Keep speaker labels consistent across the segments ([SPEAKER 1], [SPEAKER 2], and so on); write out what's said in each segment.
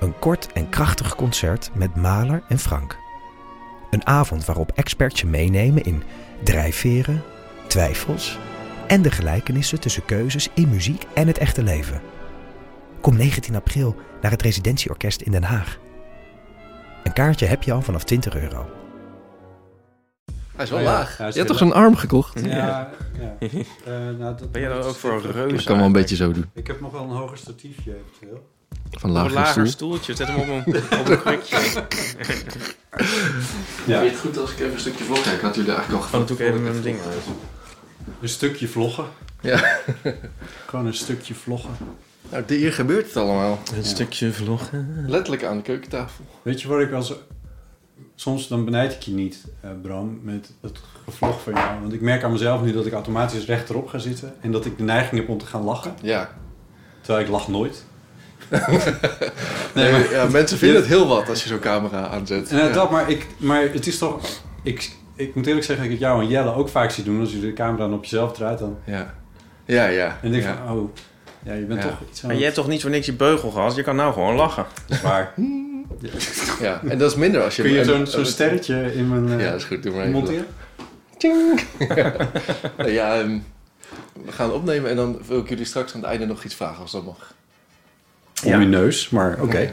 [SPEAKER 1] Een kort en krachtig concert met Maler en Frank. Een avond waarop experts je meenemen in drijfveren, twijfels en de gelijkenissen tussen keuzes in muziek en het echte leven. Kom 19 april naar het Residentieorkest in Den Haag. Een kaartje heb je al vanaf 20 euro.
[SPEAKER 2] Hij is wel laag.
[SPEAKER 3] Ja,
[SPEAKER 2] Je hebt toch zo'n arm gekocht?
[SPEAKER 3] Ja, ja. Eh, nou, dat
[SPEAKER 4] Ben jij dan
[SPEAKER 3] dat
[SPEAKER 4] ook
[SPEAKER 3] is-
[SPEAKER 4] voor een reuze?
[SPEAKER 2] Ik kan wel een beetje zo doen.
[SPEAKER 3] Ik heb nog wel een hoger statiefje eventueel.
[SPEAKER 2] Van
[SPEAKER 4] Op een
[SPEAKER 2] laag stoel.
[SPEAKER 4] lager stoeltje. Zet hem op een, op een krukje.
[SPEAKER 3] Ja.
[SPEAKER 2] het goed als ik even een stukje vlog? ik had jullie eigenlijk al
[SPEAKER 4] Van doe ik even met mijn ding uit.
[SPEAKER 3] Een stukje vloggen.
[SPEAKER 2] Ja.
[SPEAKER 3] Gewoon een stukje vloggen.
[SPEAKER 2] Nou, hier gebeurt het allemaal.
[SPEAKER 4] Een stukje vloggen.
[SPEAKER 2] Letterlijk aan de keukentafel.
[SPEAKER 3] Weet je wat ik wel zo... Soms dan benijd ik je niet, eh, Bram, met het gevlog van jou. Want ik merk aan mezelf nu dat ik automatisch rechterop ga zitten. En dat ik de neiging heb om te gaan lachen.
[SPEAKER 2] Ja.
[SPEAKER 3] Terwijl ik lach nooit.
[SPEAKER 2] Nee, maar, ja mensen vinden
[SPEAKER 3] Ja.
[SPEAKER 2] het heel wat als je zo'n camera aanzet.
[SPEAKER 3] En, eh,
[SPEAKER 2] Ja.
[SPEAKER 3] dat, maar, ik, maar het is toch... Ik, ik moet eerlijk zeggen dat ik het jou en Jelle ook vaak zie doen. Als je de camera dan op jezelf draait dan...
[SPEAKER 2] Ja. Ja, ja.
[SPEAKER 3] En ik denk
[SPEAKER 2] ja.
[SPEAKER 3] van, oh... Ja, je bent
[SPEAKER 2] Ja.
[SPEAKER 3] toch iets aan
[SPEAKER 4] Maar je hebt toch niet voor niks je beugel gehad? Je kan nou gewoon lachen.
[SPEAKER 3] zwaar.
[SPEAKER 2] Ja. En dat is minder als je...
[SPEAKER 3] Kun je
[SPEAKER 2] en-
[SPEAKER 3] zo'n zo'n
[SPEAKER 2] en-
[SPEAKER 3] sterretje in mijn... eh,
[SPEAKER 2] Ja, dat is goed. Doe maar even.
[SPEAKER 3] monteren?
[SPEAKER 2] Nou ja, ehm, we gaan opnemen en dan wil ik jullie straks aan het einde nog iets vragen als dat mag.
[SPEAKER 3] Om je neus, maar oké.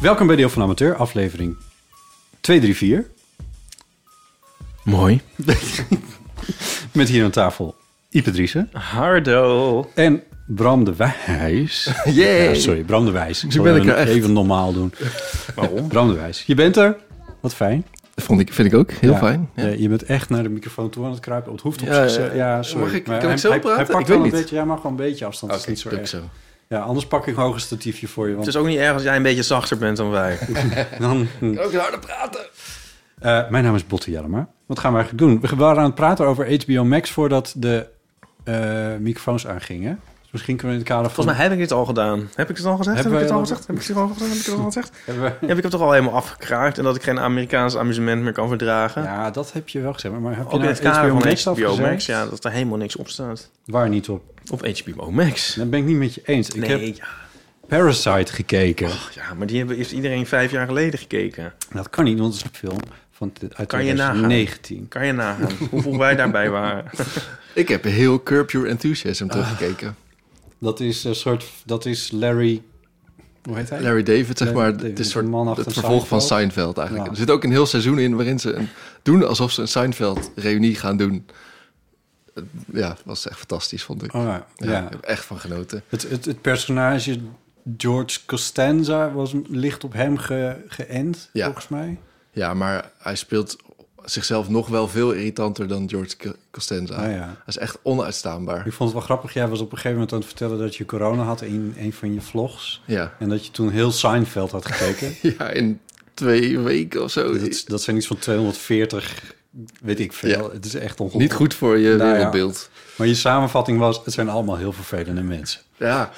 [SPEAKER 3] Welkom bij Deel van Amateur, aflevering 234.
[SPEAKER 4] Mooi.
[SPEAKER 3] Met hier aan tafel Ipe Driessen
[SPEAKER 2] Ah.
[SPEAKER 4] Hardo.
[SPEAKER 3] en Bram de Wijs.
[SPEAKER 2] Yay!
[SPEAKER 3] Ja, sorry, Bram de Wijs. Ik
[SPEAKER 2] Zo
[SPEAKER 3] zal
[SPEAKER 2] ben ik er
[SPEAKER 3] hem
[SPEAKER 2] echt.
[SPEAKER 3] Even normaal doen.
[SPEAKER 4] Waarom?
[SPEAKER 3] Bram de Wijs, je bent er. Wat fijn.
[SPEAKER 2] Dat vond ik, vind ik ook heel
[SPEAKER 3] Ja.
[SPEAKER 2] fijn. Ja.
[SPEAKER 3] Ja, je bent echt naar de microfoon toe aan het kruipen. Het hoeft op
[SPEAKER 2] Ja,
[SPEAKER 3] zich.
[SPEAKER 2] ja,
[SPEAKER 3] zo- Ja, sorry.
[SPEAKER 2] Mag ik-
[SPEAKER 3] Maar
[SPEAKER 2] kan ik
[SPEAKER 3] hij-
[SPEAKER 2] zo
[SPEAKER 3] hij-
[SPEAKER 2] praten?
[SPEAKER 3] Hij pakt
[SPEAKER 2] Ik weet
[SPEAKER 3] wel
[SPEAKER 2] niet.
[SPEAKER 3] een beetje. Ja, maar gewoon een beetje afstand.
[SPEAKER 2] Oké,
[SPEAKER 3] dat is niet zo
[SPEAKER 2] doe ik
[SPEAKER 3] erg.
[SPEAKER 2] zo.
[SPEAKER 3] Ja, anders pak ik een hoger statiefje voor je.
[SPEAKER 4] Het
[SPEAKER 3] Want
[SPEAKER 4] is ook niet erg als jij een beetje zachter bent dan wij.
[SPEAKER 3] dan,
[SPEAKER 2] Kan ook harder praten.
[SPEAKER 3] Eh, mijn naam is Botte Jellema. Wat gaan we eigenlijk doen? We waren aan het praten over HBO Max voordat de eh, microfoons aangingen. Dus misschien kunnen we in het kader van...
[SPEAKER 4] Volgens mij heb ik dit al gedaan. Heb ik het al gezegd? Heb,
[SPEAKER 3] Hebben
[SPEAKER 4] ik het
[SPEAKER 3] wij
[SPEAKER 4] al
[SPEAKER 3] al-
[SPEAKER 4] gezegd? Heb ik het al gezegd? Heb ik het al gezegd?
[SPEAKER 3] hebben we-
[SPEAKER 4] Ja, ik heb het toch al helemaal afgekraakt en dat ik geen Amerikaans amusement meer kan verdragen.
[SPEAKER 3] Ja, dat heb je wel gezegd. Maar heb je
[SPEAKER 4] Ook in
[SPEAKER 3] nou
[SPEAKER 4] het kader
[SPEAKER 3] HBO
[SPEAKER 4] van
[SPEAKER 3] Max
[SPEAKER 4] HBO
[SPEAKER 3] afgezegd?
[SPEAKER 4] Max, ja, dat er helemaal niks op staat.
[SPEAKER 3] Waar niet op.
[SPEAKER 4] Op HBO Max.
[SPEAKER 3] Dat ben ik niet met je eens. Ik
[SPEAKER 4] nee, Oh.
[SPEAKER 3] heb
[SPEAKER 4] ja.
[SPEAKER 3] Parasite gekeken.
[SPEAKER 4] Ach, ja, maar die hebben, heeft iedereen vijf jaar geleden gekeken.
[SPEAKER 3] Dat kan niet, want het is een film van uit
[SPEAKER 4] Kan je nagaan.
[SPEAKER 3] 2019.
[SPEAKER 4] Kan je nagaan hoeveel wij daarbij waren.
[SPEAKER 2] Ik heb heel Curb Your Enthusiasm teruggekeken.
[SPEAKER 3] Dat is een soort. Dat is Larry. Hoe heet hij?
[SPEAKER 2] Larry David, zeg
[SPEAKER 3] Larry
[SPEAKER 2] maar.
[SPEAKER 3] David,
[SPEAKER 2] het is
[SPEAKER 3] de
[SPEAKER 2] soort,
[SPEAKER 3] man achter
[SPEAKER 2] het vervolg van
[SPEAKER 3] Seinfeld.
[SPEAKER 2] Seinfeld eigenlijk.
[SPEAKER 3] Ja.
[SPEAKER 2] Er zit ook een heel seizoen in waarin ze een- doen alsof ze een Seinfeld-reunie gaan doen. Eh, Ja, dat was echt fantastisch, vond ik.
[SPEAKER 3] Oh, ja.
[SPEAKER 2] Ja,
[SPEAKER 3] ja.
[SPEAKER 2] Ik heb echt van genoten.
[SPEAKER 3] Het, het, het personage George Costanza was licht op hem ge, geënt,
[SPEAKER 2] Ja.
[SPEAKER 3] volgens mij.
[SPEAKER 2] Ja, maar hij speelt zichzelf nog wel veel irritanter dan George Co- Costanza.
[SPEAKER 3] Ah, ja.
[SPEAKER 2] Hij is echt onuitstaanbaar.
[SPEAKER 3] Ik vond het wel grappig. Jij was op een gegeven moment aan het vertellen dat je corona had in een van je vlogs.
[SPEAKER 2] Ja.
[SPEAKER 3] En dat je toen heel Seinfeld had gekeken.
[SPEAKER 2] ja, in twee weken of zo.
[SPEAKER 3] dat, Dus dat zijn iets van 240, weet ik veel.
[SPEAKER 2] Ja.
[SPEAKER 3] Het is echt ongelooflijk.
[SPEAKER 2] Niet goed voor je
[SPEAKER 3] Nou ja.
[SPEAKER 2] wereldbeeld.
[SPEAKER 3] Maar je samenvatting was, het zijn allemaal heel vervelende mensen.
[SPEAKER 2] Ja.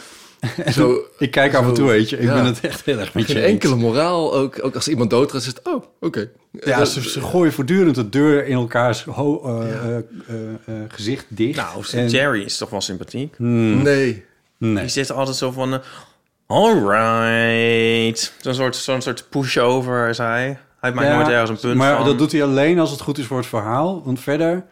[SPEAKER 2] Zo,
[SPEAKER 3] Ik kijk af en
[SPEAKER 2] Zo,
[SPEAKER 3] toe, weet je. Ik
[SPEAKER 2] ja.
[SPEAKER 3] ben het echt heel erg met je
[SPEAKER 2] geen
[SPEAKER 3] eens.
[SPEAKER 2] enkele moraal. Ook, ook als iemand doodgaat, is het... Oh, oké.
[SPEAKER 3] Ja,
[SPEAKER 2] Dat-
[SPEAKER 3] ze, ze gooien voortdurend de deur in elkaars ho- eh, eh, eh, eh, gezicht dicht.
[SPEAKER 4] Nou,
[SPEAKER 3] En-
[SPEAKER 4] Jerry is toch wel sympathiek?
[SPEAKER 2] Nee.
[SPEAKER 4] Die
[SPEAKER 3] Nee.
[SPEAKER 4] zit altijd zo van... eh, Alright. Zo'n soort, zo'n soort pushover is hij. Hij maakt
[SPEAKER 3] Ja,
[SPEAKER 4] nooit ergens een punt
[SPEAKER 3] Maar
[SPEAKER 4] van.
[SPEAKER 3] dat doet hij alleen als het goed is voor het verhaal. Want verder,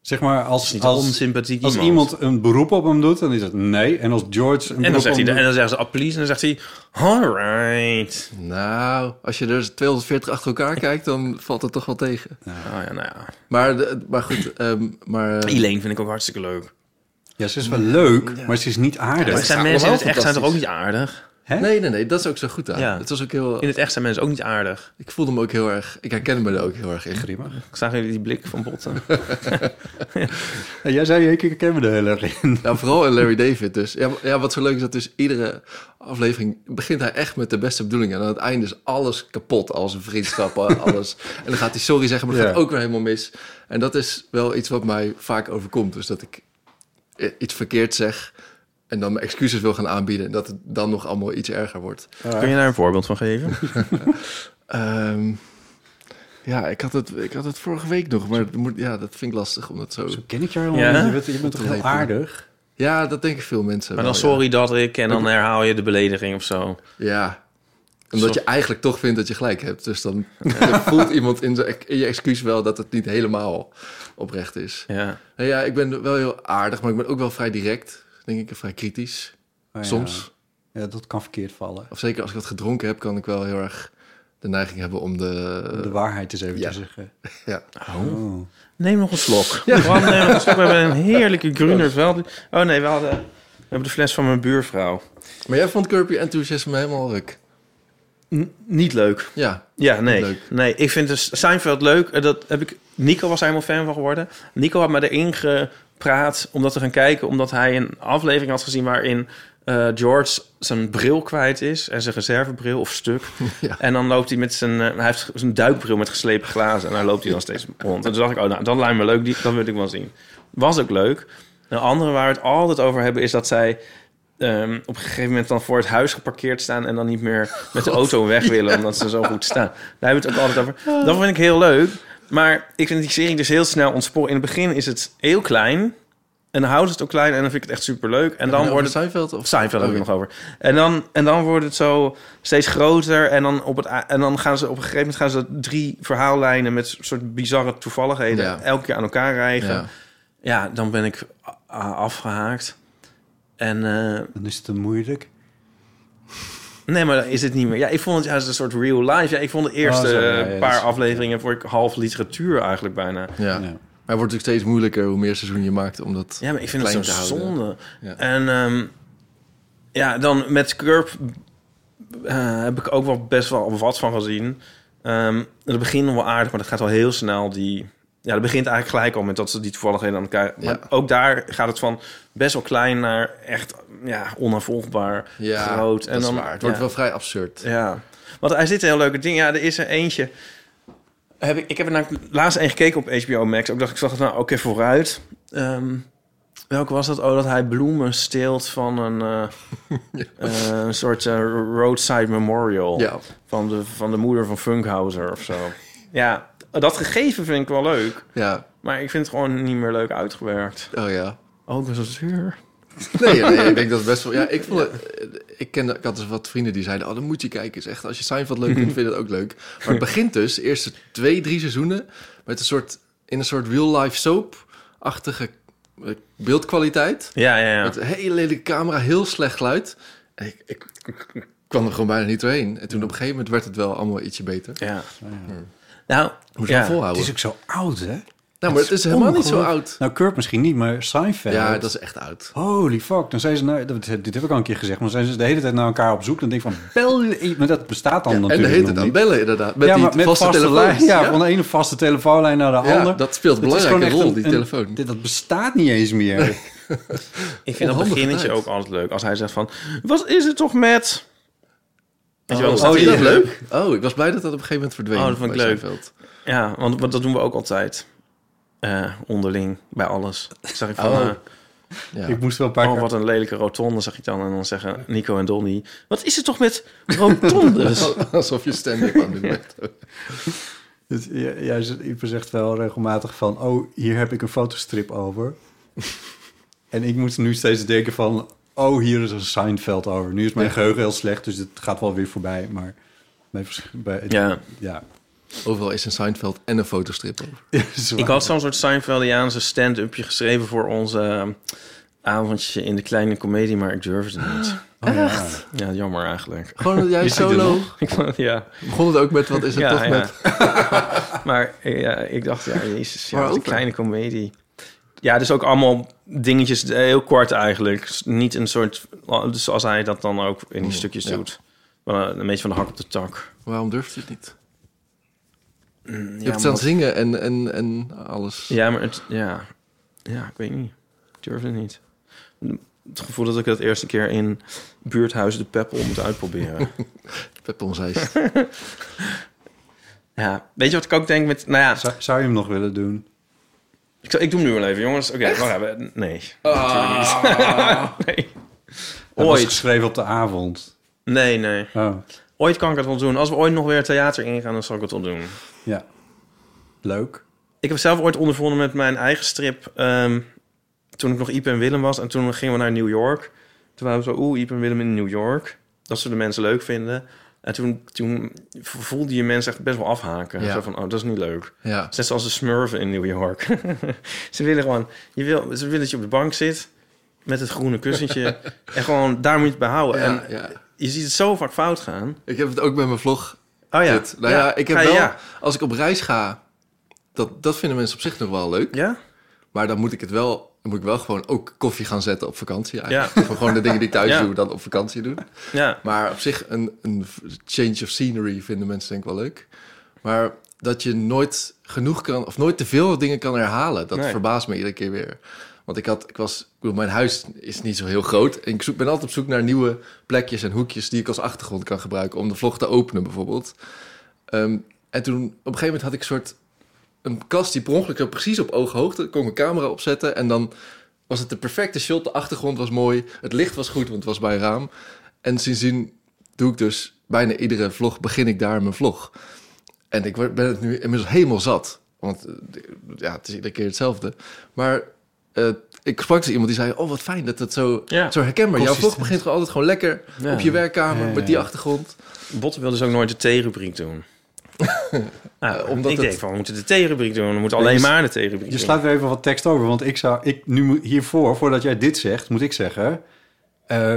[SPEAKER 3] zeg maar, als,
[SPEAKER 4] niet
[SPEAKER 3] als,
[SPEAKER 4] onsympathiek
[SPEAKER 3] als
[SPEAKER 4] iemand.
[SPEAKER 3] iemand een beroep op hem doet, dan is het nee. En als George een
[SPEAKER 4] en
[SPEAKER 3] beroep
[SPEAKER 4] dan, zegt
[SPEAKER 3] op
[SPEAKER 4] hij,
[SPEAKER 3] hem
[SPEAKER 4] en
[SPEAKER 3] doet-
[SPEAKER 4] dan zeggen ze applies en dan zegt hij... Alright.
[SPEAKER 2] Nou, als je er 240 achter elkaar kijkt, dan valt het toch wel tegen.
[SPEAKER 4] Oh ja, nou ja.
[SPEAKER 2] Maar, de- maar goed, ehm, maar... eh,
[SPEAKER 4] Elaine vind ik ook hartstikke leuk.
[SPEAKER 3] Ja, ze is wel leuk, maar ze is niet aardig.
[SPEAKER 4] Maar
[SPEAKER 2] is
[SPEAKER 4] zijn
[SPEAKER 2] allemaal
[SPEAKER 4] mensen in het echt zijn
[SPEAKER 2] fantastisch.
[SPEAKER 4] toch ook niet aardig?
[SPEAKER 3] Hè?
[SPEAKER 2] Nee, nee, nee, dat is ook zo goed aan.
[SPEAKER 4] Ja.
[SPEAKER 2] Het was ook heel,
[SPEAKER 4] In het echt zijn mensen ook niet aardig.
[SPEAKER 2] ik voelde me ook heel erg, ik herkende me er ook heel erg in.
[SPEAKER 3] Grimmig.
[SPEAKER 4] Ik zag jullie die blik van botten.
[SPEAKER 3] jij zei, ik ken me er heel erg in.
[SPEAKER 2] Ja, vooral in Larry David dus. Ja, maar- ja, wat zo leuk is, dat dus iedere aflevering begint hij echt met de beste bedoelingen. En aan het einde is alles kapot, al zijn vriendschappen, alles. En dan gaat hij sorry zeggen, maar dat
[SPEAKER 3] Ja.
[SPEAKER 2] gaat ook weer helemaal mis. En dat is wel iets wat mij vaak overkomt. Dus dat ik i- iets verkeerd zeg en dan mijn excuses wil gaan aanbieden. En dat het dan nog allemaal iets erger wordt.
[SPEAKER 4] Kun je daar een voorbeeld van geven?
[SPEAKER 2] Ehm, ja, ik had, het, ik had het vorige week nog, maar het moet, ja, dat vind ik lastig om dat zo...
[SPEAKER 3] Zo ken ik jou helemaal
[SPEAKER 4] Ja?
[SPEAKER 3] niet. Je bent, je bent toch heel aardig?
[SPEAKER 2] Ja, dat denken veel mensen
[SPEAKER 4] Maar
[SPEAKER 2] wel,
[SPEAKER 4] dan
[SPEAKER 2] ja.
[SPEAKER 4] sorry dat ik en dan herhaal je de belediging of zo.
[SPEAKER 2] Ja, omdat je eigenlijk toch vindt dat je gelijk hebt. Dus dan dan voelt iemand in, zijn- in je excuus wel dat het niet helemaal oprecht is.
[SPEAKER 4] Ja.
[SPEAKER 2] Nou ja, ik ben wel heel aardig, maar ik ben ook wel vrij direct, denk ik, en vrij kritisch.
[SPEAKER 3] Oh, ja.
[SPEAKER 2] Soms.
[SPEAKER 3] Ja, dat kan verkeerd vallen.
[SPEAKER 2] Of zeker als ik wat gedronken heb, kan ik wel heel erg de neiging hebben om de...
[SPEAKER 3] Om de waarheid eens even
[SPEAKER 2] Eh, ja.
[SPEAKER 3] te zeggen.
[SPEAKER 2] ja.
[SPEAKER 3] Oh.
[SPEAKER 4] Neem nog een slok. Bram, neem nog een slok. We hebben een heerlijke Grünerveld. Oh nee, we hadden... We hebben de fles van mijn buurvrouw.
[SPEAKER 2] Maar jij vond Curb Your Enthusiasm helemaal ruk.
[SPEAKER 4] N- niet leuk.
[SPEAKER 2] Ja,
[SPEAKER 4] Ja, nee.
[SPEAKER 2] Leuk.
[SPEAKER 4] Nee, ik vind dus Seinfeld leuk. Eh, Dat heb ik, Nico was daar helemaal fan van geworden. Nico had me erin gepraat om dat te gaan kijken... omdat hij een aflevering had gezien waarin eh, George zijn bril kwijt is... en zijn reservebril of stuk.
[SPEAKER 2] Ja.
[SPEAKER 4] En dan loopt hij met zijn... eh, hij heeft zijn duikbril met geslepen glazen... en daar loopt hij dan steeds rond. En toen dacht ik, oh, nou, dat lijkt me leuk. Die, dat wil ik wel zien. Was ook leuk. Een andere waar we het altijd over hebben is dat zij... ehm, op een gegeven moment dan voor het huis geparkeerd staan... en dan niet meer met de auto weg willen... omdat ze zo goed staan. Daar hebben we het ook altijd over. Dat vind ik heel leuk. Maar ik vind die serie dus heel snel ontspoor. In het begin is het heel klein... en dan houdt het ook klein... en dan vind ik het echt superleuk. En dan wordt het...
[SPEAKER 2] Seinfeld of... Oh,
[SPEAKER 4] Seinfeld hebben we
[SPEAKER 2] Oké.
[SPEAKER 4] nog over. En dan, en dan wordt het zo steeds groter. En dan, op het, a- en dan gaan ze op een gegeven moment gaan ze drie verhaallijnen met soort bizarre toevalligheden
[SPEAKER 2] Ja.
[SPEAKER 4] elke keer aan elkaar rijgen. Ja,
[SPEAKER 2] Ja.
[SPEAKER 4] dan ben ik a- a- afgehaakt. En eh,
[SPEAKER 3] Dan is het te moeilijk.
[SPEAKER 4] nee, maar dan is het niet meer. Ja, ik vond het juist een soort real life. Ja, ik vond de eerste
[SPEAKER 3] Oh, zo, ja, ja,
[SPEAKER 4] eh,
[SPEAKER 3] dat
[SPEAKER 4] paar
[SPEAKER 3] is-
[SPEAKER 4] afleveringen voor ik half literatuur eigenlijk bijna.
[SPEAKER 2] Ja.
[SPEAKER 3] Ja.
[SPEAKER 2] Maar het wordt natuurlijk steeds moeilijker hoe meer seizoen je maakt om dat...
[SPEAKER 4] Ja, maar ik vind het
[SPEAKER 2] klein
[SPEAKER 4] zo'n
[SPEAKER 2] te houden.
[SPEAKER 4] zonde.
[SPEAKER 2] Ja.
[SPEAKER 4] En ehm, ja, dan met Curb eh, heb ik ook wel best wel wat van gezien. Ehm het begint nog wel aardig, maar dat gaat wel heel snel. Die, ja, dat begint eigenlijk gelijk al met dat ze die toevalligheden aan elkaar... Maar
[SPEAKER 2] Ja.
[SPEAKER 4] ook daar gaat het van best wel klein naar echt ja, onafvolgbaar
[SPEAKER 2] Ja,
[SPEAKER 4] groot.
[SPEAKER 2] dat is waar. Het wordt
[SPEAKER 4] ja.
[SPEAKER 2] wel vrij absurd.
[SPEAKER 4] Ja, want hij zit een heel leuke ding. Ja, er is er eentje. Heb ik, ik heb er namelijk laatst een gekeken op HBO Max. Ook dacht ik, zag het nou, oké, vooruit. Ehm, welke was dat? Oh, dat hij bloemen steelt van een eh, eh, een soort eh, roadside memorial.
[SPEAKER 2] Ja.
[SPEAKER 4] Van, de, van de moeder van Funkhauser of zo. ja, dat gegeven vind ik wel leuk.
[SPEAKER 2] Ja.
[SPEAKER 4] Maar ik vind het gewoon niet meer leuk uitgewerkt.
[SPEAKER 2] Oh ja.
[SPEAKER 4] Ook ik ben zo zuur.
[SPEAKER 2] Nee, nee, ik denk dat het best wel. Ja, ik, vond, het- ik, ken, ik had dus wat vrienden die zeiden: Oh, dan moet je kijken. Is echt, als je Seinfeld leuk vindt, vind je dat ook leuk. Maar het begint dus, de eerste twee, drie seizoenen, met een soort, in een soort real-life soap-achtige eh, beeldkwaliteit.
[SPEAKER 4] Ja, ja, ja.
[SPEAKER 2] Met een hele lelijke camera, heel slecht geluid. En ik, ik, ik kwam er gewoon bijna niet doorheen. En toen op een gegeven moment werd het wel allemaal ietsje beter.
[SPEAKER 4] ja. Nou,
[SPEAKER 2] Moet je
[SPEAKER 4] ja.
[SPEAKER 2] wel
[SPEAKER 3] Het
[SPEAKER 2] volhouden.
[SPEAKER 3] is ook zo oud, hè?
[SPEAKER 2] nou, maar het is helemaal niet zo
[SPEAKER 3] Ongelooflijk.
[SPEAKER 2] oud.
[SPEAKER 3] Nou, Kurt misschien niet, maar Seinfeld.
[SPEAKER 2] Ja, dat is echt oud.
[SPEAKER 3] Holy fuck, dan zijn ze, nou, dat- dit heb ik al een keer gezegd, maar dan zijn ze de hele tijd naar elkaar op zoek. Dan denk ik van, bel je, maar dat bestaat dan
[SPEAKER 2] en de
[SPEAKER 3] natuurlijk
[SPEAKER 2] heet
[SPEAKER 3] nog
[SPEAKER 2] het aan
[SPEAKER 3] niet.
[SPEAKER 2] bellen, inderdaad. Met
[SPEAKER 3] ja, maar
[SPEAKER 2] die vaste, telefoon.
[SPEAKER 3] lijn, ja, van de ene vaste telefoonlijn naar de
[SPEAKER 2] Ja,
[SPEAKER 3] andere.
[SPEAKER 2] dat speelt een
[SPEAKER 3] Het is
[SPEAKER 2] belangrijke
[SPEAKER 3] gewoon echt
[SPEAKER 2] rol, die telefoon.
[SPEAKER 3] dit- dat bestaat niet eens meer.
[SPEAKER 4] Ik vind dat
[SPEAKER 2] Onhandig
[SPEAKER 4] beginnetje
[SPEAKER 2] tijd.
[SPEAKER 4] ook altijd leuk. Als hij zegt van, wat is het toch met... Weet je wel, dan staat
[SPEAKER 2] Oh,
[SPEAKER 4] hij
[SPEAKER 2] is dat
[SPEAKER 4] er.
[SPEAKER 2] leuk? Oh, ik was blij dat dat op een gegeven moment verdween.
[SPEAKER 4] Oh, dat vond ik
[SPEAKER 2] bij
[SPEAKER 4] leuk.
[SPEAKER 2] Seinfeld.
[SPEAKER 4] Ja, want, want dat doen we ook altijd. Eh, onderling, bij alles. Zeg ik van,
[SPEAKER 2] Oh.
[SPEAKER 4] eh,
[SPEAKER 2] Ja.
[SPEAKER 3] Ik moest wel een paar
[SPEAKER 4] oh,
[SPEAKER 3] keer...
[SPEAKER 4] wat een lelijke rotonde, zeg ik dan. En dan zeggen Nico en Donnie, wat is het toch met rotondes?
[SPEAKER 2] Alsof je stand-up aan het doen bent.
[SPEAKER 3] Het- ja, Jij zegt- Ieper zegt wel regelmatig van, oh, hier heb ik een fotostrip over. en ik moet nu steeds denken van, oh, hier is een Seinfeld over. Nu is mijn geheugen heel slecht, dus het gaat wel weer voorbij. Maar bij, vers- bij,
[SPEAKER 4] ja,
[SPEAKER 3] ja.
[SPEAKER 2] Overal is een Seinfeld en een fotostrip over.
[SPEAKER 3] Zo.
[SPEAKER 4] ik had zo'n soort Seinfeldiaanse stand-upje geschreven voor ons eh, avondje in de kleine komedie, maar ik durfde het niet.
[SPEAKER 3] Oh, ja.
[SPEAKER 4] Ja, jammer eigenlijk.
[SPEAKER 2] Gewoon jij
[SPEAKER 3] Is die er
[SPEAKER 2] solo.
[SPEAKER 4] Ik vond, ja.
[SPEAKER 2] Begon het ook met wat is het toch met...
[SPEAKER 4] maar eh, ja, ik dacht, ja, jezus, ja, wat een
[SPEAKER 2] Waarover?
[SPEAKER 4] kleine komedie. Ja, dus ook allemaal dingetjes eh, heel kort eigenlijk. S- Niet een soort, dus zoals hij dat dan ook in die stukjes
[SPEAKER 2] Mm, ja.
[SPEAKER 4] doet. Maar, eh, een beetje van de hak op de tak.
[SPEAKER 2] Waarom durft hij het niet?
[SPEAKER 4] Ja,
[SPEAKER 2] Je hebt het aan het zingen en, en, en alles.
[SPEAKER 4] Ja, maar het, ja. ja, ik weet niet. Ik durf het niet. Het gevoel dat ik dat eerste keer in buurthuis de Peppel moet uitproberen.
[SPEAKER 2] Pepon zei het.
[SPEAKER 4] ja, weet je wat ik ook denk met... Nou ja,
[SPEAKER 3] Zou, zou je hem nog willen doen?
[SPEAKER 4] ik, zal- ik doe hem nu wel even, jongens. Oké, wacht even. Nee. Natuurlijk niet. nee.
[SPEAKER 3] Dat was
[SPEAKER 4] Ooit.
[SPEAKER 3] geschreven op de avond.
[SPEAKER 4] Nee, nee.
[SPEAKER 3] Oh,
[SPEAKER 4] Ooit kan ik het wel doen. Als we ooit nog weer het theater ingaan, dan zal ik het wel doen.
[SPEAKER 3] ja. Leuk.
[SPEAKER 4] Ik heb zelf ooit ondervonden met mijn eigen strip. ehm, toen ik nog Iep en Willem was. En toen gingen we naar New York. Toen waren we zo, oeh, Iep en Willem in New York. Dat ze de mensen leuk vinden. En toen, toen voelde je mensen echt best wel afhaken.
[SPEAKER 2] Ja.
[SPEAKER 4] Zo van, oh, dat is niet leuk.
[SPEAKER 2] Ja.
[SPEAKER 4] Net zoals de smurfen in New York. ze willen gewoon, je wil, ze willen dat je op de bank zit. Met het groene kussentje. en gewoon, daar moet je het bij houden.
[SPEAKER 2] Ja,
[SPEAKER 4] en
[SPEAKER 2] ja.
[SPEAKER 4] je ziet het zo vaak fout gaan.
[SPEAKER 2] Ik heb het ook bij mijn vlog.
[SPEAKER 4] Oh ja.
[SPEAKER 2] Dit. Nou ja, ik heb
[SPEAKER 4] Ga je-
[SPEAKER 2] wel...
[SPEAKER 4] Ja?
[SPEAKER 2] Als ik op reis ga, dat, dat vinden mensen op zich nog wel leuk.
[SPEAKER 4] ja?
[SPEAKER 2] Maar dan moet ik het wel... Dan moet ik wel gewoon ook koffie gaan zetten op vakantie eigenlijk.
[SPEAKER 4] Ja.
[SPEAKER 2] Of gewoon de dingen die ik thuis
[SPEAKER 4] Ja.
[SPEAKER 2] doe, dan op vakantie doen.
[SPEAKER 4] ja.
[SPEAKER 2] Maar op zich, een, een change of scenery vinden mensen denk ik wel leuk. Maar dat je nooit genoeg kan, of nooit te veel dingen kan herhalen, dat
[SPEAKER 4] Nee.
[SPEAKER 2] verbaast me iedere keer weer. Want ik had, ik was, ik bedoel, mijn huis is niet zo heel groot. En ik zoek, ben altijd op zoek naar nieuwe plekjes en hoekjes die ik als achtergrond kan gebruiken om de vlog te openen, bijvoorbeeld. Ehm, en toen, op een gegeven moment had ik een soort een kast die per ongeluk precies op ooghoogte kon ik mijn camera opzetten en dan was het de perfecte shot. De achtergrond was mooi, het licht was goed, want het was bij een raam. En sindsdien doe ik dus bijna iedere vlog, begin ik daar mijn vlog. En ik word- ben het nu inmiddels helemaal zat. Want eh, ja, het is iedere keer hetzelfde. Maar eh, ik sprak dus iemand die zei... oh, wat fijn dat dat zo,
[SPEAKER 4] Ja.
[SPEAKER 2] zo herkenbaar... Jouw vlog
[SPEAKER 3] Consistent.
[SPEAKER 2] begint gewoon altijd gewoon lekker
[SPEAKER 4] Ja.
[SPEAKER 2] op je werkkamer...
[SPEAKER 3] Ja, ja,
[SPEAKER 2] met die
[SPEAKER 3] ja.
[SPEAKER 2] achtergrond.
[SPEAKER 4] Botten wil dus ook nooit de T-rubriek doen. Nou,
[SPEAKER 2] omdat
[SPEAKER 4] ik
[SPEAKER 2] het-
[SPEAKER 4] denk van, we moeten de T-rubriek doen. We moeten alleen
[SPEAKER 3] je s-
[SPEAKER 4] maar de T-rubriek
[SPEAKER 3] Je
[SPEAKER 4] doen.
[SPEAKER 3] slaat weer even wat tekst over, want ik zou... Ik, nu moet- hiervoor, voordat jij dit zegt, moet ik zeggen... eh,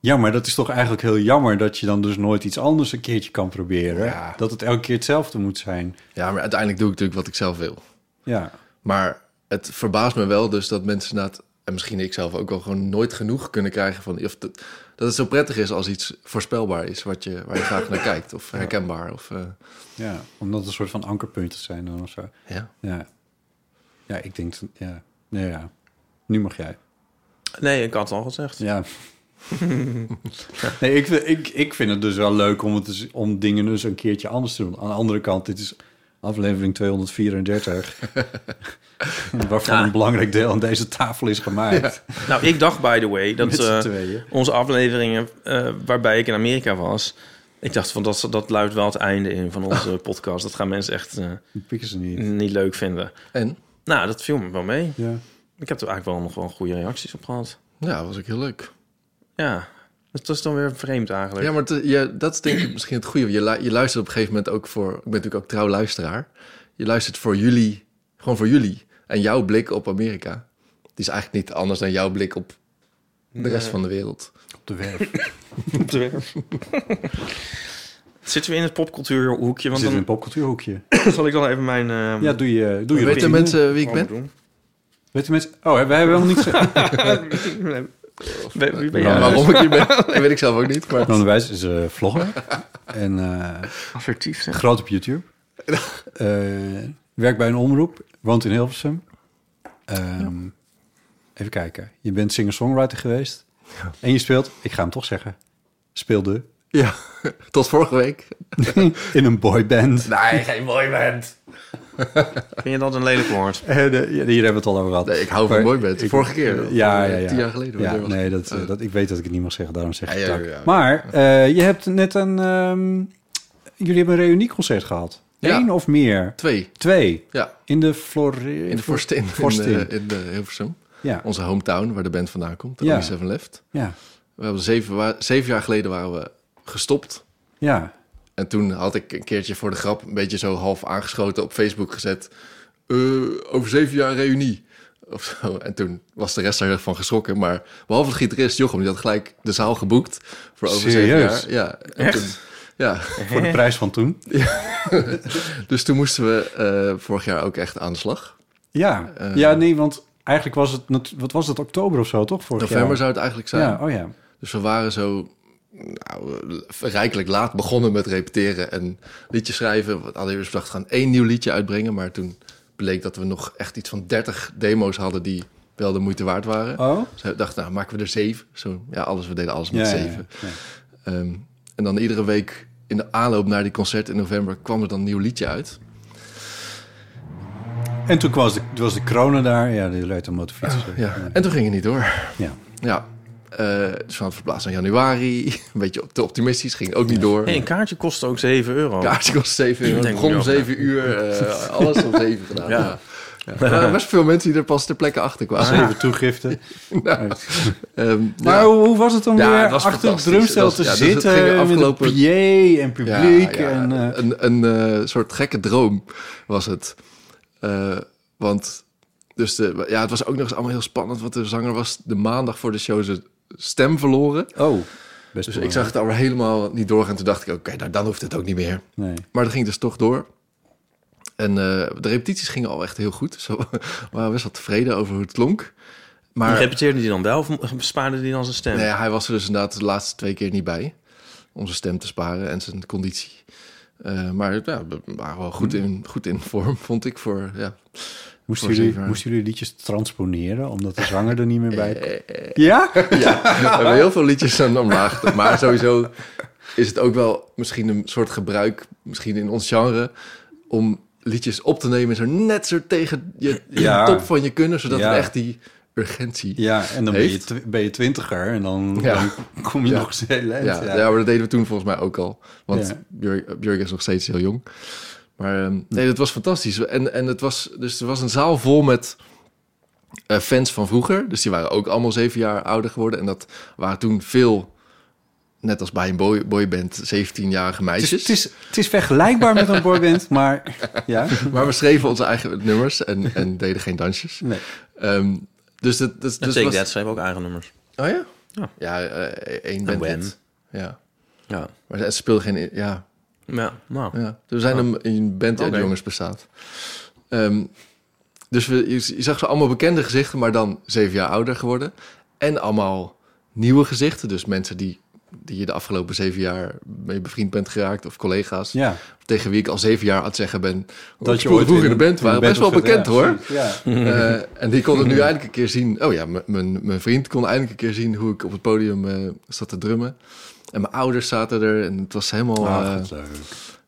[SPEAKER 3] ja, maar dat is toch eigenlijk heel jammer... dat je dan dus nooit iets anders een keertje kan proberen.
[SPEAKER 2] Ja.
[SPEAKER 3] Dat het elke keer hetzelfde moet zijn.
[SPEAKER 2] Ja, maar uiteindelijk doe ik natuurlijk wat ik zelf wil.
[SPEAKER 3] Ja.
[SPEAKER 2] Maar het verbaast me wel dus dat mensen na het... en misschien ik zelf ook wel gewoon nooit genoeg kunnen krijgen van... Of dat, dat het zo prettig is als iets voorspelbaar is... Wat je, waar je graag naar kijkt of herkenbaar. Of, eh,
[SPEAKER 3] Ja, omdat het een soort van ankerpunten zijn dan of zo.
[SPEAKER 2] ja.
[SPEAKER 3] Ja. Ja, ik denk... dat- Ja. Nee, ja. Nu mag jij.
[SPEAKER 4] Nee, ik had het al gezegd.
[SPEAKER 3] Ja. nee, ik, vind- ik, ik vind het dus wel leuk om, het dus, om dingen dus een keertje anders te doen. Aan de andere kant, dit is aflevering 234. waarvan
[SPEAKER 4] Ja.
[SPEAKER 3] een belangrijk deel aan deze tafel is gemaakt.
[SPEAKER 4] Nou, ik dacht, by the way, dat
[SPEAKER 3] Met z'n
[SPEAKER 4] eh,
[SPEAKER 3] tweeën.
[SPEAKER 4] onze afleveringen eh, waarbij ik in Amerika was... Ik dacht van, dat, dat luidt wel het einde in van onze podcast. Dat gaan mensen echt eh,
[SPEAKER 3] Die pikken ze niet.
[SPEAKER 4] niet leuk vinden.
[SPEAKER 2] En?
[SPEAKER 4] Nou, dat viel me wel mee.
[SPEAKER 3] Ja.
[SPEAKER 4] Ik heb er eigenlijk wel nog wel goede reacties op gehad.
[SPEAKER 2] Ja, was ook heel leuk.
[SPEAKER 4] Ja, dat is dan weer vreemd eigenlijk.
[SPEAKER 2] Ja, maar het- ja, dat is denk ik misschien het goede. Je, lu- je luistert op een gegeven moment ook voor... Ik ben natuurlijk ook trouw luisteraar. Je luistert voor jullie, gewoon voor jullie. En jouw blik op Amerika. Die is eigenlijk niet anders dan jouw blik op de rest van de wereld.
[SPEAKER 3] Op de werf.
[SPEAKER 4] Zitten we in het popcultuurhoekje?
[SPEAKER 3] We zitten
[SPEAKER 4] Want
[SPEAKER 3] in een
[SPEAKER 4] dan
[SPEAKER 3] popcultuurhoekje.
[SPEAKER 4] zal ik dan even mijn... eh,
[SPEAKER 3] Ja, doe je, doe
[SPEAKER 2] Weten
[SPEAKER 3] je
[SPEAKER 4] Weet
[SPEAKER 3] routine.
[SPEAKER 2] mensen wie ik
[SPEAKER 4] promo
[SPEAKER 2] ben?
[SPEAKER 4] doen.
[SPEAKER 3] Weten mensen... Oh, hebben- we hebben helemaal niks gezegd.
[SPEAKER 4] Wie- wie ben
[SPEAKER 3] Ja.
[SPEAKER 4] jij?
[SPEAKER 2] Waarom ik hier ben, dat weet ik zelf ook niet. Maar
[SPEAKER 3] Ron de Wijs is eh, vlogger. En... eh,
[SPEAKER 4] Assertief zeg.
[SPEAKER 3] Groot op YouTube. Eh, werkt bij een omroep. Woont in Hilversum. Ehm, Even kijken. Je bent singer-songwriter geweest. En je speelt, ik ga hem toch zeggen, speelde
[SPEAKER 2] ja, tot vorige week.
[SPEAKER 3] in een boyband.
[SPEAKER 2] Nee, geen boyband.
[SPEAKER 4] Vind je dat een lelijk woord?
[SPEAKER 3] En, eh, hier hebben we het al over gehad.
[SPEAKER 2] Nee, ik hou van
[SPEAKER 3] Maar
[SPEAKER 2] boyband.
[SPEAKER 3] ik-
[SPEAKER 2] Vorige keer.
[SPEAKER 3] eh,
[SPEAKER 2] of,
[SPEAKER 3] Ja,
[SPEAKER 2] eh,
[SPEAKER 3] ja, ja.
[SPEAKER 2] Tien jaar geleden.
[SPEAKER 3] Ja,
[SPEAKER 2] wanneer was
[SPEAKER 3] nee,
[SPEAKER 2] het?
[SPEAKER 3] dat, eh,
[SPEAKER 2] Eh,
[SPEAKER 3] dat, ik weet dat ik het niet mag zeggen, daarom zeg ik
[SPEAKER 2] Ja,
[SPEAKER 3] het
[SPEAKER 2] ja,
[SPEAKER 3] ook.
[SPEAKER 2] ja, ja.
[SPEAKER 3] Maar eh, je hebt net een... ehm, jullie hebben een reunieconcert gehad.
[SPEAKER 2] Ja.
[SPEAKER 3] Eén of meer?
[SPEAKER 2] Twee,
[SPEAKER 3] Twee.
[SPEAKER 2] ja.
[SPEAKER 3] In de Flore...
[SPEAKER 2] In de Forstin.
[SPEAKER 3] Forstin.
[SPEAKER 2] In, eh, in de Hilversum.
[SPEAKER 3] Ja,
[SPEAKER 2] Onze hometown, waar de band vandaan komt. De
[SPEAKER 3] Ja.
[SPEAKER 2] ja. Seven Left.
[SPEAKER 3] ja,
[SPEAKER 2] We hebben zeven, wa- zeven jaar geleden waren we gestopt.
[SPEAKER 3] ja.
[SPEAKER 2] En toen had ik een keertje voor de grap een beetje zo half aangeschoten op Facebook gezet. eh, over zeven jaar reunie. Of zo. En toen was de rest daar heel erg van geschrokken. Maar behalve de gitarist Jochem, die had gelijk de zaal geboekt. Voor over
[SPEAKER 3] Serieus?
[SPEAKER 2] zeven jaar. Ja. En
[SPEAKER 4] Echt?
[SPEAKER 2] Toen, ja.
[SPEAKER 3] Voor de prijs van toen.
[SPEAKER 2] Dus toen moesten we eh, vorig jaar ook echt aan de slag.
[SPEAKER 3] Ja,
[SPEAKER 2] Eh,
[SPEAKER 3] ja nee, want Eigenlijk was het, nat- wat was het, oktober of zo, toch? Vorig
[SPEAKER 2] November
[SPEAKER 3] jaar?
[SPEAKER 2] zou het eigenlijk zijn.
[SPEAKER 3] Ja, oh ja.
[SPEAKER 2] Dus we waren zo nou, rijkelijk laat begonnen met repeteren en liedjes schrijven. We hadden eerst bedacht, we gaan één nieuw liedje uitbrengen. Maar toen bleek dat we nog echt iets van 30 demo's hadden die wel de moeite waard waren.
[SPEAKER 3] Oh?
[SPEAKER 2] Dus we dachten, nou, maken we er zeven. Zo, ja, alles, we deden alles
[SPEAKER 3] Ja,
[SPEAKER 2] met
[SPEAKER 3] ja, ja.
[SPEAKER 2] zeven. Ehm, en dan iedere week in de aanloop naar die concert in november kwam er dan een nieuw liedje uit.
[SPEAKER 3] En toen was de, was de corona daar. Ja, die rijdt een motorfiets.
[SPEAKER 2] Ja. En toen ging het niet door.
[SPEAKER 3] Ja.
[SPEAKER 2] Ja. Eh, dus we hadden verplaatst naar januari. Een beetje op te optimistisch, ging ook niet door.
[SPEAKER 4] Hey, een kaartje kostte ook 7 euro.
[SPEAKER 2] Kaartje kost 7 uur.
[SPEAKER 4] Denk
[SPEAKER 2] Begon
[SPEAKER 4] ik
[SPEAKER 2] om
[SPEAKER 4] ook,
[SPEAKER 2] 7 uur. eh, alles om 7 gedaan.
[SPEAKER 4] Ja.
[SPEAKER 2] Ja. Ja. Er waren best veel mensen die er pas ter plekke achter kwamen.
[SPEAKER 3] Zeven toegiften.
[SPEAKER 2] Ehm,
[SPEAKER 3] Ah, Maar
[SPEAKER 2] ja.
[SPEAKER 3] hoe, hoe was het om
[SPEAKER 2] Ja,
[SPEAKER 3] weer
[SPEAKER 2] het was
[SPEAKER 3] achter het
[SPEAKER 2] fantastisch.
[SPEAKER 3] drumstel
[SPEAKER 2] Het
[SPEAKER 3] te
[SPEAKER 2] was- ja, dus het
[SPEAKER 3] zitten?
[SPEAKER 2] ging
[SPEAKER 3] met
[SPEAKER 2] afgelopen-
[SPEAKER 3] een PA en publiek.
[SPEAKER 2] Ja, ja,
[SPEAKER 3] en, eh,
[SPEAKER 2] een, een eh, soort gekke droom was het. Eh, want dus de, ja, het was ook nog eens allemaal heel spannend. Want de zanger was de maandag voor de show zijn stem verloren.
[SPEAKER 3] Oh, best
[SPEAKER 2] Dus ik zag het allemaal helemaal niet doorgaan. Toen dacht ik, oké, nou, dan hoeft het ook niet meer.
[SPEAKER 3] Nee.
[SPEAKER 2] Maar dat ging dus toch door. En eh, de repetities gingen al echt heel goed. Dus we waren best wel tevreden over hoe het klonk. Maar
[SPEAKER 4] Repeteerde die dan wel of bespaarde die dan zijn stem?
[SPEAKER 2] nee, hij was er dus inderdaad de laatste twee keer niet bij. Om zijn stem te sparen en zijn conditie. Eh, maar ja, we waren wel goed in, goed in vorm, vond ik. Voor, ja.
[SPEAKER 3] Moesten
[SPEAKER 2] Voor
[SPEAKER 3] jullie,
[SPEAKER 2] zeven.
[SPEAKER 3] moesten jullie liedjes transponeren omdat de zanger er niet meer bij kwam?
[SPEAKER 2] Eh,
[SPEAKER 3] Ja?
[SPEAKER 2] ja, we hebben heel veel liedjes aan omlaag. Maar sowieso is het ook wel misschien een soort gebruik, misschien in ons genre, om liedjes op te nemen zo net zo tegen je, je
[SPEAKER 3] Ja.
[SPEAKER 2] top van je kunnen, zodat
[SPEAKER 3] Ja.
[SPEAKER 2] het echt die urgentie. Ja.
[SPEAKER 3] Ja, en dan ben je,
[SPEAKER 2] Heeft.
[SPEAKER 3] tw- ben je twintiger en dan,
[SPEAKER 2] Ja.
[SPEAKER 3] dan kom je
[SPEAKER 2] Ja.
[SPEAKER 3] nog eens heel eind.
[SPEAKER 2] Ja,
[SPEAKER 3] Ja,
[SPEAKER 2] maar dat deden we toen volgens mij ook al. Want
[SPEAKER 3] Ja.
[SPEAKER 2] Björk Björk is nog steeds heel jong. Maar ehm, nee, dat was fantastisch. En, en het was, dus er was een zaal vol met eh, fans van vroeger. Dus die waren ook allemaal zeven jaar ouder geworden. En dat waren toen veel, net als bij een boy, boyband, 17-jarige
[SPEAKER 3] Het,
[SPEAKER 2] meisjes.
[SPEAKER 3] is, het, is, het is vergelijkbaar met een boyband, maar ja.
[SPEAKER 2] Maar we schreven onze eigen nummers en, en deden geen dansjes.
[SPEAKER 3] Nee.
[SPEAKER 2] Ehm, dus dat, dat,
[SPEAKER 4] En
[SPEAKER 2] dus
[SPEAKER 4] Take
[SPEAKER 2] was-
[SPEAKER 4] That schreef ook eigen nummers.
[SPEAKER 2] Oh ja?
[SPEAKER 4] Ja.
[SPEAKER 2] Ja, eh, één
[SPEAKER 4] En
[SPEAKER 2] band.
[SPEAKER 4] Wham.
[SPEAKER 2] dit. Ja.
[SPEAKER 4] Ja.
[SPEAKER 2] Maar ze speelden geen... Ja,
[SPEAKER 4] Ja, nou.
[SPEAKER 2] ja. Er zijn een, een band uit
[SPEAKER 4] Oké.
[SPEAKER 2] jongens bestaat. Ehm, dus we, je, je zag ze allemaal bekende gezichten, maar dan zeven jaar ouder geworden. En allemaal nieuwe gezichten. Dus mensen die, die je de afgelopen zeven jaar mee bevriend bent geraakt. Of collega's.
[SPEAKER 3] ja.
[SPEAKER 2] Tegen wie ik al zeven jaar aan het zeggen ben. Dat je
[SPEAKER 3] ooit
[SPEAKER 2] vroeger in de band
[SPEAKER 3] een
[SPEAKER 2] waren. Best wel
[SPEAKER 3] opzet, ja,
[SPEAKER 2] bekend hoor.
[SPEAKER 3] precies, Ja.
[SPEAKER 2] Eh, en die konden nu eindelijk een keer zien. Oh ja, m- mijn mijn vriend kon eindelijk een keer zien hoe ik op het podium eh, zat te drummen. En mijn ouders zaten er en het was helemaal. eh,
[SPEAKER 3] Ah, wat leuk.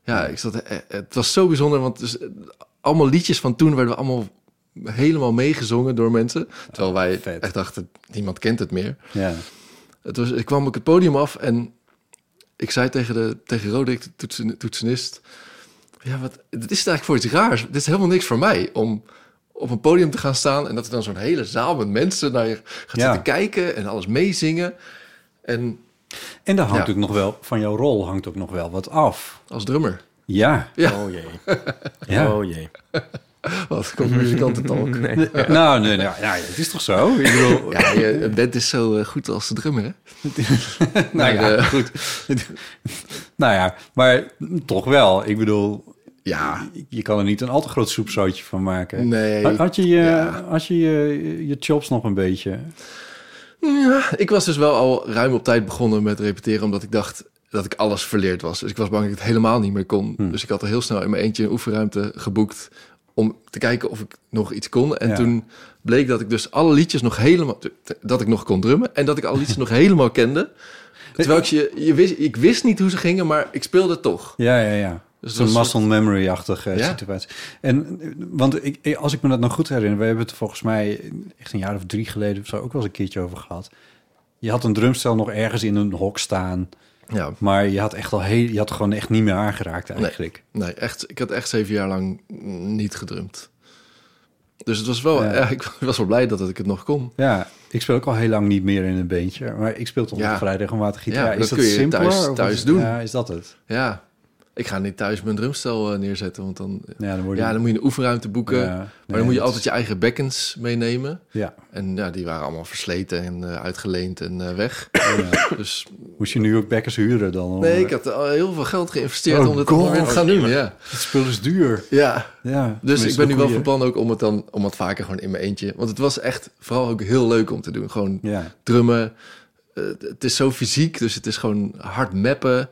[SPEAKER 2] ja, ik zat, eh, eh, het was zo bijzonder, want dus, eh, allemaal liedjes van toen werden we allemaal helemaal meegezongen door mensen. Terwijl wij
[SPEAKER 3] vet.
[SPEAKER 2] echt dachten, niemand kent het meer.
[SPEAKER 3] Ja.
[SPEAKER 2] Het was, ik kwam ook het podium af en ik zei tegen, de, tegen Roderick, de toetsen, toetsenist... Ja, wat, dit is eigenlijk voor iets raars. Dit is helemaal niks voor mij om op een podium te gaan staan... en dat er dan zo'n hele zaal met mensen naar je gaat
[SPEAKER 3] Ja.
[SPEAKER 2] zitten kijken... en alles meezingen. En
[SPEAKER 3] En daar hangt
[SPEAKER 2] Ja.
[SPEAKER 3] ook nog wel, van jouw rol hangt ook nog wel wat af.
[SPEAKER 2] als drummer.
[SPEAKER 3] Ja.
[SPEAKER 4] Oh jee.
[SPEAKER 3] Ja.
[SPEAKER 4] Oh jee.
[SPEAKER 2] Wat komt muzikantentalk.
[SPEAKER 4] Nee.
[SPEAKER 3] Nou, nee, nou, ja, het is toch zo? Ik bedoel,
[SPEAKER 2] Ja, je, een band is zo eh, goed als de drummer, hè?
[SPEAKER 3] nou ja,
[SPEAKER 2] eh,
[SPEAKER 3] goed. nou ja, maar toch wel. Ik bedoel,
[SPEAKER 2] Ja,
[SPEAKER 3] je kan er niet een al te groot soepzootje van maken.
[SPEAKER 2] Nee.
[SPEAKER 3] Had- Had je je,
[SPEAKER 2] Ja.
[SPEAKER 3] had je, je, je chops nog een beetje?
[SPEAKER 2] Ja, ik was dus wel al ruim op tijd begonnen met repeteren, omdat ik dacht dat ik alles verleerd was. Dus ik was bang dat ik het helemaal niet meer kon. Dus ik had al heel snel in mijn eentje een oefenruimte geboekt om te kijken of ik nog iets kon. En
[SPEAKER 3] Ja.
[SPEAKER 2] toen bleek dat ik dus alle liedjes nog helemaal... dat ik nog kon drummen en dat ik alle liedjes nog helemaal kende. Terwijl ik, je, je wist, ik wist niet hoe ze gingen, maar ik speelde toch.
[SPEAKER 3] Ja, ja, ja.
[SPEAKER 2] Dus
[SPEAKER 3] Zo'n
[SPEAKER 2] dat was
[SPEAKER 3] muscle memory-achtige eh,
[SPEAKER 2] Ja.
[SPEAKER 3] situatie. En, eh, want ik, eh, als ik me dat nog goed herinner... we hebben het er volgens mij echt een jaar of drie geleden... of zo ook wel eens een keertje over gehad. Je had een drumstel nog ergens in een hok staan...
[SPEAKER 2] Ja,
[SPEAKER 3] maar je had, echt al heel, je had er gewoon echt niet meer aangeraakt eigenlijk.
[SPEAKER 2] nee, echt, ik had echt zeven jaar lang niet gedrumd. Dus het was wel,
[SPEAKER 3] Ja.
[SPEAKER 2] ik was wel blij dat ik het nog kon.
[SPEAKER 3] Ja, ik speel ook al heel lang niet meer in een beentje... maar ik speel toch
[SPEAKER 2] Ja.
[SPEAKER 3] nog vrij regelmatig gitaar.
[SPEAKER 2] Ja,
[SPEAKER 3] is
[SPEAKER 2] dat
[SPEAKER 3] dat
[SPEAKER 2] kun je
[SPEAKER 3] simpeler?
[SPEAKER 2] thuis-
[SPEAKER 3] of
[SPEAKER 2] thuis
[SPEAKER 3] is-
[SPEAKER 2] doen.
[SPEAKER 3] Ja, is dat het?
[SPEAKER 2] Ja, Ik ga niet thuis mijn drumstel eh, neerzetten, want dan,
[SPEAKER 3] Ja, dan word je...
[SPEAKER 2] ja, dan moet je een oefenruimte boeken.
[SPEAKER 3] Ja,
[SPEAKER 2] maar
[SPEAKER 3] nee,
[SPEAKER 2] dan moet je
[SPEAKER 3] dat
[SPEAKER 2] altijd je eigen bekkens meenemen.
[SPEAKER 3] Ja,
[SPEAKER 2] En ja, die waren allemaal versleten en eh, uitgeleend en eh, weg. Dus
[SPEAKER 3] moest je nu ook bekkers huren dan? om-
[SPEAKER 2] nee, ik had al heel veel geld geïnvesteerd
[SPEAKER 3] Oh
[SPEAKER 2] om dit
[SPEAKER 3] God.
[SPEAKER 2] allemaal weer te gaan doen. Ja,
[SPEAKER 3] Het spul is duur.
[SPEAKER 2] ja.
[SPEAKER 3] Ja,
[SPEAKER 2] Dus
[SPEAKER 3] tenminste,
[SPEAKER 2] ik ben nu
[SPEAKER 3] de
[SPEAKER 2] wel
[SPEAKER 3] goeie.
[SPEAKER 2] van plan ook om het dan om het vaker gewoon in mijn eentje. Want het was echt vooral ook heel leuk om te doen. Gewoon
[SPEAKER 3] Ja,
[SPEAKER 2] drummen. Eh, het is zo fysiek, dus het is gewoon hard mappen.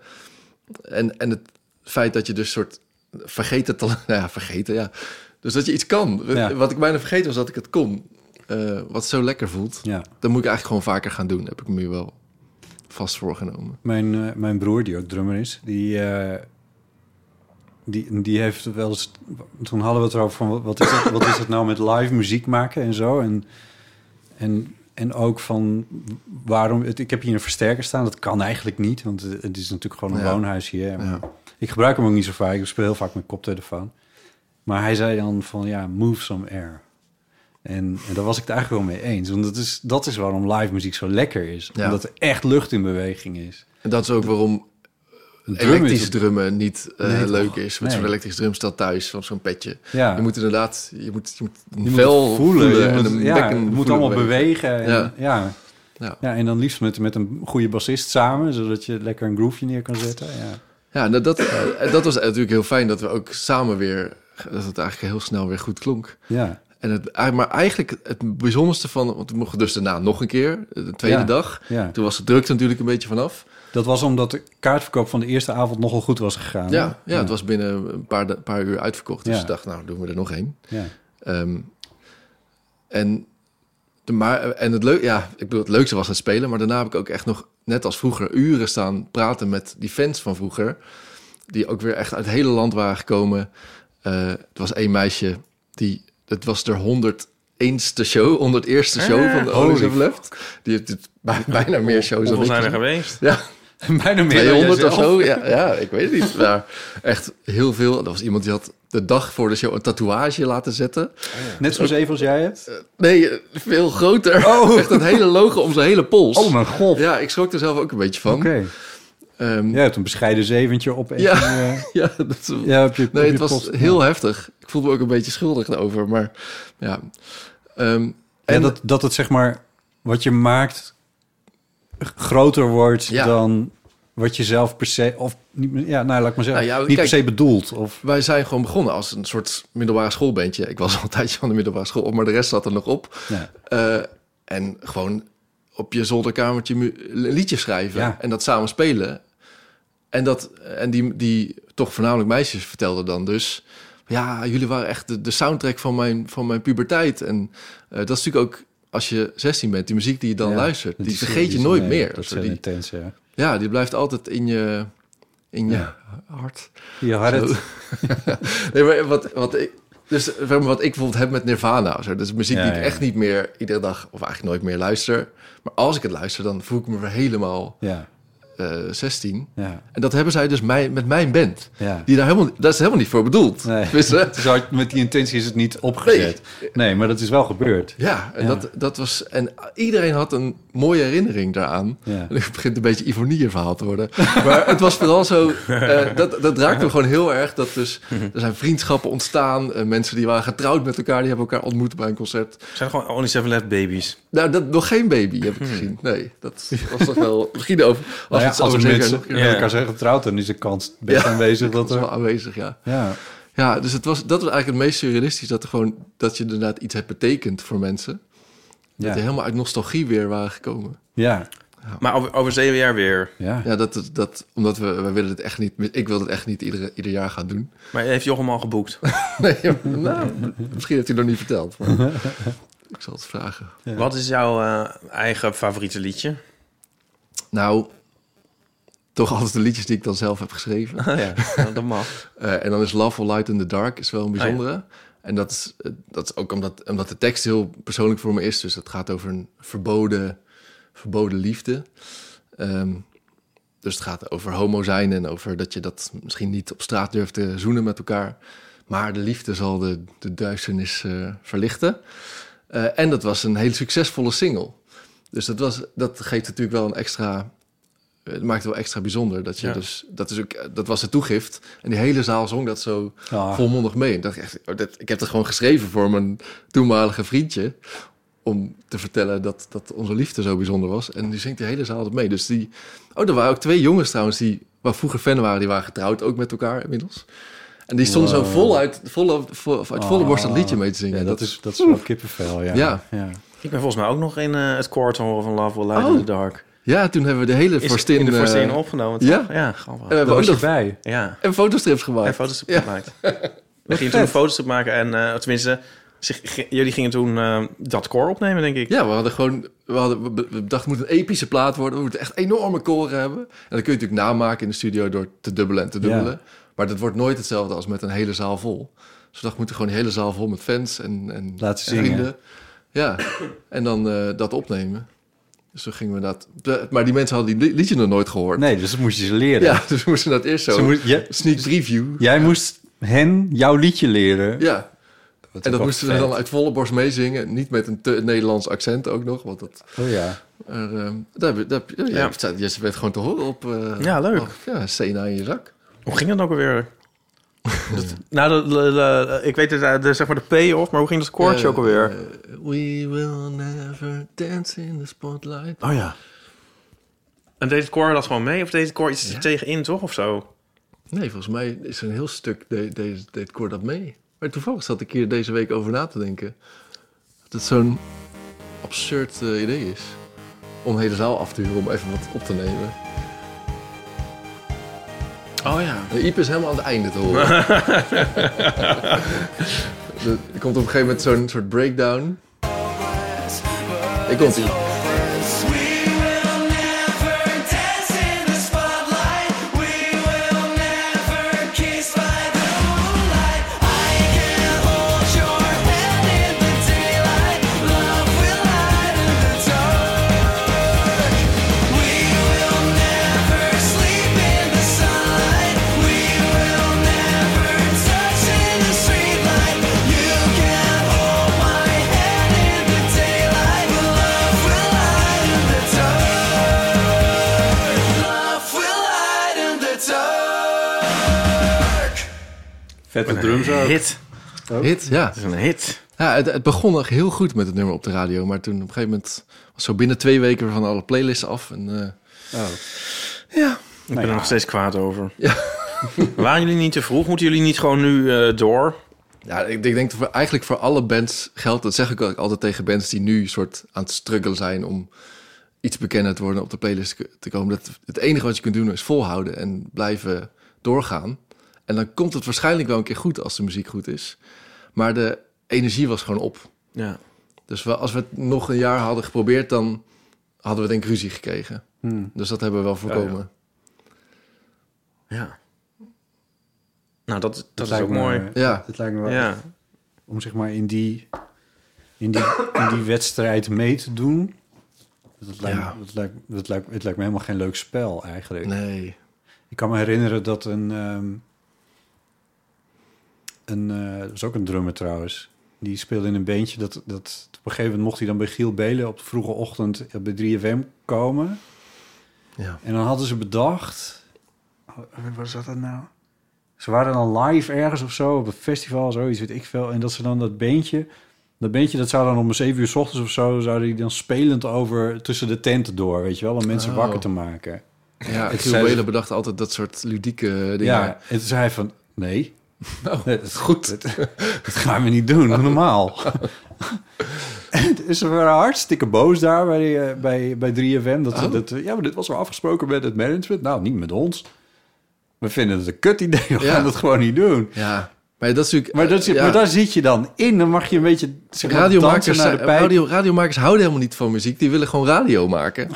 [SPEAKER 2] En, en het feit dat je dus soort vergeten talent... Nou ja, vergeten, ja. Dus dat je iets kan.
[SPEAKER 3] Ja.
[SPEAKER 2] Wat ik bijna vergeten was dat ik het kon. Eh, wat zo lekker voelt.
[SPEAKER 3] ja.
[SPEAKER 2] Dat moet ik eigenlijk gewoon vaker gaan doen. Heb ik me wel vast voorgenomen.
[SPEAKER 3] Mijn, eh, mijn broer, die ook drummer is, die, eh, die, die heeft wel eens... Toen hadden we het erover van, wat is het, wat is het nou met live muziek maken en zo. En, en, en ook van, waarom... Het, ik heb hier een versterker staan, dat kan eigenlijk niet. Want het, het is natuurlijk gewoon een
[SPEAKER 2] Ja.
[SPEAKER 3] woonhuis hier. Maar
[SPEAKER 2] Ja.
[SPEAKER 3] Ik gebruik hem ook niet zo vaak. Ik speel heel vaak met koptelefoon. Maar hij zei dan van, ja, move some air. En, en daar was ik het eigenlijk wel mee eens. Want dat is, dat is waarom live muziek zo lekker is.
[SPEAKER 2] Ja.
[SPEAKER 3] Omdat er echt lucht in beweging is.
[SPEAKER 2] En dat is ook waarom
[SPEAKER 3] Een drum is
[SPEAKER 2] elektrisch
[SPEAKER 3] het-
[SPEAKER 2] drummen niet eh,
[SPEAKER 3] Nee, toch?
[SPEAKER 2] leuk is. Met zo'n
[SPEAKER 3] Nee.
[SPEAKER 2] elektrisch drumstel thuis, van zo'n petje.
[SPEAKER 3] Ja.
[SPEAKER 2] Je moet inderdaad, je moet, je moet een
[SPEAKER 3] Je moet
[SPEAKER 2] vel
[SPEAKER 3] het
[SPEAKER 2] voelen,
[SPEAKER 3] je
[SPEAKER 2] en
[SPEAKER 3] moet-
[SPEAKER 2] een
[SPEAKER 3] ja,
[SPEAKER 2] bekken
[SPEAKER 3] het moet
[SPEAKER 2] voelen
[SPEAKER 3] allemaal
[SPEAKER 2] bewegen.
[SPEAKER 3] bewegen. en-
[SPEAKER 2] Ja.
[SPEAKER 3] ja. Ja.
[SPEAKER 2] Ja.
[SPEAKER 3] en dan liefst met, met een goede bassist samen, zodat je lekker een groove neer kan zetten. Ja.
[SPEAKER 2] Ja, nou, dat, eh, dat was natuurlijk heel fijn dat we ook samen weer, dat het eigenlijk heel snel weer goed klonk.
[SPEAKER 3] Ja.
[SPEAKER 2] En het, eh, maar eigenlijk het bijzonderste van, want we mochten dus daarna nog een keer, eh, de tweede
[SPEAKER 3] Ja.
[SPEAKER 2] dag.
[SPEAKER 3] ja,
[SPEAKER 2] Toen was de drukte natuurlijk een beetje vanaf.
[SPEAKER 3] dat was omdat de kaartverkoop van de eerste avond nogal goed was gegaan.
[SPEAKER 2] Ja,
[SPEAKER 3] hè?
[SPEAKER 2] ja, het was binnen een paar, da- paar uur uitverkocht. Dus
[SPEAKER 3] Ja.
[SPEAKER 2] ik dacht, nou doen we er nog één.
[SPEAKER 3] Ja.
[SPEAKER 2] Ehm, en, de, maar, en het, leuk, ja, ik bedoel, het leukste was het spelen, maar daarna heb ik ook echt nog, net als vroeger, uren staan praten met die fans van vroeger. Die ook weer echt uit het hele land waren gekomen. Eh het was één meisje, die, het was de 101ste show, 101ste show
[SPEAKER 4] Ah.
[SPEAKER 2] van de Owners of Left. Die heeft het bij- bijna meer shows dan
[SPEAKER 4] Hoeveel
[SPEAKER 2] ik.
[SPEAKER 4] zijn er geweest?
[SPEAKER 2] Ja,
[SPEAKER 3] Bijna meer dan
[SPEAKER 2] 200 of
[SPEAKER 3] jijzelf.
[SPEAKER 2] zo. Ja, ja, ik weet het niet. Maar echt heel veel. Er was iemand die had de dag voor de show een tatoeage laten zetten.
[SPEAKER 3] Net zo zeven als jij hebt.
[SPEAKER 2] Nee, eh, veel groter. Echt dat hele logo om zijn hele pols.
[SPEAKER 3] Oh mijn god.
[SPEAKER 2] Ja, ik schrok er zelf ook een beetje van.
[SPEAKER 3] Oké.
[SPEAKER 2] Ehm,
[SPEAKER 3] Jij hebt een bescheiden zeventje op.
[SPEAKER 2] Ja.
[SPEAKER 3] en, eh,
[SPEAKER 2] ja, dat is-
[SPEAKER 3] ja, op je, op
[SPEAKER 2] nee,
[SPEAKER 3] je
[SPEAKER 2] het was
[SPEAKER 3] post.
[SPEAKER 2] heel heftig. Ik voelde me ook een beetje schuldig over, maar ja. Ehm,
[SPEAKER 3] Ja,
[SPEAKER 2] en
[SPEAKER 3] dat, dat het zeg maar wat je maakt g- groter wordt
[SPEAKER 2] Ja.
[SPEAKER 3] dan wat je zelf per se of niet, meer- ja, nou laat ik maar zeggen,
[SPEAKER 2] Nou ja,
[SPEAKER 3] niet
[SPEAKER 2] kijk-
[SPEAKER 3] per se bedoelt of
[SPEAKER 2] wij zijn gewoon begonnen als een soort middelbare schoolbandje. Ik was al een tijdje van de middelbare school op, maar de rest zat er nog op.
[SPEAKER 3] ja,
[SPEAKER 2] Eh, en gewoon op je zolderkamertje mu- liedjes schrijven
[SPEAKER 3] Ja.
[SPEAKER 2] en dat samen spelen. En, dat, en die, die toch voornamelijk meisjes vertelden dan dus... Ja, jullie waren echt de, de soundtrack van mijn, van mijn puberteit. En eh, dat is natuurlijk ook als je 16 bent, die muziek die je dan
[SPEAKER 3] Ja,
[SPEAKER 2] luistert, die
[SPEAKER 3] dat is- eh,
[SPEAKER 2] vergeet je
[SPEAKER 3] is-
[SPEAKER 2] nooit
[SPEAKER 3] nee,
[SPEAKER 2] meer.
[SPEAKER 3] Dat
[SPEAKER 2] Zo,
[SPEAKER 3] zijn
[SPEAKER 2] die-
[SPEAKER 3] intens, ja.
[SPEAKER 2] ja, die blijft altijd in je, in je
[SPEAKER 3] Ja.
[SPEAKER 2] hart.
[SPEAKER 3] Je had
[SPEAKER 2] Zo.
[SPEAKER 3] het,
[SPEAKER 2] Nee, maar wat, wat ik... Dus zeg maar, wat ik bijvoorbeeld heb met Nirvana, of zo, dat is muziek
[SPEAKER 3] Ja,
[SPEAKER 2] die ik
[SPEAKER 3] ja,
[SPEAKER 2] echt
[SPEAKER 3] ja.
[SPEAKER 2] niet meer iedere dag of eigenlijk nooit meer luister. Maar als ik het luister, dan voel ik me weer helemaal
[SPEAKER 3] ja,
[SPEAKER 2] eh 16.
[SPEAKER 3] ja,
[SPEAKER 2] En dat hebben zij dus mij, met mijn band.
[SPEAKER 3] ja.
[SPEAKER 2] Die daar helemaal, daar is helemaal niet voor bedoeld.
[SPEAKER 3] Nee.
[SPEAKER 2] Tenminste,
[SPEAKER 3] Het is hard- met die intentie is het niet opgezet. Nee, maar dat is wel gebeurd.
[SPEAKER 2] ja, en
[SPEAKER 3] Ja.
[SPEAKER 2] Dat, dat was. En iedereen had een mooie herinnering daaraan.
[SPEAKER 3] Ja.
[SPEAKER 2] En het begint een beetje Ivonieën verhaal te worden. Maar het was vooral zo, eh, dat, dat raakte me gewoon heel erg. Dat dus,
[SPEAKER 3] Mhm.
[SPEAKER 2] er zijn vriendschappen ontstaan. eh, mensen die waren getrouwd met elkaar, die hebben elkaar ontmoet bij een concert.
[SPEAKER 4] Zijn er gewoon Only Seven Left babies?
[SPEAKER 2] Nou, dat, nog geen baby heb ik gezien. Nee, dat was toch wel... Misschien over... Als,
[SPEAKER 3] Hmm. Nou ja,
[SPEAKER 2] het
[SPEAKER 3] als
[SPEAKER 2] zo
[SPEAKER 3] er
[SPEAKER 2] zeker
[SPEAKER 3] mensen
[SPEAKER 2] nog-
[SPEAKER 3] met
[SPEAKER 4] Ja.
[SPEAKER 3] elkaar zijn getrouwd, dan is de kans best
[SPEAKER 2] Ja.
[SPEAKER 3] aanwezig
[SPEAKER 2] dat
[SPEAKER 3] dat
[SPEAKER 2] is wel
[SPEAKER 3] er...
[SPEAKER 2] aanwezig, ja.
[SPEAKER 3] Ja,
[SPEAKER 2] Ja, dus het was, dat was eigenlijk het meest surrealistisch. Dat, er gewoon, dat je inderdaad iets hebt betekend voor mensen. Dat die
[SPEAKER 3] ja,
[SPEAKER 2] helemaal uit nostalgie weer waren gekomen.
[SPEAKER 3] ja,
[SPEAKER 4] Maar over, over zeven jaar weer.
[SPEAKER 3] ja.
[SPEAKER 2] Ja, dat, dat omdat we, we willen het echt niet... Ik wil het echt niet iedere, ieder jaar gaan doen.
[SPEAKER 4] Maar heeft Jochem al geboekt?
[SPEAKER 2] Nee, nou, misschien heeft hij het nog niet verteld. Maar ik zal het vragen.
[SPEAKER 4] Wat is jouw eh, eigen favoriete liedje?
[SPEAKER 2] Nou, toch altijd de liedjes die ik dan zelf heb geschreven.
[SPEAKER 4] ja, dat mag.
[SPEAKER 2] Eh, en dan is Love Will Light in the Dark is wel een bijzondere. En dat is, eh, dat is ook omdat, omdat de tekst heel persoonlijk voor me is. Dus dat gaat over een verboden, verboden liefde. Ehm, dus het gaat over homo zijn en over dat je dat misschien niet op straat durft te zoenen met elkaar. Maar de liefde zal de, de duisternis eh, verlichten. Eh, en dat was een hele succesvolle single. Dus dat, was, dat geeft natuurlijk wel een extra eh, eh, het maakt het wel extra bijzonder. Dat, je
[SPEAKER 4] Ja.
[SPEAKER 2] dus, dat, is ook, eh, dat was de toegift. En die hele zaal zong dat zo
[SPEAKER 3] Ah.
[SPEAKER 2] volmondig mee. Ik, dacht echt, oh, dat, ik heb dat gewoon geschreven voor mijn toenmalige vriendje. Om te vertellen dat, dat onze liefde zo bijzonder was. En die zingt de hele zaal dat mee. Dus die. Oh, er waren ook twee jongens trouwens die. Waar vroeger fan waren, die waren getrouwd ook met elkaar inmiddels. En die stonden zo
[SPEAKER 3] Wow. Oh.
[SPEAKER 2] vol uit, volle, vo- uit volle borst dat liedje mee te zingen.
[SPEAKER 3] Ja, dat is, dat is wel kippenvel, ja.
[SPEAKER 2] Ja.
[SPEAKER 3] ja.
[SPEAKER 4] Ik ben volgens mij ook nog in eh, het koor te horen van Love Will Light
[SPEAKER 2] Oh.
[SPEAKER 4] in the Dark.
[SPEAKER 2] Ja, toen hebben we de hele
[SPEAKER 4] Is
[SPEAKER 2] vorstin...
[SPEAKER 4] in de
[SPEAKER 2] eh,
[SPEAKER 4] Forstin opgenomen, toch?
[SPEAKER 2] ja?
[SPEAKER 4] Ja, grappig.
[SPEAKER 2] en we hebben
[SPEAKER 3] Daar
[SPEAKER 2] ook
[SPEAKER 3] was je
[SPEAKER 2] nog
[SPEAKER 3] bij.
[SPEAKER 4] ja,
[SPEAKER 2] en fotostrips gemaakt.
[SPEAKER 4] en foto's
[SPEAKER 2] Ja.
[SPEAKER 4] gemaakt. We gingen toen een fotostrip maken en eh, tenminste, zich, g- jullie gingen toen eh, dat koor opnemen, denk ik.
[SPEAKER 2] Ja, we hadden gewoon... We, hadden, we be- we dachten, het moet een epische plaat worden. We moeten echt enorme koren hebben. En dat kun je natuurlijk namaken in de studio door te dubbelen en te dubbelen. Maar dat wordt nooit hetzelfde als met een hele zaal vol. Dus we dachten, we moeten gewoon een hele zaal vol met fans en, en,
[SPEAKER 3] Laten
[SPEAKER 2] en
[SPEAKER 3] zingen.
[SPEAKER 2] vrienden. Ja, en dan eh, dat opnemen. Dus toen gingen we dat... de- Maar die mensen hadden die li- liedje nog nooit gehoord.
[SPEAKER 3] Nee, dus dat moest je ze leren.
[SPEAKER 2] Ja, dus we moesten dat eerst zo...
[SPEAKER 3] Ze moest- je-
[SPEAKER 2] Sneak preview.
[SPEAKER 3] Jij moest hen jouw liedje leren.
[SPEAKER 2] Ja. En dat
[SPEAKER 3] ook
[SPEAKER 2] moesten ze
[SPEAKER 3] vet.
[SPEAKER 2] dan uit volle borst meezingen. Niet met een te Nederlands accent ook nog. Want dat,
[SPEAKER 3] Oh ja.
[SPEAKER 2] er, ehm, daar, heb- daar, heb- ja,
[SPEAKER 4] Ja.
[SPEAKER 2] ja. Je werd gewoon te horen op... eh,
[SPEAKER 4] Ja, leuk.
[SPEAKER 2] op- ja, Sena in je zak.
[SPEAKER 4] Hoe ging dat ook alweer? Dat- nou, de, de- de- ik weet het, eh, de, zeg maar de payoff, maar hoe ging dat koortje
[SPEAKER 2] Eh,
[SPEAKER 4] ook alweer?
[SPEAKER 2] eh, we will never dance in the spotlight.
[SPEAKER 4] oh ja. En deed het koor dat gewoon mee? Of deed het koor iets
[SPEAKER 2] Ja.
[SPEAKER 4] tegenin, toch? Of zo?
[SPEAKER 2] Nee, volgens mij is er een heel stuk... de- deze deed Cor dat mee. Maar toevallig zat ik hier deze week over na te denken. Dat het zo'n absurd eh, idee is. Om de hele zaal af te huren om even wat op te nemen.
[SPEAKER 4] Oh ja.
[SPEAKER 2] De Iep is helemaal aan het einde te horen. De- er komt op een gegeven moment zo'n soort breakdown. Ik komt ie.
[SPEAKER 3] Vette drums ook.
[SPEAKER 4] Hit.
[SPEAKER 2] Hit, ja.
[SPEAKER 4] Het is een hit.
[SPEAKER 2] ja het, het begon nog heel goed met het nummer op de radio. Maar toen op een gegeven moment was zo binnen twee weken weer van alle playlists af. En, eh,
[SPEAKER 3] Oh.
[SPEAKER 2] Nou ja.
[SPEAKER 4] Ik ben er nog steeds kwaad over.
[SPEAKER 2] Ja.
[SPEAKER 4] Waren jullie niet te vroeg? Moeten jullie niet gewoon nu eh, door?
[SPEAKER 2] ja, ik, ik denk dat voor, eigenlijk voor alle bands geldt. Dat zeg ik ook altijd tegen bands die nu soort aan het struggelen zijn om iets bekender te worden op de playlist te- te komen. Dat het enige wat je kunt doen is volhouden en blijven doorgaan. En dan komt het waarschijnlijk wel een keer goed als de muziek goed is. Maar de energie was gewoon op.
[SPEAKER 4] Ja.
[SPEAKER 2] Dus we, als we het nog een jaar hadden geprobeerd, dan hadden we denk ik ruzie gekregen. Dus dat hebben we wel voorkomen.
[SPEAKER 4] Ja. Nou, dat, dat, is
[SPEAKER 3] lijkt
[SPEAKER 4] ook eh,
[SPEAKER 3] me-
[SPEAKER 4] mooi.
[SPEAKER 2] Ja.
[SPEAKER 3] Dat lijkt me wel
[SPEAKER 4] Ja.
[SPEAKER 3] om zeg maar in die, in die, in die wedstrijd mee te doen. Dat lijkt,
[SPEAKER 2] Ja.
[SPEAKER 3] dat lijkt, dat lijkt, het lijkt me helemaal geen leuk spel eigenlijk.
[SPEAKER 2] Nee.
[SPEAKER 3] Ik kan me herinneren dat een... ehm, een eh, dat is ook een drummer trouwens. Die speelde in een beentje. Dat, dat, op een gegeven moment mocht hij dan bij Giel Belen... op de vroege ochtend eh, bij 3FM komen.
[SPEAKER 2] Ja.
[SPEAKER 3] En dan hadden ze bedacht... oh, Wat was dat nou? Ze waren dan live ergens of zo, op een festival, zoiets weet ik veel. En dat ze dan dat beentje... Dat beentje, dat zou dan om 7 uur s ochtends of zo... zouden die dan spelend over tussen de tenten door, weet je wel? Om mensen
[SPEAKER 2] Oh.
[SPEAKER 3] wakker te maken.
[SPEAKER 2] Ja,
[SPEAKER 3] Het
[SPEAKER 2] Giel
[SPEAKER 3] zijn-
[SPEAKER 2] Belen bedacht altijd dat soort ludieke dingen.
[SPEAKER 3] dus-
[SPEAKER 2] Oh,
[SPEAKER 3] Ja, en toen zei hij van... Nee, dat is goed. Dat, dat gaan we niet doen, doe normaal. En dus ze waren hartstikke boos daar bij, eh, bij, bij 3FM. Dat,
[SPEAKER 2] Oh.
[SPEAKER 3] dat, eh, ja, maar dit was wel afgesproken met het management. Nou, niet met ons. We vinden het een kut idee, we
[SPEAKER 2] Ja.
[SPEAKER 3] gaan dat gewoon niet doen.
[SPEAKER 2] Ja. Maar dat is natuurlijk...
[SPEAKER 3] Maar, dat, zit-
[SPEAKER 2] ja.
[SPEAKER 3] maar daar zit je dan in. Dan mag je een beetje zeg maar,
[SPEAKER 2] radiomakers,
[SPEAKER 3] dansen naar de
[SPEAKER 2] zijn-
[SPEAKER 3] pijp.
[SPEAKER 2] radio, radiomakers houden helemaal niet van muziek. Die willen gewoon radio maken.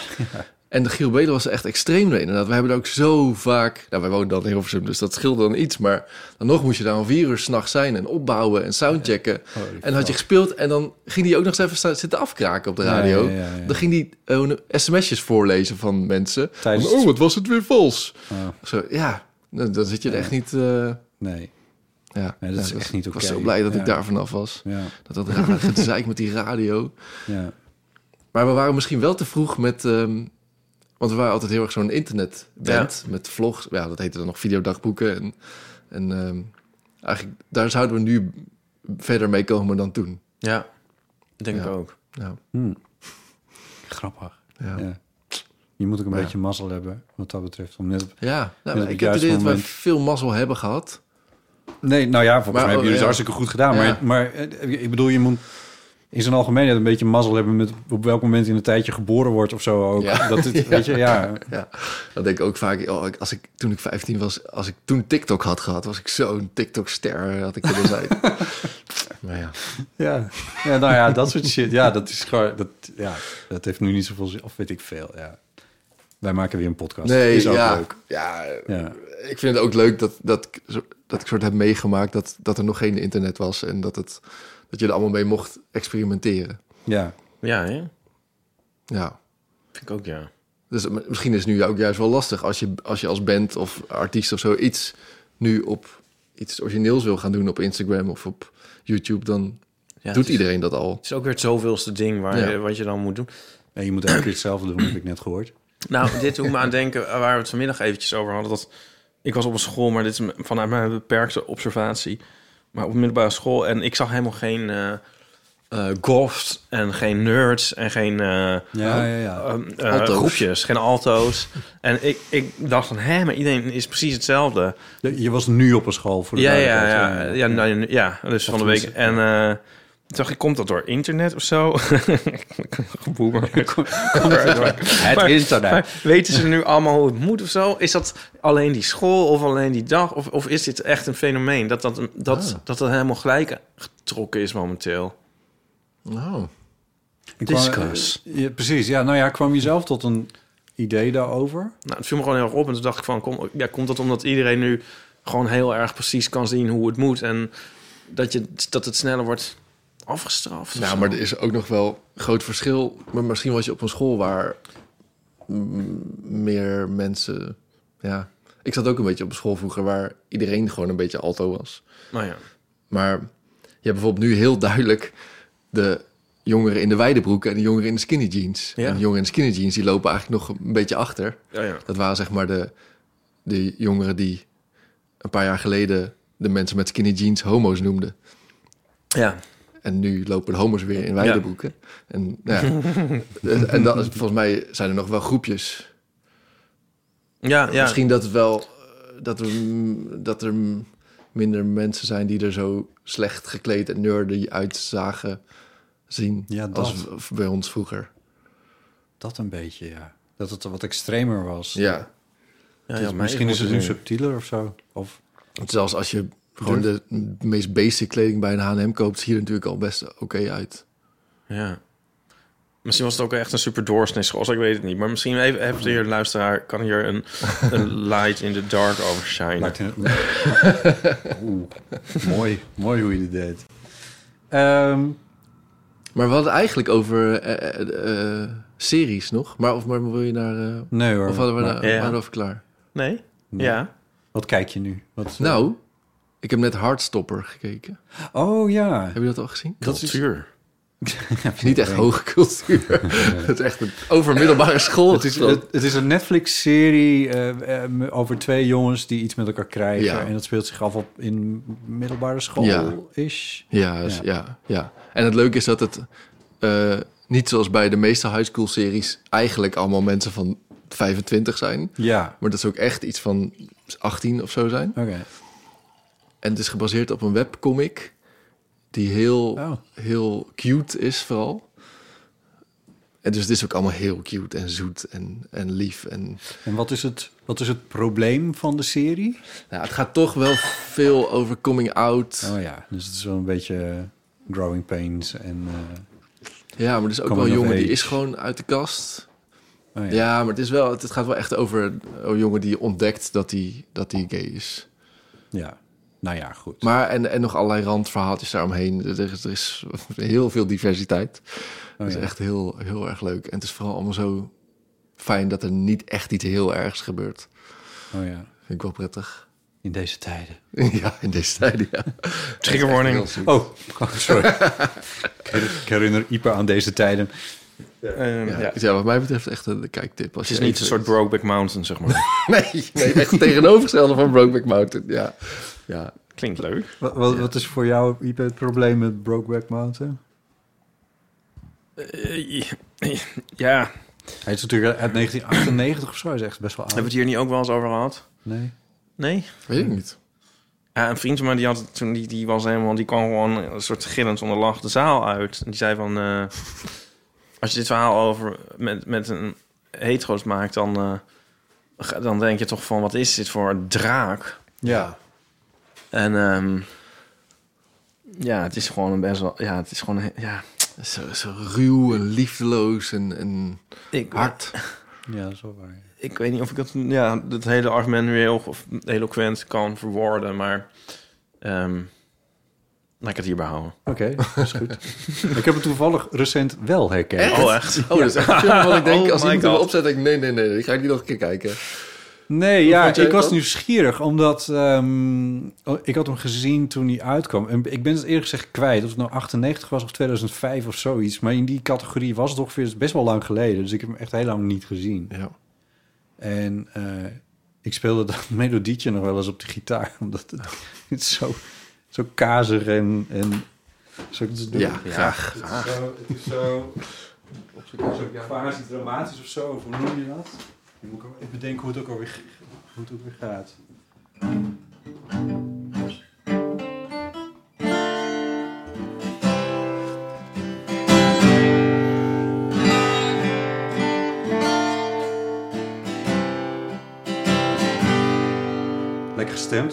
[SPEAKER 2] En de Giel Belen was er echt extreem mee. Inderdaad, we hebben er ook zo vaak... Nou, wij wonen dan in Hilversum, dus dat scheelde dan iets. Maar dan nog moest je daar om vier uur s'nachts zijn... en opbouwen en soundchecken. en had je gespeeld en dan ging die ook nog eens even sta- zitten afkraken op de radio.
[SPEAKER 3] ja, ja, ja.
[SPEAKER 2] Dan ging die eh, sms'jes voorlezen van mensen.
[SPEAKER 3] Tijdens
[SPEAKER 2] Van,
[SPEAKER 3] het-
[SPEAKER 2] oh, wat was het weer vals.
[SPEAKER 3] Oh.
[SPEAKER 2] Zo, ja, dan, dan zit je er echt niet... eh,
[SPEAKER 3] Nee,
[SPEAKER 2] ja.
[SPEAKER 3] Nee, dat
[SPEAKER 2] Ja,
[SPEAKER 3] is echt niet
[SPEAKER 2] Ik was
[SPEAKER 3] oké.
[SPEAKER 2] zo blij dat
[SPEAKER 3] Ja.
[SPEAKER 2] ik daar vanaf was.
[SPEAKER 3] ja,
[SPEAKER 2] Dat dat rare gezeik met die radio...
[SPEAKER 3] ja.
[SPEAKER 2] Maar we waren misschien wel te vroeg met ehm, Want we waren altijd heel erg zo'n internetband met vlogs. Ja, dat heette dan nog videodagboeken. En, en ehm, eigenlijk, daar zouden we nu verder mee komen dan toen. Nou,
[SPEAKER 4] Ja, denk
[SPEAKER 2] Ja.
[SPEAKER 4] ik ook.
[SPEAKER 2] Ja,
[SPEAKER 3] Hmm. Grappig.
[SPEAKER 2] ja. ja.
[SPEAKER 3] Ja. Je moet ook een
[SPEAKER 2] Ja.
[SPEAKER 3] beetje mazzel hebben, wat dat betreft. Om net...
[SPEAKER 2] nou,
[SPEAKER 3] Dus op
[SPEAKER 2] ik
[SPEAKER 3] het
[SPEAKER 2] heb het
[SPEAKER 3] juiste
[SPEAKER 2] idee dat wij
[SPEAKER 3] moment.
[SPEAKER 2] veel mazzel hebben gehad.
[SPEAKER 3] Nee, nou ja, volgens
[SPEAKER 2] Maar,
[SPEAKER 3] mij hebben
[SPEAKER 2] oh,
[SPEAKER 3] jullie het
[SPEAKER 2] ja.
[SPEAKER 3] hartstikke goed gedaan.
[SPEAKER 2] Ja.
[SPEAKER 3] Maar, maar eh, ik bedoel, je moet in zijn algemeenheid een beetje mazzel hebben... met op welk moment in een tijdje geboren wordt of zo ook.
[SPEAKER 2] Ja.
[SPEAKER 3] Dat het, Weet je, ja.
[SPEAKER 2] Ja, dat denk ik ook vaak. Oh, ik- als ik, toen ik 15 was, als ik toen TikTok had gehad, was ik zo'n TikTok-ster, had ik er zijn. maar ja,
[SPEAKER 3] Ja. ja, nou ja, dat soort shit. Ja, dat is gewoon... Dat, ja, dat heeft nu niet zoveel zin. Of weet ik veel, ja. Wij maken weer een podcast.
[SPEAKER 2] nee,
[SPEAKER 3] is ook
[SPEAKER 2] ja,
[SPEAKER 3] leuk.
[SPEAKER 2] ja,
[SPEAKER 3] Ja.
[SPEAKER 2] ik vind het ook leuk dat, dat, ik zo- dat ik soort heb meegemaakt dat, dat er nog geen internet was en dat, het, dat je er allemaal mee mocht experimenteren.
[SPEAKER 3] ja.
[SPEAKER 4] Ja, hè?
[SPEAKER 2] Ja.
[SPEAKER 4] Vind ik ook, ja.
[SPEAKER 2] Dus m- misschien is het nu ook juist wel lastig als je als, je als band of artiest of zo iets nu op iets origineels wil gaan doen op Instagram of op YouTube, dan
[SPEAKER 4] ja het
[SPEAKER 2] doet
[SPEAKER 4] is-
[SPEAKER 2] iedereen dat al.
[SPEAKER 4] Het is ook weer het zoveelste ding waar
[SPEAKER 2] Ja.
[SPEAKER 4] je, wat je dan moet doen.
[SPEAKER 3] En je moet elke keer hetzelfde doen, heb ik net gehoord.
[SPEAKER 4] Nou, dit doet me aan denken eh, waar we het vanmiddag eventjes over hadden. Dat, ik was op een school, maar dit is m- vanuit mijn beperkte observatie. Maar op een middelbare school en ik zag helemaal geen eh eh, goths en geen nerds en geen eh,
[SPEAKER 3] Ja, ja, ja.
[SPEAKER 4] ehm, eh,
[SPEAKER 2] Alto's.
[SPEAKER 4] groepjes, geen alto's. en ik, ik dacht van, hè, maar iedereen is precies hetzelfde.
[SPEAKER 3] Je je was nu op een school voor de
[SPEAKER 4] Ja, ja,
[SPEAKER 3] duidelijkheid.
[SPEAKER 4] ja, ja, nou, ja, ja, dus van de week. En eh, toen dacht ik, komt dat door internet of zo? Geboemer.
[SPEAKER 3] Het
[SPEAKER 4] Maar-
[SPEAKER 3] is daarna.
[SPEAKER 4] maar weten ze nu allemaal hoe het moet of zo? Is dat alleen die school of alleen die dag? Of, of is dit echt een fenomeen dat dat, dat, dat dat helemaal gelijk getrokken is momenteel?
[SPEAKER 2] Nou,
[SPEAKER 3] kwam-
[SPEAKER 4] Discuss.
[SPEAKER 3] Ja, precies, ja. Nou ja, kwam je zelf tot een idee daarover?
[SPEAKER 4] Nou, het viel me gewoon heel erg op. En toen dacht ik van, kom, ja, komt dat omdat iedereen nu gewoon heel erg precies kan zien hoe het moet? En dat, je, dat het sneller wordt afgestraft? of
[SPEAKER 2] nou
[SPEAKER 4] zo?
[SPEAKER 2] maar er is ook nog wel een groot verschil. Maar misschien was je op een school waar mm, meer mensen. Ja, ik zat ook een beetje op een school vroeger waar iedereen gewoon een beetje alto was.
[SPEAKER 4] Nou ja.
[SPEAKER 2] Maar je hebt bijvoorbeeld nu heel duidelijk de jongeren in de wijde broeken en de jongeren in de skinny jeans.
[SPEAKER 4] Ja.
[SPEAKER 2] En de jongeren in de skinny jeans die lopen eigenlijk nog een beetje achter.
[SPEAKER 4] Ja, ja.
[SPEAKER 2] Dat waren zeg maar de, de jongeren die een paar jaar geleden de mensen met skinny jeans homo's noemden.
[SPEAKER 4] ja.
[SPEAKER 2] En nu lopen de homo's weer in wijde
[SPEAKER 4] Ja.
[SPEAKER 2] broeken. En, nou ja. en dan, volgens mij zijn er nog wel groepjes.
[SPEAKER 4] Ja, ja.
[SPEAKER 2] Misschien dat het wel eh, dat er, mm, dat er mm, minder mensen zijn die er zo slecht gekleed en nerdy uitzagen zien
[SPEAKER 3] Ja, dat.
[SPEAKER 2] als v- bij ons vroeger.
[SPEAKER 3] Dat een beetje, ja. Dat het wat extremer was.
[SPEAKER 2] Ja.
[SPEAKER 4] Ja,
[SPEAKER 3] Het
[SPEAKER 4] ja,
[SPEAKER 3] is-
[SPEAKER 4] maar
[SPEAKER 3] misschien
[SPEAKER 4] ik
[SPEAKER 3] is het
[SPEAKER 4] moet
[SPEAKER 3] nu
[SPEAKER 4] er-
[SPEAKER 3] subtieler of zo. Of,
[SPEAKER 2] Want zelfs als je gewoon de meest basic kleding bij een H&M koopt, ziet er natuurlijk al best oké uit.
[SPEAKER 4] Ja. Misschien was het ook echt een super doorsnee school, ik weet het niet. Maar misschien even, heeft hier een luisteraar, kan hier een, een light in the dark over shinen.
[SPEAKER 3] Lijkt een- Oeh, mooi, mooi hoe je dit deed. Ehm,
[SPEAKER 2] Maar we hadden het eigenlijk over eh, eh, eh, series nog. Maar of maar wil je naar... eh,
[SPEAKER 3] nee hoor.
[SPEAKER 2] of hadden we
[SPEAKER 3] maar-
[SPEAKER 2] daar
[SPEAKER 4] ja.
[SPEAKER 2] waren we over klaar?
[SPEAKER 4] Nee? Ja.
[SPEAKER 3] Wat kijk je nu? Wat, eh,
[SPEAKER 2] Nou, ik heb net Hardstopper gekeken.
[SPEAKER 3] Oh ja.
[SPEAKER 2] Heb je dat al gezien?
[SPEAKER 3] Dat is
[SPEAKER 4] Cultuur.
[SPEAKER 2] Niet echt hoge cultuur. Het is echt een overmiddelbare school.
[SPEAKER 3] Het is, het, het is een Netflix-serie eh, eh, over twee jongens die iets met elkaar krijgen.
[SPEAKER 2] Ja.
[SPEAKER 3] En dat speelt zich af op in middelbare school-ish.
[SPEAKER 2] ja, is- ja. ja, En het leuke is dat het eh, niet zoals bij de meeste high school series eigenlijk allemaal mensen van 25 zijn.
[SPEAKER 3] Ja.
[SPEAKER 2] Maar dat ze ook echt iets van 18 of zo zijn.
[SPEAKER 3] Oké.
[SPEAKER 2] En het is gebaseerd op een webcomic die heel,
[SPEAKER 3] Oh.
[SPEAKER 2] heel cute is vooral. En dus het is ook allemaal heel cute en zoet en, en lief. En,
[SPEAKER 3] En wat is, het, wat is het probleem van de serie?
[SPEAKER 2] nou, het gaat toch wel veel over coming out.
[SPEAKER 3] Oh ja, dus het is wel een beetje growing pains en... eh,
[SPEAKER 2] Ja, maar er is ook
[SPEAKER 3] Coming
[SPEAKER 2] wel een
[SPEAKER 3] of
[SPEAKER 2] jongen die
[SPEAKER 3] age.
[SPEAKER 2] is gewoon uit de kast.
[SPEAKER 3] oh
[SPEAKER 2] Ja,
[SPEAKER 3] ja.
[SPEAKER 2] maar het, is wel, het, het gaat wel echt over een jongen die ontdekt dat hij dat hij gay is.
[SPEAKER 3] Ja. Nou ja, goed.
[SPEAKER 2] Maar en, en nog allerlei randverhaaltjes daaromheen. Er is, er is heel veel diversiteit.
[SPEAKER 3] Oh
[SPEAKER 2] dat is
[SPEAKER 3] ja.
[SPEAKER 2] echt heel, heel erg leuk. En het is vooral allemaal zo fijn dat er niet echt iets heel ergs gebeurt.
[SPEAKER 3] Oh ja.
[SPEAKER 2] Vind ik wel prettig.
[SPEAKER 3] In deze tijden.
[SPEAKER 2] ja, in deze tijd, ja.
[SPEAKER 4] Trigger warning.
[SPEAKER 2] Heel zoet.
[SPEAKER 3] Oh, sorry. ik herinner Ieper aan deze tijden.
[SPEAKER 4] Ehm,
[SPEAKER 2] Ja,
[SPEAKER 4] ja.
[SPEAKER 2] ja. wat mij betreft echt een kijktip. Als
[SPEAKER 4] Het is
[SPEAKER 2] je
[SPEAKER 4] niet een
[SPEAKER 2] even-
[SPEAKER 4] soort Brokeback Mountain, zeg maar.
[SPEAKER 2] Nee, nee, echt het tegenovergestelde van Brokeback Mountain. Ja, ja.
[SPEAKER 4] Klinkt leuk.
[SPEAKER 3] Wat, wat, wat is voor jou Ipe, het probleem met Brokeback Mountain?
[SPEAKER 4] Eh, ja, hebben
[SPEAKER 3] Hij is natuurlijk uit 1998 of zo, hij is echt best wel
[SPEAKER 4] we
[SPEAKER 3] oud.
[SPEAKER 4] het hier niet ook wel eens over gehad?
[SPEAKER 3] Nee.
[SPEAKER 4] Nee?
[SPEAKER 2] weet ik niet.
[SPEAKER 4] Ja, een vriend van mij die had toen die, die was helemaal die kwam gewoon een soort gillend onder lach de zaal uit. En die zei van eh, als je dit verhaal over met, met een hetero's maakt, dan, eh, ga- dan denk je toch van wat is dit voor een draak?
[SPEAKER 3] Ja.
[SPEAKER 4] En ehm, ja, het is gewoon een best wel. Ja, het is gewoon een- ja.
[SPEAKER 2] Zo, zo ruw en liefdeloos en, en
[SPEAKER 4] Ik,
[SPEAKER 2] hard.
[SPEAKER 3] Ja, dat is wel waar.
[SPEAKER 4] ik weet niet of ik dat, ja, dat hele argument weer heel of eloquent kan verwoorden, maar ehm, laat ik het hierbij houden.
[SPEAKER 3] Oké, dat is goed. ik heb het toevallig recent wel herkend.
[SPEAKER 4] Oh echt?
[SPEAKER 2] Oh, dat is echt een film wat ik denk,
[SPEAKER 4] Oh
[SPEAKER 2] als
[SPEAKER 4] my
[SPEAKER 2] iemand hem
[SPEAKER 4] God.
[SPEAKER 2] opzet, denk ik, nee, nee, nee, ik ga ik niet nog een keer kijken.
[SPEAKER 3] Nee, ja,
[SPEAKER 2] vond jij
[SPEAKER 3] ik was
[SPEAKER 2] dat?
[SPEAKER 3] nieuwsgierig, omdat ehm, oh, ik had hem gezien toen hij uitkwam. En ik ben het eerlijk gezegd kwijt, of het nou 98 was of 2005 of zoiets. Maar in die categorie was het ongeveer best wel lang geleden. Dus ik heb hem echt heel lang niet gezien.
[SPEAKER 2] Ja.
[SPEAKER 3] En eh, ik speelde dat melodietje nog wel eens op de gitaar. Omdat het, het is zo, zo kazig en... en zo te doen.
[SPEAKER 2] Ja, graag.
[SPEAKER 3] Het is zo... Het is zo zo quasi dramatisch of zo. Of hoe noem je dat? Ik moet ook even bedenken hoe het ook alweer, hoe het ook weer gaat. Lekker gestemd.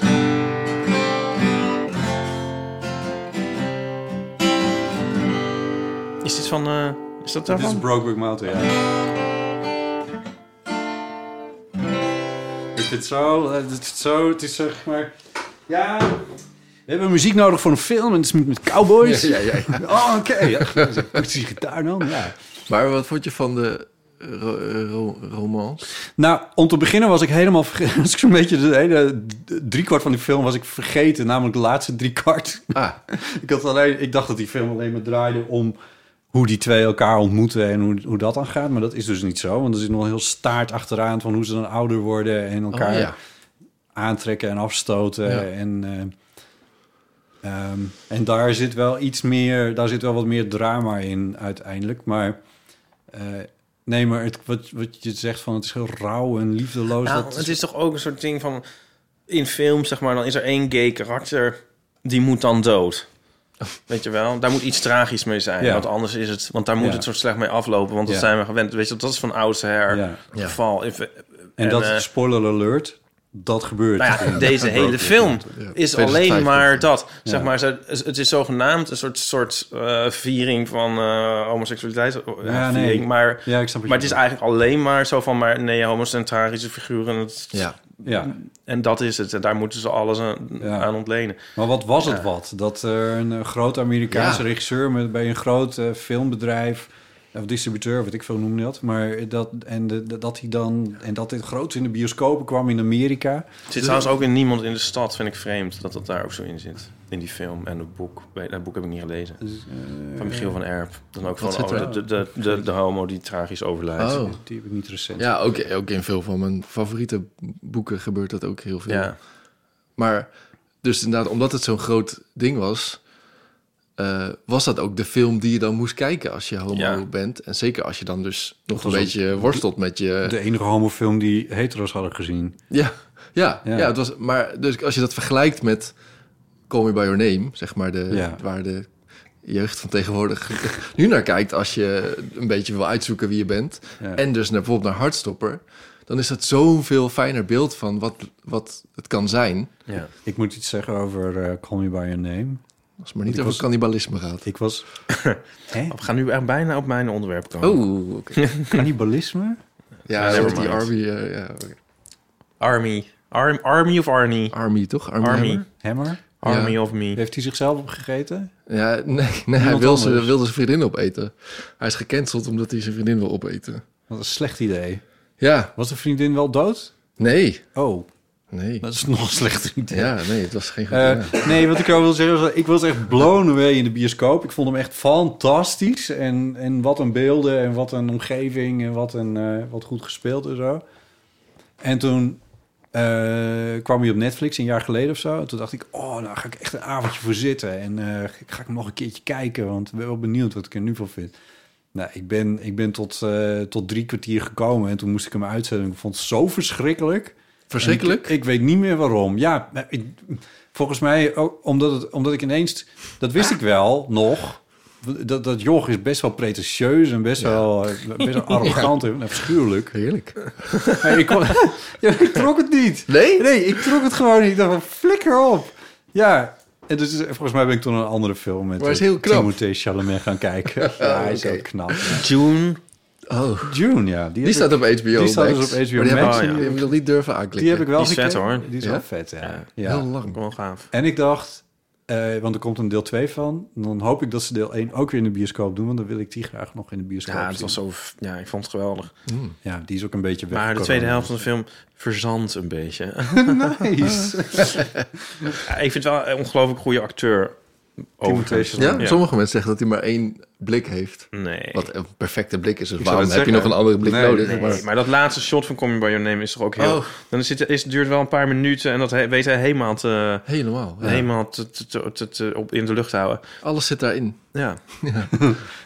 [SPEAKER 4] Is dit van? eh, is dat
[SPEAKER 3] Dit is
[SPEAKER 4] daarvan?
[SPEAKER 3] Brokeback Mountain, ja. Ik vind het zo, eh, het is zo, het is zeg maar... Ja, we hebben muziek nodig voor een film en het is met, met
[SPEAKER 2] Ja,
[SPEAKER 3] cowboys.
[SPEAKER 2] ja, ja, ja.
[SPEAKER 3] Oh, oké. Ja, Goed, die gitaar dan, ja.
[SPEAKER 2] Maar wat vond je van de eh, ro- eh, ro- romance?
[SPEAKER 3] Nou, om te beginnen was ik helemaal vergeten. Was ik zo'n beetje de hele driekwart van die film was ik vergeten. Namelijk de laatste driekwart.
[SPEAKER 2] Ah,
[SPEAKER 3] Ik, had alleen, ik dacht dat die film alleen maar draaide om hoe die twee elkaar ontmoeten en hoe, hoe dat dan gaat. Maar dat is dus niet zo. Want er zit nog een heel staart achteraan van hoe ze dan ouder worden en
[SPEAKER 2] oh,
[SPEAKER 3] elkaar
[SPEAKER 2] ja.
[SPEAKER 3] aantrekken en afstoten.
[SPEAKER 2] Ja.
[SPEAKER 3] En, eh, ehm, en daar zit wel iets meer, daar zit wel wat meer drama in uiteindelijk. Maar eh, nee, maar het, wat, wat je zegt van het is heel rauw en liefdeloos.
[SPEAKER 4] Nou,
[SPEAKER 3] dat
[SPEAKER 4] het is toch ook een soort ding van in films zeg maar dan is er één gay karakter die moet dan dood. Weet je wel, daar moet iets tragisch mee zijn.
[SPEAKER 3] Ja.
[SPEAKER 4] Want anders is het, want daar moet
[SPEAKER 3] Ja.
[SPEAKER 4] het zo slecht mee aflopen. Want dat
[SPEAKER 3] Ja.
[SPEAKER 4] zijn we gewend. Weet je, dat is van oudsher
[SPEAKER 3] Ja.
[SPEAKER 4] het geval. If-
[SPEAKER 3] en dat,
[SPEAKER 4] eh,
[SPEAKER 3] spoiler alert, dat gebeurt.
[SPEAKER 4] nou ja,
[SPEAKER 3] in
[SPEAKER 4] deze hele film is
[SPEAKER 2] 2005
[SPEAKER 4] alleen maar
[SPEAKER 2] komt
[SPEAKER 4] dat. Zeg maar, ze- het is zogenaamd een soort, soort eh, viering van eh, homoseksualiteit. eh,
[SPEAKER 3] Ja, nee.
[SPEAKER 4] viering, maar,
[SPEAKER 3] Ja, ik snap wat
[SPEAKER 4] maar
[SPEAKER 3] je
[SPEAKER 4] het is eigenlijk alleen maar zo van... maar nee, homocentrarische figuren... Het,
[SPEAKER 2] Ja.
[SPEAKER 3] Ja,
[SPEAKER 4] En dat is het. En daar moeten ze alles aan,
[SPEAKER 3] Ja.
[SPEAKER 4] aan ontlenen.
[SPEAKER 3] maar wat was het wat? Dat er een eh, groot Amerikaanse
[SPEAKER 2] Ja.
[SPEAKER 3] regisseur met, bij een groot eh, filmbedrijf... of distributeur, wat ik veel noemde dat... maar dat, en de- de- dat hij dan... en dat dit groot in de bioscopen kwam in Amerika...
[SPEAKER 4] Het zit trouwens ook in Niemand in de Stad, vind ik vreemd. Dat dat daar ook zo in zit. In die film en het boek. Weet- Dat boek heb ik niet gelezen. Van Michiel van Erp. Dan ook van
[SPEAKER 2] zit
[SPEAKER 4] oh,
[SPEAKER 2] er?
[SPEAKER 4] de, de, de, de, de homo die tragisch overlijdt.
[SPEAKER 2] Oh.
[SPEAKER 3] Die heb ik niet recent.
[SPEAKER 2] Ja, ook, ook in veel van mijn favoriete boeken gebeurt dat ook heel veel.
[SPEAKER 4] Ja.
[SPEAKER 2] Maar dus inderdaad, omdat het zo'n groot ding was, eh, was dat ook de film die je dan moest kijken als je homo
[SPEAKER 4] Ja.
[SPEAKER 2] bent. En zeker als je dan dus nog een
[SPEAKER 3] was
[SPEAKER 2] beetje worstelt met je.
[SPEAKER 3] De enige homofilm die hetero's hadden gezien.
[SPEAKER 2] Ja, ja,
[SPEAKER 3] Ja.
[SPEAKER 2] ja. het was, maar dus als je dat vergelijkt met Call Me By Your Name, zeg maar, de,
[SPEAKER 3] Ja.
[SPEAKER 2] waar de jeugd van tegenwoordig nu naar kijkt... als je een beetje wil uitzoeken wie je bent.
[SPEAKER 3] Ja.
[SPEAKER 2] En dus naar, bijvoorbeeld naar Hartstopper. Dan is dat zoveel fijner beeld van wat, wat het kan zijn.
[SPEAKER 4] ja.
[SPEAKER 3] Ik moet iets zeggen over eh, Call Me By Your Name.
[SPEAKER 2] Als het maar niet
[SPEAKER 3] Ik
[SPEAKER 2] over
[SPEAKER 3] was-
[SPEAKER 2] cannibalisme gaat.
[SPEAKER 3] Ik was... Hè?
[SPEAKER 4] We gaan nu echt bijna op mijn onderwerp komen.
[SPEAKER 2] Oh, oké.
[SPEAKER 3] Cannibalisme?
[SPEAKER 2] Ja,
[SPEAKER 4] never
[SPEAKER 2] dat is die
[SPEAKER 4] mind.
[SPEAKER 2] Army, eh, ja, oké.
[SPEAKER 4] Army. Arm, army of Arnie?
[SPEAKER 2] Army, toch? Army.
[SPEAKER 4] Army.
[SPEAKER 2] Hammer?
[SPEAKER 3] Hammer?
[SPEAKER 4] Army
[SPEAKER 2] Ja.
[SPEAKER 4] of me.
[SPEAKER 3] Heeft hij zichzelf opgegeten?
[SPEAKER 2] Ja, nee, nee hij wil
[SPEAKER 3] anders.
[SPEAKER 2] zijn, wilde zijn vriendin opeten. Hij is gecanceld omdat hij zijn vriendin wil opeten.
[SPEAKER 3] Wat een slecht idee.
[SPEAKER 2] Ja,
[SPEAKER 3] Was de vriendin wel dood?
[SPEAKER 2] nee.
[SPEAKER 3] Oh.
[SPEAKER 2] Nee.
[SPEAKER 3] Dat is nog slechter idee.
[SPEAKER 2] Ja, nee, het was geen goed idee.
[SPEAKER 3] Eh, nee, wat ik wel wil zeggen is, ik was echt blown away in de bioscoop. Ik vond hem echt fantastisch. En, en wat een beelden en wat een omgeving en wat, een, eh, wat goed gespeeld en zo. En toen eh, kwam hij op Netflix een jaar geleden of zo. En toen dacht ik, oh, nou ga ik echt een avondje voor zitten. En eh, ga ik hem nog een keertje kijken, want ik ben wel benieuwd wat ik er nu van vind. Nou, ik ben, ik ben tot, eh, tot drie kwartier gekomen en toen moest ik hem uitzetten. Ik vond het zo verschrikkelijk.
[SPEAKER 2] Verschrikkelijk.
[SPEAKER 3] En Ik, ik weet niet meer waarom. Ja, maar ik, volgens mij ook omdat, het, omdat ik ineens... Dat wist ik wel nog. Dat, dat joch is best wel pretentieus en best wel, eh, best wel arrogant en afschuwelijk.
[SPEAKER 2] Heerlijk.
[SPEAKER 3] Maar ik, kon- ja, ik trok het niet.
[SPEAKER 2] Nee?
[SPEAKER 3] Nee, ik trok het gewoon niet. Ik dacht van, flikker op. Ja, en dus eh, volgens mij ben ik toen een andere film met
[SPEAKER 2] Maar hij is
[SPEAKER 3] eh,
[SPEAKER 2] heel knap.
[SPEAKER 3] Timothée Chalamet gaan kijken. Ja, hij is
[SPEAKER 2] Oké.
[SPEAKER 3] ook knap.
[SPEAKER 4] June.
[SPEAKER 2] Oh.
[SPEAKER 3] June, ja. Die, heb
[SPEAKER 2] Die
[SPEAKER 3] ik-
[SPEAKER 2] staat op HBO
[SPEAKER 3] Die staat
[SPEAKER 2] Max.
[SPEAKER 3] dus op HBO
[SPEAKER 2] Maar die
[SPEAKER 3] Max.
[SPEAKER 2] Heb ik, die
[SPEAKER 4] Oh, ja.
[SPEAKER 2] heb ik nog niet durven
[SPEAKER 3] Die
[SPEAKER 2] aanklikken.
[SPEAKER 3] heb ik wel
[SPEAKER 4] Die is vet,
[SPEAKER 3] gekeken.
[SPEAKER 4] hoor.
[SPEAKER 3] Die is
[SPEAKER 2] Ja?
[SPEAKER 3] wel vet, ja.
[SPEAKER 4] Ja.
[SPEAKER 3] ja.
[SPEAKER 2] Heel
[SPEAKER 4] Ook
[SPEAKER 2] lang.
[SPEAKER 4] wel gaaf.
[SPEAKER 3] En ik dacht, eh, want er komt een deel 2 van. En dan hoop ik dat ze deel 1 ook weer in de bioscoop doen. Want dan wil ik die graag nog in de bioscoop
[SPEAKER 4] Ja,
[SPEAKER 3] ja,
[SPEAKER 4] het was zo, ja, ik vond het geweldig.
[SPEAKER 3] Ja, die is ook een beetje weg.
[SPEAKER 4] Maar de tweede helft van de film verzandt een beetje.
[SPEAKER 3] Nice.
[SPEAKER 4] Ja, ik vind het wel een ongelooflijk goede acteur. Overigens.
[SPEAKER 2] Ja?
[SPEAKER 4] Ja.
[SPEAKER 2] sommige mensen zeggen dat hij maar één blik heeft.
[SPEAKER 4] Nee.
[SPEAKER 2] Wat een perfecte blik is. Dus
[SPEAKER 3] zou
[SPEAKER 2] waarom heb
[SPEAKER 3] het
[SPEAKER 2] je nog
[SPEAKER 3] zeggen.
[SPEAKER 2] een andere blik
[SPEAKER 3] Nee,
[SPEAKER 2] nodig?
[SPEAKER 4] Nee,
[SPEAKER 2] maar,
[SPEAKER 4] maar dat laatste shot van Coming By Your Name is toch ook heel...
[SPEAKER 2] Oh.
[SPEAKER 4] Dan zit, is, duurt wel een paar minuten en dat he- weet hij helemaal, te,
[SPEAKER 2] Helemaal. ja.
[SPEAKER 4] helemaal te, te, te, te- te- op, in de lucht te houden.
[SPEAKER 2] Alles zit daarin.
[SPEAKER 4] Ja.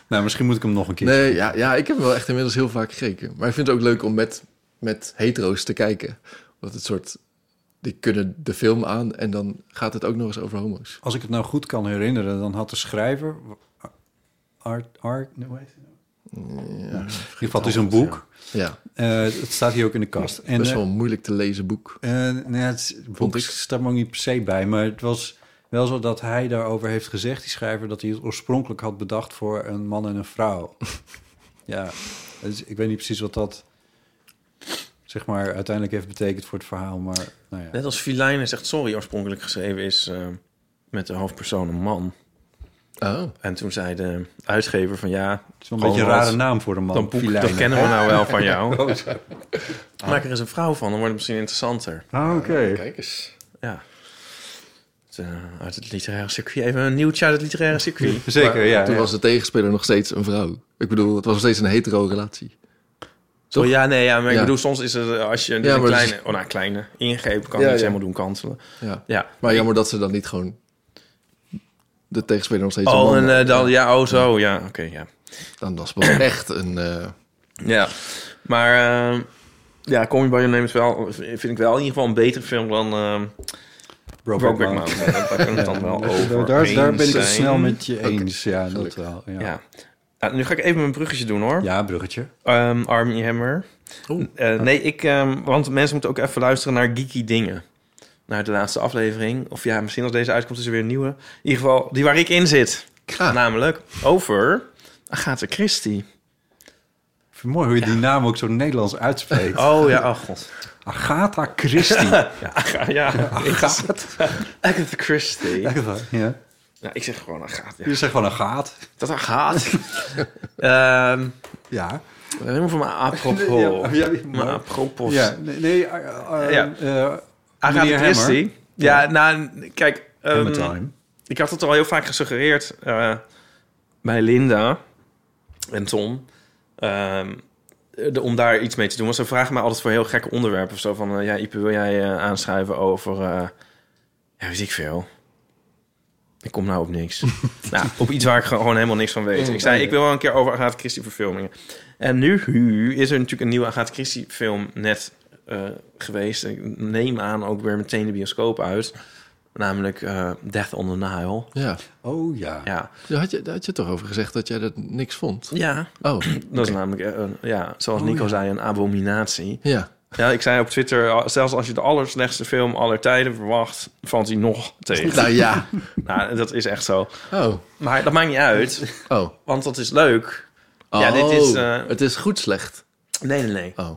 [SPEAKER 3] nou, misschien moet ik hem nog een keer.
[SPEAKER 2] Nee, ja, ja, ik heb hem wel echt inmiddels heel vaak gekeken. Maar ik vind het ook leuk om met, met hetero's te kijken. Want het soort... Die kunnen de film aan en dan gaat het ook nog eens over homo's.
[SPEAKER 3] Als ik het nou goed kan herinneren, dan had de schrijver... Art, Art, hoe heet hij nou?
[SPEAKER 2] Ja,
[SPEAKER 3] In ieder geval, het is een boek.
[SPEAKER 2] ja.
[SPEAKER 3] Eh, het staat hier ook in de kast. En,
[SPEAKER 2] best
[SPEAKER 3] eh,
[SPEAKER 2] wel een moeilijk te lezen boek.
[SPEAKER 3] Eh, nou ja, het is- het
[SPEAKER 2] Vond
[SPEAKER 3] boek
[SPEAKER 2] ik.
[SPEAKER 3] staat me ook niet per se bij, maar het was wel zo dat hij daarover heeft gezegd, die schrijver, dat hij het oorspronkelijk had bedacht voor een man en een vrouw. ja, dus ik weet niet precies wat dat zeg maar uiteindelijk heeft betekend voor het verhaal, maar nou ja.
[SPEAKER 4] Net als Feline is echt sorry oorspronkelijk geschreven is eh, met de hoofdpersoon een man.
[SPEAKER 2] Oh.
[SPEAKER 4] En toen zei de uitgever van ja...
[SPEAKER 3] Het is wel een
[SPEAKER 4] gewoon
[SPEAKER 3] beetje een
[SPEAKER 4] wat-
[SPEAKER 3] rare naam voor een man.
[SPEAKER 4] Dat boek, dat
[SPEAKER 3] Filijnen.
[SPEAKER 4] kennen we nou wel van jou.
[SPEAKER 3] Oh, zo.
[SPEAKER 4] Maak er eens een vrouw van, dan wordt het misschien interessanter.
[SPEAKER 3] Ah, oké.
[SPEAKER 2] Kijk eens.
[SPEAKER 4] Ja. Het, eh, uit het literaire circuit. Even een nieuwtje uit het literaire circuit.
[SPEAKER 3] Zeker, ja.
[SPEAKER 2] Toen
[SPEAKER 3] ja.
[SPEAKER 2] was de tegenspeler nog steeds een vrouw. Ik bedoel, het was nog steeds een hetero relatie. Toch?
[SPEAKER 4] Oh, ja, nee, ja, maar ik
[SPEAKER 2] Ja.
[SPEAKER 4] bedoel, soms is het eh, als je een,
[SPEAKER 2] Ja,
[SPEAKER 4] een
[SPEAKER 2] maar dat is-
[SPEAKER 4] kleine, oh, nou, kleine ingreep kan
[SPEAKER 2] Ja,
[SPEAKER 4] iets
[SPEAKER 2] ja.
[SPEAKER 4] helemaal doen kantelen.
[SPEAKER 2] Ja.
[SPEAKER 4] Ja.
[SPEAKER 2] Maar jammer dat ze dan niet gewoon de tegenspeler nog steeds een
[SPEAKER 4] oh,
[SPEAKER 2] man
[SPEAKER 4] en
[SPEAKER 2] maakt.
[SPEAKER 4] eh, dan, ja, oh, zo, ja, oké, ja.
[SPEAKER 2] Dan was het wel echt een... eh,
[SPEAKER 4] Ja, maar eh, ja, Coming By Your Name is wel, vind ik wel in ieder geval een betere film dan eh
[SPEAKER 3] Brokeback
[SPEAKER 4] Brokeback
[SPEAKER 3] Mountain.
[SPEAKER 4] Mountain. Daar kan ik het dan wel
[SPEAKER 3] Daar,
[SPEAKER 4] over
[SPEAKER 3] daar- daar ben ik het
[SPEAKER 4] eens zijn.
[SPEAKER 3] snel met je eens. Ja, dat
[SPEAKER 2] gelukkig.
[SPEAKER 3] wel. Ja, ja.
[SPEAKER 4] Ja. Nou, nu ga ik even mijn bruggetje doen, hoor.
[SPEAKER 3] bruggetje.
[SPEAKER 4] Ehm Army Hammer. Eh, nee, ik, ehm, want mensen moeten ook even luisteren naar Geeky Dingen. Naar de laatste aflevering. Of ja, misschien als deze uitkomt is er weer een nieuwe. In ieder geval, die waar ik in zit.
[SPEAKER 2] Ah.
[SPEAKER 4] Namelijk over Agatha Christie.
[SPEAKER 3] Ik vind het mooi hoe je die naam ook zo Nederlands uitspreekt.
[SPEAKER 4] Oh ja, oh god.
[SPEAKER 3] Agatha Christie.
[SPEAKER 4] Aga- ja,
[SPEAKER 3] Agatha.
[SPEAKER 4] Agatha Christie.
[SPEAKER 3] Ja.
[SPEAKER 4] Nou, ik zeg gewoon Agatha.
[SPEAKER 3] Je
[SPEAKER 4] Ja.
[SPEAKER 3] zegt gewoon een gaat.
[SPEAKER 4] Dat Agatha. Ehm
[SPEAKER 3] Ja.
[SPEAKER 4] helemaal van mijn apropos.
[SPEAKER 3] Ja, ja, ja,
[SPEAKER 4] Mijn
[SPEAKER 3] maar-
[SPEAKER 4] apropos.
[SPEAKER 3] Ja. Nee, nee eh, eh,
[SPEAKER 4] Ja.
[SPEAKER 3] eh,
[SPEAKER 4] Agatha
[SPEAKER 3] Meneer Hammer.
[SPEAKER 4] Christie. Ja, nou, kijk. ehm,
[SPEAKER 3] Hammertime.
[SPEAKER 4] Ik had het al heel vaak gesuggereerd eh, bij Linda en Tom. ehm, de- om daar iets mee te doen. Want ze vragen mij altijd voor heel gekke onderwerpen of zo. Van, eh, ja, Ipe, wil jij eh, aanschrijven over... eh, ja, weet ik veel. Ik kom nou op niks. nou, op iets waar ik gewoon helemaal niks van weet. Ik zei, ik wil wel een keer over Agatha Christie verfilmingen. En nu hu, is er natuurlijk een nieuwe Agatha Christie film net eh, geweest. Ik neem aan ook weer meteen de bioscoop uit. Namelijk eh, Death on the Nile.
[SPEAKER 2] ja.
[SPEAKER 3] Oh ja.
[SPEAKER 4] Ja,
[SPEAKER 2] Daar had je, daar had je toch over gezegd dat jij dat niks vond?
[SPEAKER 4] ja
[SPEAKER 2] Oh,
[SPEAKER 4] dat is namelijk, eh, een- ja, zoals Nico zei, een abominatie.
[SPEAKER 2] ja.
[SPEAKER 4] Ja, ik zei op Twitter, al- zelfs als je de allerslechtste film aller tijden verwacht, valt hij nog tegen.
[SPEAKER 2] Nou ja.
[SPEAKER 4] Nou, dat is echt zo.
[SPEAKER 2] Oh.
[SPEAKER 4] Maar dat maakt niet uit,
[SPEAKER 2] Oh.
[SPEAKER 4] want dat is leuk.
[SPEAKER 2] oh.
[SPEAKER 4] Ja, dit is, eh,
[SPEAKER 2] Het is goed slecht.
[SPEAKER 4] Nee, nee, nee.
[SPEAKER 2] Oh.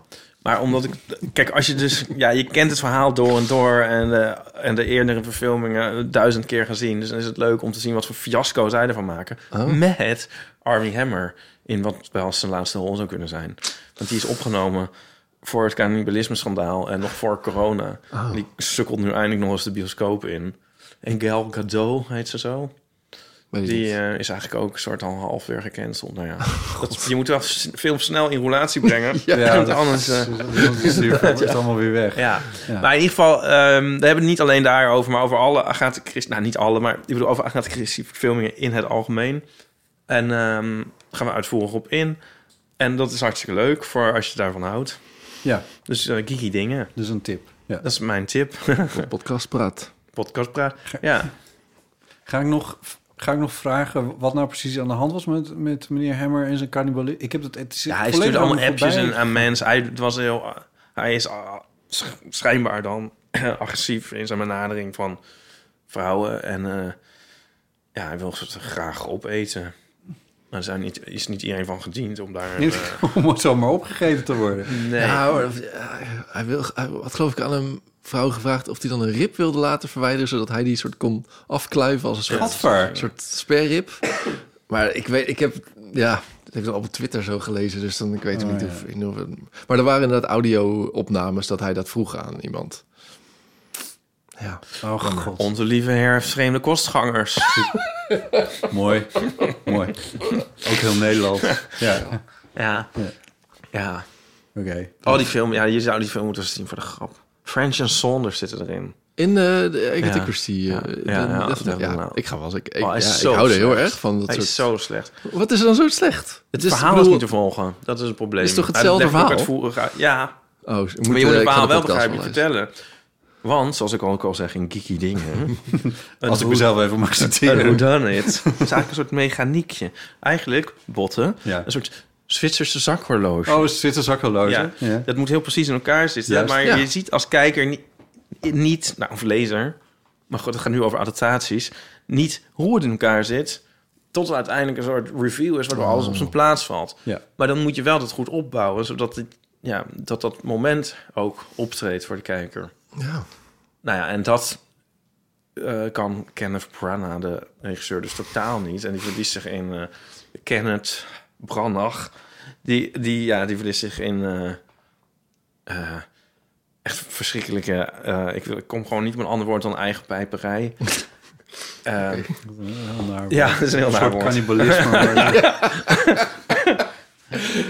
[SPEAKER 4] Maar omdat ik... Kijk, als je dus... Ja, je kent het verhaal door en door. En, eh, en de eerdere verfilmingen duizend keer gezien. Dus dan is het leuk om te zien wat voor fiasco zij ervan maken.
[SPEAKER 3] Oh.
[SPEAKER 4] Met Army Hammer. In wat wel zijn laatste rol zou kunnen zijn. Want die is opgenomen voor het cannibalisme-schandaal en nog voor corona.
[SPEAKER 3] Oh.
[SPEAKER 4] Die sukkelt nu eindelijk nog eens de bioscoop in. En Gal Gadot heet ze zo.
[SPEAKER 2] Weet ik
[SPEAKER 4] Die
[SPEAKER 2] niet.
[SPEAKER 4] eh, is eigenlijk ook een soort al half weer gecanceld. Nou ja, dat, je moet wel s- film snel in roulatie brengen.
[SPEAKER 3] Ja,
[SPEAKER 4] want
[SPEAKER 3] dat-
[SPEAKER 4] anders... eh,
[SPEAKER 3] Dat is hier- wordt het allemaal weer weg.
[SPEAKER 4] ja. maar in ieder geval, ehm, we hebben het niet alleen daarover, maar over alle Agatha Christie, nou niet alle, maar ik bedoel over Agatha Christie verfilmingen in het algemeen. En ehm, daar gaan we uitvoerig op in. En dat is hartstikke leuk voor als je daarvan houdt.
[SPEAKER 3] Ja,
[SPEAKER 4] Dus eh geeky dingen,
[SPEAKER 3] dus een tip. Ja.
[SPEAKER 4] dat is mijn tip.
[SPEAKER 2] Podcast praat.
[SPEAKER 4] Podcast praat. Ja,
[SPEAKER 3] Ga ik nog... Ga ik nog vragen wat nou precies aan de hand was met, met meneer Hammer en zijn cannibalisme? Ik heb het, het is
[SPEAKER 4] ja hij
[SPEAKER 3] volledig
[SPEAKER 4] stuurde
[SPEAKER 3] aan me
[SPEAKER 4] allemaal appjes
[SPEAKER 3] voorbij.
[SPEAKER 4] en, aan mensen. Hij, het was heel, hij is ah, sch- schijnbaar dan agressief in zijn benadering van vrouwen. En eh, ja, hij wil ze graag opeten. Maar er zijn niet, is niet iedereen van gediend om daar...
[SPEAKER 3] Niet
[SPEAKER 4] eh,
[SPEAKER 3] om het zomaar opgegeten te worden.
[SPEAKER 4] nee.
[SPEAKER 2] Ja, hoor, dat- ja, hij wil, hij had geloof ik aan een vrouw gevraagd of hij dan een rib wilde laten verwijderen, zodat hij die soort kon afkluiven als een soort,
[SPEAKER 3] Gadver.
[SPEAKER 2] soort sperrib. Maar ik weet, ik heb, ja, dat heb ik dan op Twitter zo gelezen, dus dan ik weet
[SPEAKER 3] Oh,
[SPEAKER 2] niet
[SPEAKER 3] ja.
[SPEAKER 2] of, in of het- Maar er waren inderdaad audio-opnames dat hij dat vroeg aan iemand. Ja,
[SPEAKER 3] Oh god.
[SPEAKER 4] Onze lieve herfst vreemde kostgangers.
[SPEAKER 3] Mooi. Mooi. Ook heel Nederlands. Ja. Oké.
[SPEAKER 4] ja.
[SPEAKER 3] Ja.
[SPEAKER 4] Ja. Oh, die film. Ja, je zou die film moeten zien voor de grap. French en Saunders zitten erin.
[SPEAKER 2] in eh, de Agatha
[SPEAKER 4] Ja.
[SPEAKER 2] Christie. eh,
[SPEAKER 4] Ja.
[SPEAKER 2] de-
[SPEAKER 4] Ja, ja,
[SPEAKER 2] dat-
[SPEAKER 4] ja,
[SPEAKER 2] ja,
[SPEAKER 4] nou.
[SPEAKER 2] ik ga wel eens. Ik, ik,
[SPEAKER 4] Oh, hij is
[SPEAKER 2] ja,
[SPEAKER 4] zo
[SPEAKER 2] ik hou er heel
[SPEAKER 4] slecht.
[SPEAKER 2] erg van. Dat
[SPEAKER 4] Hij
[SPEAKER 2] soort,
[SPEAKER 4] is zo slecht.
[SPEAKER 2] Wat is er dan zo slecht?
[SPEAKER 4] Het
[SPEAKER 2] is-
[SPEAKER 4] verhaal
[SPEAKER 2] bedoel-
[SPEAKER 4] is niet te volgen. Dat is het probleem.
[SPEAKER 2] Is toch
[SPEAKER 4] Hij
[SPEAKER 2] hetzelfde
[SPEAKER 4] legt ook
[SPEAKER 2] verhaal?
[SPEAKER 4] uitvoerig uit- Ja,
[SPEAKER 2] Oh, moet,
[SPEAKER 4] maar je
[SPEAKER 2] eh,
[SPEAKER 4] moet het
[SPEAKER 2] ik ga de
[SPEAKER 4] verhaal wel
[SPEAKER 2] podcast
[SPEAKER 4] begrijpelijk
[SPEAKER 2] luisteren.
[SPEAKER 4] vertellen. Want, zoals ik al ook al zeg, in geeky dingen... een
[SPEAKER 3] Als ik
[SPEAKER 4] hoe-
[SPEAKER 3] mezelf even mag
[SPEAKER 4] Een
[SPEAKER 3] citeren.
[SPEAKER 4] whodunit. Het is eigenlijk een soort mechaniekje. Eigenlijk, botten,
[SPEAKER 3] Ja.
[SPEAKER 4] een soort Zwitserse zakhorloge.
[SPEAKER 3] Oh, zit een zakhorloge.
[SPEAKER 4] ja.
[SPEAKER 3] Ja.
[SPEAKER 4] Dat moet heel precies in elkaar zitten.
[SPEAKER 3] Juist.
[SPEAKER 4] maar
[SPEAKER 2] Ja.
[SPEAKER 4] je ziet als kijker niet, niet, nou of lezer, maar goed, het gaat nu over adaptaties, niet hoe het in elkaar zit, tot er uiteindelijk een soort review is waardoor alles op zijn plaats valt.
[SPEAKER 3] Oh. Ja.
[SPEAKER 4] Maar dan moet je wel dat goed opbouwen, zodat het, ja, dat, dat moment ook optreedt voor de kijker.
[SPEAKER 2] Ja.
[SPEAKER 4] Nou ja, en dat eh, kan Kenneth Branagh, de regisseur, dus totaal niet. En die verliest zich in eh, Kenneth Branagh. Die, die, ja, die verliest zich in eh, eh, echt verschrikkelijke... eh, ik, wil- ik kom gewoon niet op een ander woord dan eigen pijperij. Eh, Ja, dat is een
[SPEAKER 3] Nou, Een
[SPEAKER 4] heel naar
[SPEAKER 3] soort
[SPEAKER 4] woord.
[SPEAKER 3] cannibalisme. maar-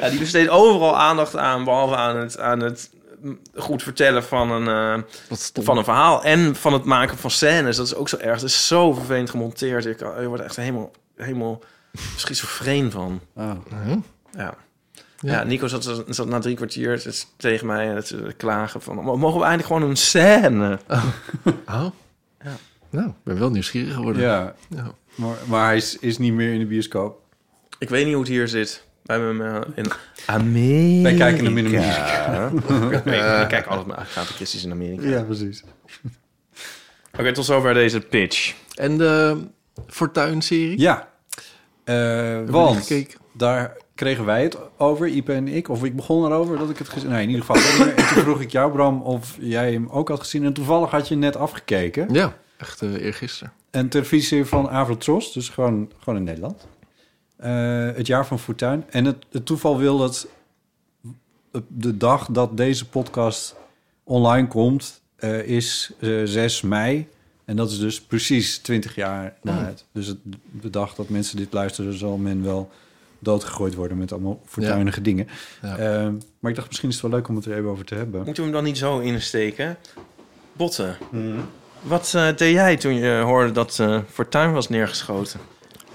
[SPEAKER 4] Ja, die besteedt overal aandacht aan, behalve aan het, aan het mm, goed vertellen van een... eh,
[SPEAKER 2] Wat stom.
[SPEAKER 4] van een verhaal en van het maken van scènes. Dat is ook zo erg. Het is zo vervelend gemonteerd. Ik, eh, je wordt er echt helemaal, helemaal schizofreen van.
[SPEAKER 3] Oh.
[SPEAKER 4] Ja. Ja. Nico zat, zat na drie kwartier t- tegen mij eh, te klagen van... Mogen we eindelijk gewoon een scène?
[SPEAKER 2] Oh. Nou, ik ben wel nieuwsgierig geworden.
[SPEAKER 3] Ja.
[SPEAKER 2] Ja.
[SPEAKER 3] Maar, maar hij is, is niet meer in de bioscoop.
[SPEAKER 4] Ik weet niet hoe het hier zit. We hebben hem eh, in Amerika.
[SPEAKER 3] Wij kijken hem in de muziek.
[SPEAKER 4] Ik, weet- ik kijk altijd maar Agatha Christie's in Amerika.
[SPEAKER 3] Ja, precies.
[SPEAKER 4] Oké, tot zover deze pitch.
[SPEAKER 2] En de Fortuin-serie?
[SPEAKER 3] Ja. Eh
[SPEAKER 2] niet
[SPEAKER 3] want
[SPEAKER 2] gekeken.
[SPEAKER 3] daar kregen wij het over, Ipe en ik. Of ik begon erover dat ik het gezien... Nee, in ieder geval. en toen vroeg ik jou, Bram, of jij hem ook had gezien. En toevallig had je net afgekeken.
[SPEAKER 2] Ja, echt eh eergisteren.
[SPEAKER 3] Een televisie van Avrotros, dus gewoon, gewoon in Nederland. Eh, het jaar van Fortuin. En het, het toeval wil dat op de dag dat deze podcast online komt, eh, is eh, 6 mei. En dat is dus precies 20 jaar
[SPEAKER 2] Oh.
[SPEAKER 3] na het. Dus het, de dag dat mensen dit luisteren, zal men wel doodgegooid worden met allemaal fortuinige dingen.
[SPEAKER 2] Ja.
[SPEAKER 3] Eh, maar ik dacht, misschien is het wel leuk om het er even over te hebben.
[SPEAKER 4] Moeten we hem dan niet zo insteken? Botten, wat eh, deed jij toen je hoorde dat eh Fortuin was neergeschoten?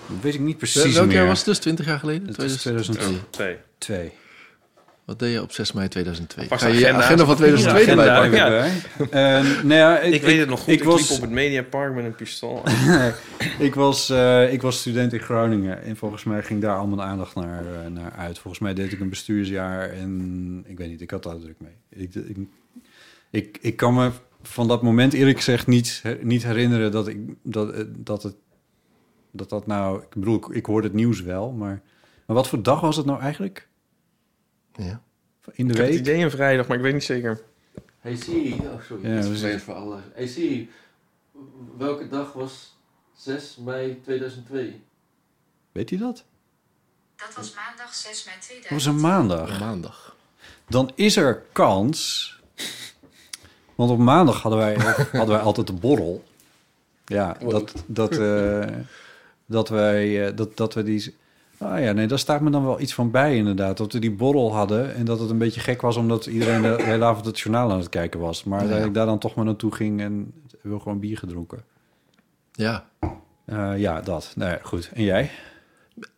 [SPEAKER 3] Dat weet ik niet precies
[SPEAKER 2] Welk
[SPEAKER 3] meer.
[SPEAKER 2] jaar was het dus? 20 jaar geleden?
[SPEAKER 3] Het is
[SPEAKER 2] 2002.
[SPEAKER 4] 2.
[SPEAKER 3] 2002.
[SPEAKER 2] Wat deed je op 6 mei 2002?
[SPEAKER 4] Pas
[SPEAKER 2] Ga je je
[SPEAKER 4] agenda's.
[SPEAKER 2] agenda van 2002
[SPEAKER 4] Ja,
[SPEAKER 2] erbij
[SPEAKER 4] agenda.
[SPEAKER 2] pakken?
[SPEAKER 4] Ja.
[SPEAKER 3] Eh, nou ja, ik,
[SPEAKER 4] Ik, weet het nog goed. Ik,
[SPEAKER 3] Ik was,
[SPEAKER 4] liep op het Mediapark met een pistool.
[SPEAKER 3] ik, was, eh, ik was student in Groningen en volgens mij ging daar allemaal aandacht naar, eh, naar uit. Volgens mij deed ik een bestuursjaar en ik weet niet, ik had daar druk mee. Ik, ik, ik, ik kan me van dat moment eerlijk gezegd niet, niet herinneren dat ik dat, eh, dat het dat dat nou, ik bedoel, ik, ik hoorde het nieuws wel, maar, maar wat voor dag was het nou eigenlijk?
[SPEAKER 2] Ja.
[SPEAKER 3] In de
[SPEAKER 4] ik heb het
[SPEAKER 3] week?
[SPEAKER 4] idee een vrijdag, maar ik weet niet zeker.
[SPEAKER 5] Hey Siri, oh sorry,
[SPEAKER 3] Ja,
[SPEAKER 5] ja, dat is vervelend
[SPEAKER 3] precies.
[SPEAKER 5] voor alle. Hey Siri, welke dag was 6 mei 2002?
[SPEAKER 3] Weet je dat?
[SPEAKER 6] Dat was maandag 6 mei
[SPEAKER 3] Dat was
[SPEAKER 6] 2000.
[SPEAKER 3] een maandag.
[SPEAKER 2] Maandag.
[SPEAKER 3] dan is er kans. Want op maandag hadden wij, hadden wij altijd de borrel. Ja, dat, dat, eh, dat, wij, eh, dat, dat we die... Ah ja, nee, daar staat me dan wel iets van bij inderdaad. Dat we die borrel hadden en dat het een beetje gek was... omdat iedereen de hele avond het journaal aan het kijken was. Maar dat ik daar dan toch maar naartoe ging en wil gewoon bier gedronken.
[SPEAKER 2] Ja.
[SPEAKER 3] Eh, ja, dat. Nou ja, goed. En jij?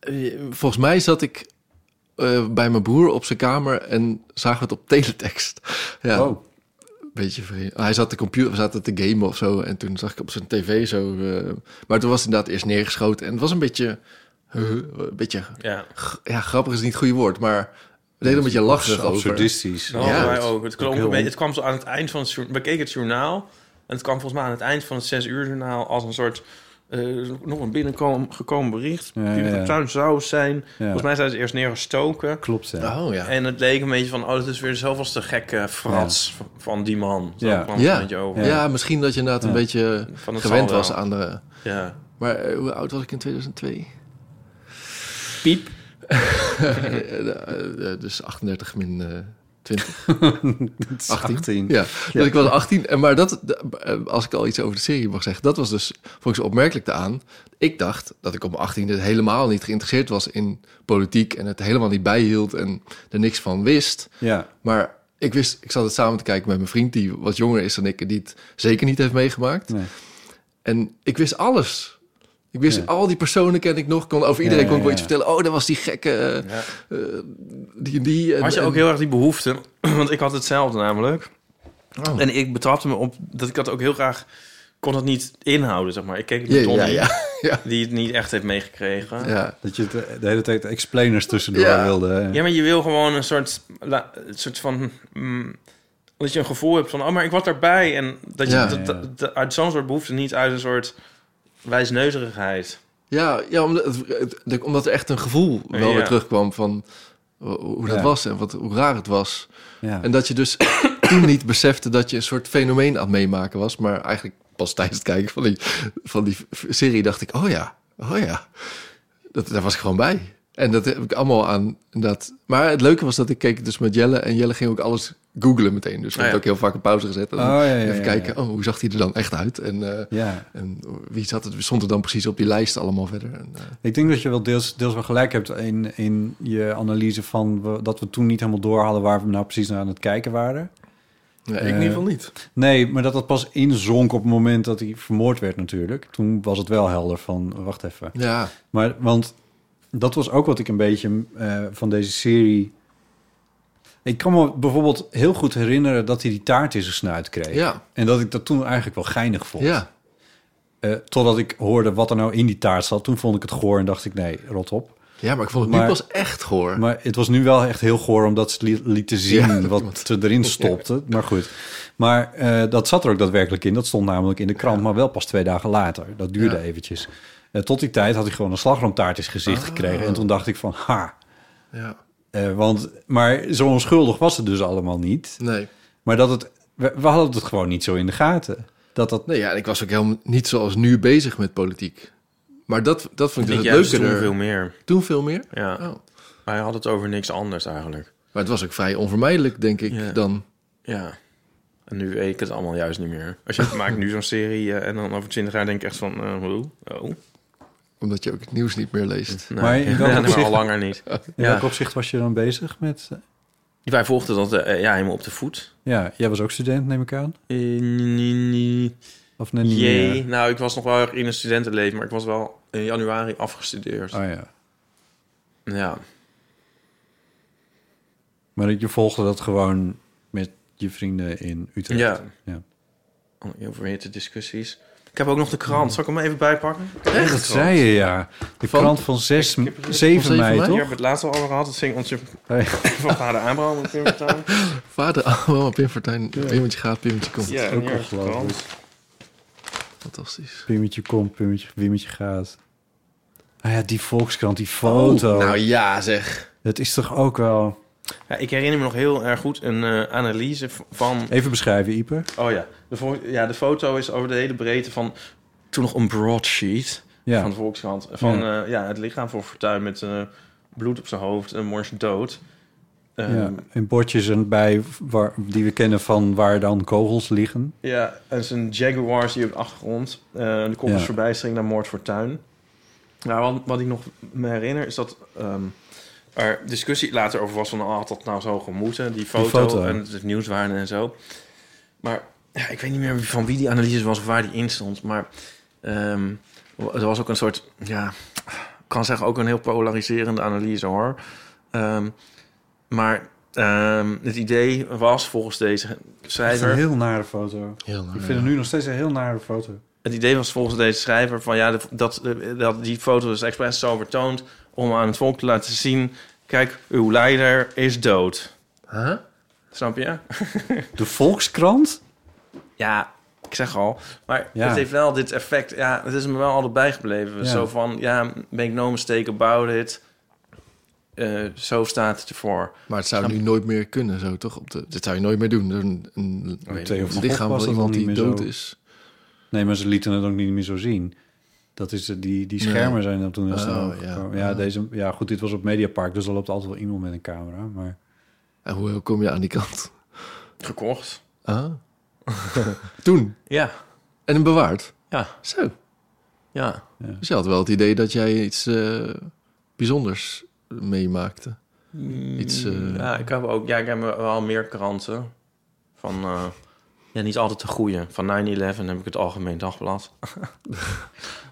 [SPEAKER 2] Eh, Volgens mij zat ik eh, bij mijn broer op zijn kamer en zagen we het op teletext. Ja,
[SPEAKER 3] Oh,
[SPEAKER 2] een beetje vreemd. Hij zat de computer, we zaten te gamen of zo en toen zag ik op zijn tv zo. eh, maar toen was het inderdaad eerst neergeschoten en het was een beetje, huh, een beetje,
[SPEAKER 4] Ja,
[SPEAKER 2] ja grappig is niet het goede woord, maar we deden een beetje lachen over.
[SPEAKER 3] absurdistisch.
[SPEAKER 4] dat
[SPEAKER 2] Ja,
[SPEAKER 4] hadden wij
[SPEAKER 2] het-
[SPEAKER 4] ook. Het, klonk
[SPEAKER 3] heel
[SPEAKER 4] een beetje- het kwam zo aan het eind van het journaal. We keken het journaal en het kwam volgens mij aan het eind van het zes uur journaal als een soort... eh, nog een binnengekomen bericht.
[SPEAKER 3] Ja,
[SPEAKER 4] die
[SPEAKER 3] ja, ja.
[SPEAKER 4] tuin zou zijn. Volgens mij zijn ze eerst neergestoken.
[SPEAKER 3] Klopt, hè?
[SPEAKER 2] Oh ja.
[SPEAKER 4] En het leek een beetje van, oh, dat is weer zoveelste gekke frats van- van die man. Zo
[SPEAKER 3] Ja.
[SPEAKER 4] kwam het een
[SPEAKER 2] Ja.
[SPEAKER 4] beetje
[SPEAKER 2] Ja.
[SPEAKER 4] over.
[SPEAKER 2] ja, misschien dat je inderdaad een
[SPEAKER 3] Ja.
[SPEAKER 2] beetje
[SPEAKER 4] Van het
[SPEAKER 2] gewend
[SPEAKER 4] zal wel.
[SPEAKER 2] was aan de...
[SPEAKER 4] Ja.
[SPEAKER 2] Maar eh, hoe oud was ik in 2002?
[SPEAKER 4] Piep.
[SPEAKER 2] Eh, eh, eh, dus 38 min eh, 20.
[SPEAKER 3] Het is
[SPEAKER 2] 18.
[SPEAKER 3] 18.
[SPEAKER 2] Ja, dus ik was 18. En Maar dat, d- eh, als ik al iets over de serie mag zeggen, dat was dus volgens opmerkelijk aan. Ik dacht dat ik op mijn 18e helemaal niet geïnteresseerd was in politiek en het helemaal niet bijhield en er niks van wist.
[SPEAKER 3] Ja.
[SPEAKER 2] Maar ik wist, ik zat het samen te kijken met mijn vriend die wat jonger is dan ik en die het zeker niet heeft meegemaakt.
[SPEAKER 3] Nee.
[SPEAKER 2] En ik wist alles. Ik wist
[SPEAKER 3] Ja.
[SPEAKER 2] al die personen ken ik nog. Kon, over iedereen
[SPEAKER 3] Ja,
[SPEAKER 2] kon ik wel
[SPEAKER 3] ja,
[SPEAKER 2] iets
[SPEAKER 3] ja.
[SPEAKER 2] vertellen. Oh, dat was die gekke. eh,
[SPEAKER 4] Ja.
[SPEAKER 2] eh, die en die. en-
[SPEAKER 4] Had je
[SPEAKER 2] en-
[SPEAKER 4] ook heel erg die behoefte? Want ik had hetzelfde namelijk.
[SPEAKER 2] Oh.
[SPEAKER 4] En ik betrapte me op dat ik dat ook heel graag kon het niet inhouden, zeg maar. Ik keek
[SPEAKER 2] Ja,
[SPEAKER 4] naar Tommy,
[SPEAKER 2] ja, ja.
[SPEAKER 4] die het niet echt heeft meegekregen. Ja.
[SPEAKER 2] ja.
[SPEAKER 3] Dat je eh, de, de hele tijd explainers tussendoor
[SPEAKER 2] Ja.
[SPEAKER 3] wilde. hè?
[SPEAKER 4] maar je wil gewoon een soort, la- een soort van... mm, dat je een gevoel hebt van, oh, maar ik was daarbij. En dat je
[SPEAKER 2] Ja.
[SPEAKER 4] dat, dat- dat- uit zo'n soort behoefte niet uit een soort wijsneuzerigheid.
[SPEAKER 2] Ja, ja omdat, het- het- omdat er echt een gevoel wel
[SPEAKER 4] Ja.
[SPEAKER 2] weer terugkwam van ho- hoe dat
[SPEAKER 3] Ja.
[SPEAKER 2] was en wat, hoe raar het was.
[SPEAKER 3] Ja.
[SPEAKER 2] En dat je dus toen niet besefte dat je een soort fenomeen aan het meemaken was. Maar eigenlijk pas tijdens het kijken van die, van die f- serie dacht ik, oh ja, oh ja. Dat, daar was ik gewoon bij. En dat heb ik allemaal aan. Dat. Maar het leuke was dat ik keek dus met Jelle. En Jelle ging ook alles googlen meteen. Dus we
[SPEAKER 4] Ah,
[SPEAKER 2] hebben
[SPEAKER 4] ja.
[SPEAKER 2] ook heel vaak een pauze gezet. En
[SPEAKER 3] Oh, ja, ja,
[SPEAKER 2] even
[SPEAKER 3] ja,
[SPEAKER 2] kijken, oh, hoe zag hij er dan echt uit? En, eh,
[SPEAKER 3] Ja.
[SPEAKER 2] en wie zat het, stond er dan precies op die lijst allemaal verder? En, eh,
[SPEAKER 3] Ik denk dat je wel deels, deels wel gelijk hebt in, in je analyse van we- dat we toen niet helemaal door hadden waar we nou precies naar aan het kijken waren.
[SPEAKER 2] Nee,
[SPEAKER 3] Eh,
[SPEAKER 2] niet.
[SPEAKER 3] Nee, maar dat dat pas inzonk op het moment dat hij vermoord werd natuurlijk. Toen was het wel helder van, wacht even.
[SPEAKER 2] Ja,
[SPEAKER 3] Maar, want dat was ook wat ik een beetje eh, van deze serie... Ik kan me bijvoorbeeld heel goed herinneren dat hij die taart in zijn snuit kreeg.
[SPEAKER 2] ja,
[SPEAKER 3] En dat ik dat toen eigenlijk wel geinig vond.
[SPEAKER 2] ja.
[SPEAKER 3] Eh, totdat ik hoorde wat er nou in die taart zat. Toen vond ik het goor en dacht ik, nee, rot op.
[SPEAKER 2] Ja, maar ik vond het
[SPEAKER 3] Maar-
[SPEAKER 2] nu pas echt goor.
[SPEAKER 3] Maar het was nu wel echt heel goor omdat ze li- lieten zien
[SPEAKER 2] Ja, dat
[SPEAKER 3] wat
[SPEAKER 2] iemand-
[SPEAKER 3] ze erin stopte. Maar goed. Maar eh, dat zat er ook daadwerkelijk in. Dat stond namelijk in de krant, maar wel pas twee dagen later. Dat duurde
[SPEAKER 2] Ja.
[SPEAKER 3] eventjes. Eh, tot die tijd had ik gewoon een slagroomtaart in zijn gezicht
[SPEAKER 2] Ah.
[SPEAKER 3] gekregen. En toen dacht ik van, ha.
[SPEAKER 2] ja.
[SPEAKER 3] Eh, want, maar zo onschuldig was het dus allemaal niet.
[SPEAKER 2] Nee.
[SPEAKER 3] Maar dat het, we, we hadden het gewoon niet zo in de gaten. Dat dat
[SPEAKER 2] nee, ja, en ik was ook helemaal niet zoals nu bezig met politiek. Maar dat, dat vond
[SPEAKER 4] Ik
[SPEAKER 2] ik dus
[SPEAKER 4] denk
[SPEAKER 2] het
[SPEAKER 4] juist
[SPEAKER 2] leuke
[SPEAKER 4] toen
[SPEAKER 2] er.
[SPEAKER 4] veel meer.
[SPEAKER 2] Toen veel meer?
[SPEAKER 4] Ja.
[SPEAKER 2] Oh.
[SPEAKER 4] Maar hij had het over niks anders eigenlijk.
[SPEAKER 2] Maar het was ook vrij onvermijdelijk, denk ik,
[SPEAKER 4] Ja.
[SPEAKER 2] dan.
[SPEAKER 4] Ja. En nu weet ik het allemaal juist niet meer. Als je maakt nu zo'n serie eh, en dan over 20 jaar denk ik echt van... eh, hoe? oh,
[SPEAKER 2] Omdat je ook het nieuws niet meer leest.
[SPEAKER 4] nee.
[SPEAKER 3] Maar in welk
[SPEAKER 4] Ja, nee,
[SPEAKER 3] opzicht-
[SPEAKER 4] al langer niet.
[SPEAKER 3] In
[SPEAKER 4] Ja.
[SPEAKER 3] welk opzicht was je dan bezig met... eh,
[SPEAKER 4] Wij volgden dat eh, ja, helemaal op de voet.
[SPEAKER 3] Ja, jij was ook student, neem ik aan?
[SPEAKER 4] Eh, nee, nee.
[SPEAKER 3] Of nee, niet
[SPEAKER 4] Jee.
[SPEAKER 3] meer?
[SPEAKER 4] Nou, ik was nog wel erg in een studentenleven, maar ik was wel in januari afgestudeerd.
[SPEAKER 3] Oh ja.
[SPEAKER 4] Ja.
[SPEAKER 3] Maar je volgde dat gewoon met je vrienden in Utrecht?
[SPEAKER 4] Ja. Oh,
[SPEAKER 3] Ja.
[SPEAKER 4] Allemaal Overhitte discussies. Ik heb ook nog de krant. Zal ik hem even bijpakken?
[SPEAKER 3] Echt? Dat zei je, ja. De
[SPEAKER 2] Van-
[SPEAKER 3] krant van 6,
[SPEAKER 4] heb-
[SPEAKER 3] 7
[SPEAKER 2] van 7
[SPEAKER 3] mei,
[SPEAKER 2] mei?
[SPEAKER 4] Hier
[SPEAKER 3] toch? Oh
[SPEAKER 4] hebben we het laatst al over gehad. Dat zing onze
[SPEAKER 3] Hey.
[SPEAKER 4] van vader Abraham. in Pimpertuin.
[SPEAKER 2] Vader, allemaal Pim Fortuyn. Pimmetje gaat, Pimmetje komt.
[SPEAKER 4] Ja,
[SPEAKER 3] ook
[SPEAKER 4] hier is de
[SPEAKER 3] ongelooflijk.
[SPEAKER 4] krant.
[SPEAKER 2] Fantastisch.
[SPEAKER 3] Pimmetje komt, pimmetje, wimmetje gaat. Ah ja, die Volkskrant, die foto.
[SPEAKER 1] Oh,
[SPEAKER 2] Nou ja, zeg.
[SPEAKER 3] Dat is toch ook wel...
[SPEAKER 4] Ja, ik herinner me nog heel erg goed een eh, analyse v- van...
[SPEAKER 3] Even beschrijven, Ieper.
[SPEAKER 4] Oh ja de, vo- ja, de foto is over de hele breedte van... Toen nog een broadsheet
[SPEAKER 3] Ja.
[SPEAKER 4] van de Volkskrant. Van eh, ja. het lichaam voor Fortuyn met eh, bloed op zijn hoofd en mors dood. Ehm,
[SPEAKER 3] Ja, en bordjes erbij waar, die we kennen van waar dan kogels liggen.
[SPEAKER 4] Ja, en zijn Jaguars die op de achtergrond. eh de koppels
[SPEAKER 3] Ja.
[SPEAKER 4] verbijstering naar Moord voor Tuin. Nou, wat, wat ik nog me herinner is dat ehm, er discussie later over was van... ah, had dat nou zo gemoeten, die foto,
[SPEAKER 3] foto.
[SPEAKER 4] en het nieuwswaarde en zo. Maar ja, ik weet niet meer van wie die analyse was of waar die in stond. Maar ehm, er was ook een soort, ja, ik kan zeggen ook een heel polariserende analyse hoor. Ehm, maar ehm, het idee was volgens deze
[SPEAKER 3] Dat is een
[SPEAKER 4] schrijver...
[SPEAKER 3] heel nare foto. Ik vind het nu nog steeds een heel nare foto.
[SPEAKER 4] Het idee was volgens deze schrijver van ja, de- dat, eh, dat die foto is expres zo vertoond om aan het volk te laten zien: kijk, uw leider is dood.
[SPEAKER 2] Huh?
[SPEAKER 4] Snap je?
[SPEAKER 3] De Volkskrant?
[SPEAKER 4] Ja, ik zeg al. Maar
[SPEAKER 3] Ja.
[SPEAKER 4] het heeft wel dit effect. Ja, het is me wel altijd bijgebleven.
[SPEAKER 3] Ja.
[SPEAKER 4] Zo van ja, make no mistake about it. Eh, zo staat het ervoor.
[SPEAKER 2] Maar het zou nu nooit meer kunnen, zo toch? Op de, dit zou je nooit meer doen. Een, een,
[SPEAKER 4] Weet
[SPEAKER 2] het
[SPEAKER 3] Theo van Gogh
[SPEAKER 2] lichaam
[SPEAKER 3] was
[SPEAKER 2] van
[SPEAKER 3] dat
[SPEAKER 2] iemand
[SPEAKER 3] dan
[SPEAKER 2] die
[SPEAKER 3] niet meer
[SPEAKER 2] dood
[SPEAKER 3] zo.
[SPEAKER 2] is.
[SPEAKER 3] Nee, maar ze lieten het ook niet meer zo zien. Dat is eh, die, die schermen
[SPEAKER 2] Nee.
[SPEAKER 3] zijn dat toen heel snel
[SPEAKER 2] Oh,
[SPEAKER 3] opgekomen.
[SPEAKER 2] ja.
[SPEAKER 3] Ja, deze, ja, goed, dit was op Mediapark, dus er loopt altijd wel iemand met een camera. Maar
[SPEAKER 2] En hoe, hoe kom je aan die kant?
[SPEAKER 4] Gekocht.
[SPEAKER 2] Ah. Toen.
[SPEAKER 4] Ja,
[SPEAKER 2] En hem bewaard.
[SPEAKER 4] ja,
[SPEAKER 2] Zo.
[SPEAKER 4] ja.
[SPEAKER 2] Dus je had wel het idee dat jij iets eh, bijzonders meemaakte. Iets, eh,
[SPEAKER 4] Mm, Ja, ik heb ook. Ja, ik heb wel meer kranten. Van. eh, ja, niet altijd de goede. Van 9-11 heb ik het Algemeen Dagblad.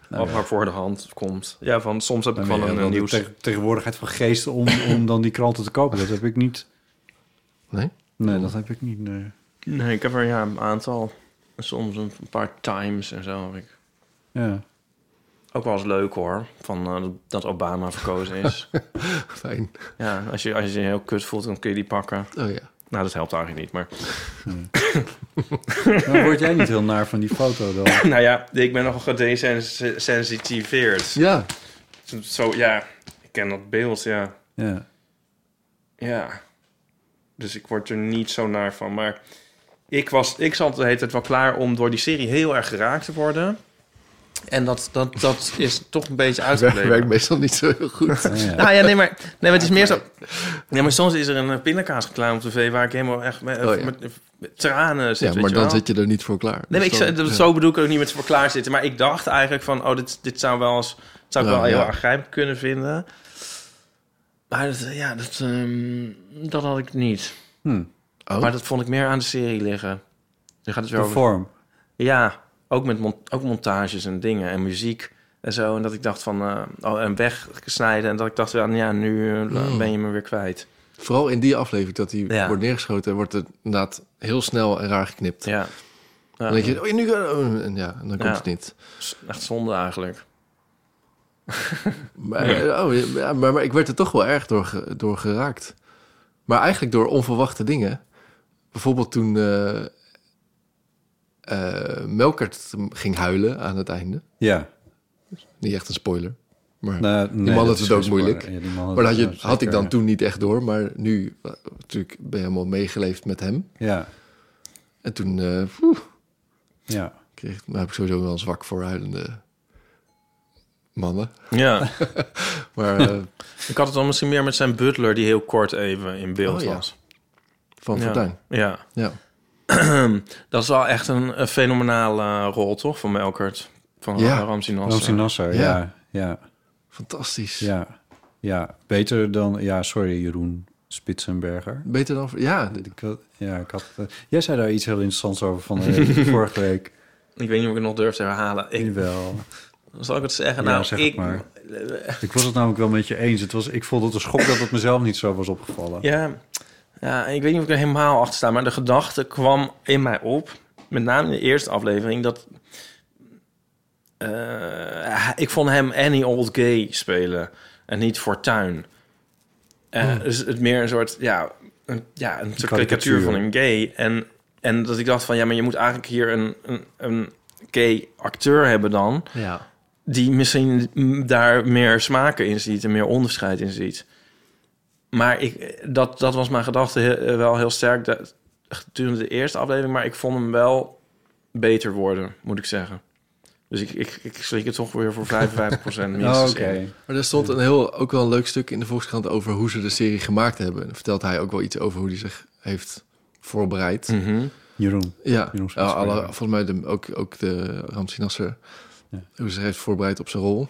[SPEAKER 4] Wat maar voor de hand komt. Ja, van soms heb ik
[SPEAKER 3] Dan
[SPEAKER 4] van
[SPEAKER 3] weer,
[SPEAKER 4] een
[SPEAKER 3] eh, wel
[SPEAKER 4] eh,
[SPEAKER 3] de
[SPEAKER 4] nieuws.
[SPEAKER 3] teg- tegenwoordigheid van geesten om, om dan die kranten te kopen. Dat heb ik niet.
[SPEAKER 2] Nee?
[SPEAKER 3] Nee, dat heb ik niet. nee.
[SPEAKER 4] Nee, ik heb er ja, een aantal. Soms een paar times en zo heb ik.
[SPEAKER 3] Ja.
[SPEAKER 4] Ook wel eens leuk hoor. Van eh, dat Obama verkozen is.
[SPEAKER 2] Fijn.
[SPEAKER 4] ja, als je, als je je heel kut voelt, dan kun je die pakken.
[SPEAKER 2] Oh ja.
[SPEAKER 4] Nou, dat helpt eigenlijk niet. Maar
[SPEAKER 3] Dan Nou, word jij niet heel naar van die foto dan.
[SPEAKER 4] nou ja, ik ben nogal gedesensitiveerd.
[SPEAKER 2] Ja.
[SPEAKER 4] Zo, ja, ik ken dat beeld, ja.
[SPEAKER 3] Ja.
[SPEAKER 4] Ja. Dus ik word er niet zo naar van. Maar ik, was, ik zat de hele tijd wel klaar om door die serie heel erg geraakt te worden. En dat, dat, dat is toch een beetje
[SPEAKER 2] Werkt, werkt
[SPEAKER 4] uitgebleven.
[SPEAKER 2] meestal niet zo heel goed.
[SPEAKER 3] Ah, ja.
[SPEAKER 4] Nou ja, nee, maar, nee, maar het is meer zo... Nee, maar soms is er een eh, pindakaasreclame op tv waar ik helemaal echt met,
[SPEAKER 2] Oh, ja.
[SPEAKER 4] met, met tranen zit,
[SPEAKER 2] Ja,
[SPEAKER 4] weet
[SPEAKER 2] maar
[SPEAKER 4] je
[SPEAKER 2] dan
[SPEAKER 4] wel.
[SPEAKER 2] zit je er niet voor klaar.
[SPEAKER 4] Nee, maar
[SPEAKER 2] Dus
[SPEAKER 4] ik,
[SPEAKER 2] dan-
[SPEAKER 4] zei- dat-
[SPEAKER 2] ja.
[SPEAKER 4] zo bedoel ik ook niet met voor klaar zitten. Maar ik dacht eigenlijk van, oh, dit, dit zou wel eens, zou ik
[SPEAKER 2] Ja,
[SPEAKER 4] wel heel
[SPEAKER 2] ja.
[SPEAKER 4] aangrijpend kunnen vinden. Maar dat, eh, ja, dat, ehm, dat had ik niet.
[SPEAKER 3] Hm.
[SPEAKER 2] Oh.
[SPEAKER 4] Maar dat vond ik meer aan de serie liggen. Nu gaat het weer
[SPEAKER 3] De
[SPEAKER 4] over.
[SPEAKER 3] vorm.
[SPEAKER 4] Ja, ook met mon- ook montages en dingen en muziek en zo. En dat ik dacht van, eh, oh, en weggesnijden. En dat ik dacht, ja, nou ja nu eh,
[SPEAKER 2] Mm.
[SPEAKER 4] ben je me weer kwijt.
[SPEAKER 2] Vooral in die aflevering dat hij
[SPEAKER 4] Ja.
[SPEAKER 2] wordt neergeschoten... en wordt het inderdaad heel snel en raar geknipt.
[SPEAKER 4] Ja. Ja,
[SPEAKER 2] Dan denk je, oh, nu... oh, En ja, en dan komt
[SPEAKER 4] Ja.
[SPEAKER 2] het niet.
[SPEAKER 4] Echt zonde eigenlijk.
[SPEAKER 2] Maar, oh, ja, maar, maar ik werd er toch wel erg door, ge- door geraakt. Maar eigenlijk door onverwachte dingen. Bijvoorbeeld toen eh eh, Melkert ging huilen aan het einde.
[SPEAKER 3] Ja.
[SPEAKER 2] Niet echt een spoiler. Maar,
[SPEAKER 3] Nou, nee,
[SPEAKER 2] man had
[SPEAKER 3] dat
[SPEAKER 2] het ook
[SPEAKER 3] geen spoiler.
[SPEAKER 2] moeilijk.
[SPEAKER 3] Ja, die man
[SPEAKER 2] maar dat had,
[SPEAKER 3] het
[SPEAKER 2] je,
[SPEAKER 3] ook
[SPEAKER 2] had ik
[SPEAKER 3] zeker,
[SPEAKER 2] dan toen niet echt door. Maar nu eh, natuurlijk ben je helemaal meegeleefd met hem.
[SPEAKER 3] Ja.
[SPEAKER 2] En toen eh, poeh,
[SPEAKER 3] Ja.
[SPEAKER 2] kreeg, nou heb ik sowieso wel een zwak voor huilende mannen.
[SPEAKER 4] Ja,
[SPEAKER 2] Maar eh,
[SPEAKER 4] ik had het dan misschien meer met zijn butler... die heel kort even in beeld
[SPEAKER 2] Oh, ja.
[SPEAKER 4] was.
[SPEAKER 2] van
[SPEAKER 4] Ja.
[SPEAKER 2] Fortuyn.
[SPEAKER 4] Ja.
[SPEAKER 2] Ja.
[SPEAKER 4] Dat is wel echt een, een fenomenale eh, rol, toch? Van Melkert. Van
[SPEAKER 2] Ja.
[SPEAKER 4] Ramsey Nasser.
[SPEAKER 3] Ramsey Nasser,
[SPEAKER 2] eh, Ja.
[SPEAKER 3] ja. Ja.
[SPEAKER 2] fantastisch.
[SPEAKER 3] Ja. Ja. Beter dan... Ja, sorry Jeroen Spitsenberger.
[SPEAKER 2] Beter dan... Ja,
[SPEAKER 3] Ik wil- Ja, ik had, eh, jij zei daar iets heel interessants over van eh, vorige week.
[SPEAKER 4] Ik weet niet of ik het nog durf te herhalen. Ik,
[SPEAKER 3] Jawel.
[SPEAKER 4] zal ik het zeggen?
[SPEAKER 3] Ja,
[SPEAKER 4] nou,
[SPEAKER 3] zeg het
[SPEAKER 4] ik...
[SPEAKER 3] maar. Ik was het namelijk wel met je eens. Het was, ik vond het een schok dat het mezelf niet zo was opgevallen.
[SPEAKER 4] Ja, ja, ik weet niet of ik er helemaal achter sta... maar de gedachte kwam in mij op... met name in de eerste aflevering... dat... eh, ik vond hem Any Old Gay spelen... en niet Fortuin. Eh, Dus het meer een soort... Ja, een, ja, een soort karikatuur
[SPEAKER 3] Karikatuur.
[SPEAKER 4] van een gay. En, en dat ik dacht van... ja, maar je moet eigenlijk hier een, een, een gay acteur hebben dan...
[SPEAKER 2] ja.
[SPEAKER 4] die misschien mm, daar meer smaken in ziet en meer onderscheid in ziet. Maar ik, dat, dat was mijn gedachte he- eh, wel heel sterk dat- gedurende de eerste aflevering. Maar ik vond hem wel beter worden, moet ik zeggen. Dus ik, ik, ik slik het toch weer voor 55% minstens
[SPEAKER 3] Oh,
[SPEAKER 4] in.
[SPEAKER 3] Oké.
[SPEAKER 2] Maar er stond een heel, ook wel een leuk stuk in de Volkskrant over hoe ze de serie gemaakt hebben. En daar vertelt hij ook wel iets over hoe hij zich heeft voorbereid.
[SPEAKER 4] Mhm.
[SPEAKER 3] Jeroen.
[SPEAKER 2] Ja, ja,
[SPEAKER 3] Jeroen Spitsbergen.
[SPEAKER 2] alle, volgens mij de, ook, ook de Ramsi Nasser.
[SPEAKER 3] Ja.
[SPEAKER 2] Hoe ze zich heeft voorbereid op zijn rol.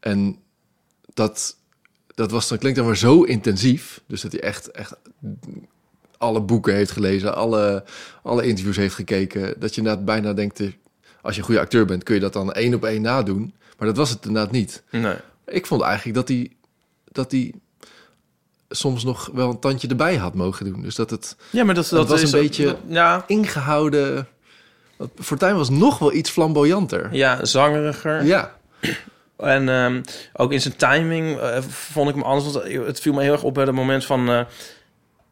[SPEAKER 2] En dat, dat was dan, klinkt dan maar zo intensief. Dus dat hij echt, echt alle boeken heeft gelezen, alle, alle interviews heeft gekeken. Dat je inderdaad bijna denkt, eh, als je een goede acteur bent, kun je dat dan één op één nadoen. Maar dat was het inderdaad niet.
[SPEAKER 4] Nee.
[SPEAKER 2] Ik vond eigenlijk dat hij, dat hij soms nog wel een tandje erbij had mogen doen. Dus dat het
[SPEAKER 4] Ja, maar dat, dat,
[SPEAKER 2] was
[SPEAKER 4] is
[SPEAKER 2] een beetje-
[SPEAKER 4] ja,
[SPEAKER 2] ingehouden... Want Fortuyn was nog wel iets flamboyanter.
[SPEAKER 4] ja, zangeriger.
[SPEAKER 2] Ja,
[SPEAKER 4] En ehm, ook in zijn timing eh, vond ik hem anders. Want het viel me heel erg op bij het moment van... eh,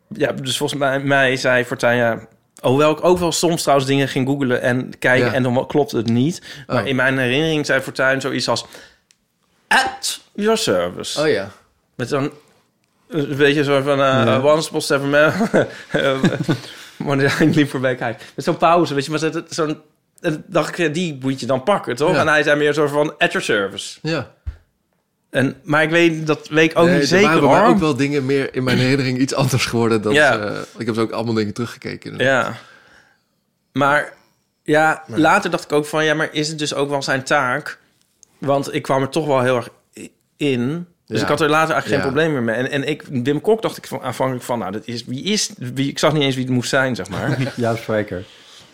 [SPEAKER 4] ja, dus volgens mij, mij zei Fortuyn... Ja, hoewel ik ook wel soms trouwens dingen ging googlen en kijken...
[SPEAKER 2] Ja.
[SPEAKER 4] en dan klopt het niet. Maar
[SPEAKER 2] Oh.
[SPEAKER 4] in mijn herinnering zei Fortuyn zoiets als... At your service.
[SPEAKER 2] oh ja.
[SPEAKER 4] Met zo'n... Een beetje zo van... eh One spot seven man. Maar hij liep voorbij kijken. Met zo'n pauze, weet je. Maar zo- zo'n... en dacht ik, ja, die moet je dan pakken, toch?
[SPEAKER 2] Ja.
[SPEAKER 4] En hij zei meer zo van... At your service.
[SPEAKER 2] ja.
[SPEAKER 4] En, maar ik weet, dat weet ik ook
[SPEAKER 2] Nee,
[SPEAKER 4] niet
[SPEAKER 2] er
[SPEAKER 4] Oh, zeker
[SPEAKER 2] waren bij mij
[SPEAKER 4] hoor.
[SPEAKER 2] ook wel dingen meer in mijn herinnering iets anders geworden. Dan,
[SPEAKER 4] Ja.
[SPEAKER 2] eh, ik heb ze ook allemaal dingen teruggekeken.
[SPEAKER 4] Ja. Maar ja, later dacht ik ook van ja, maar is het dus ook wel zijn taak? Want ik kwam er toch wel heel erg i- in. Dus
[SPEAKER 2] Ja.
[SPEAKER 4] ik had er later eigenlijk geen
[SPEAKER 2] Ja.
[SPEAKER 4] probleem meer mee. En, en ik, Wim Kok dacht ik van, aanvankelijk van, nou, dat is, wie is, wie, ik zag niet eens wie het moest zijn, zeg maar.
[SPEAKER 3] Ja, Spreker.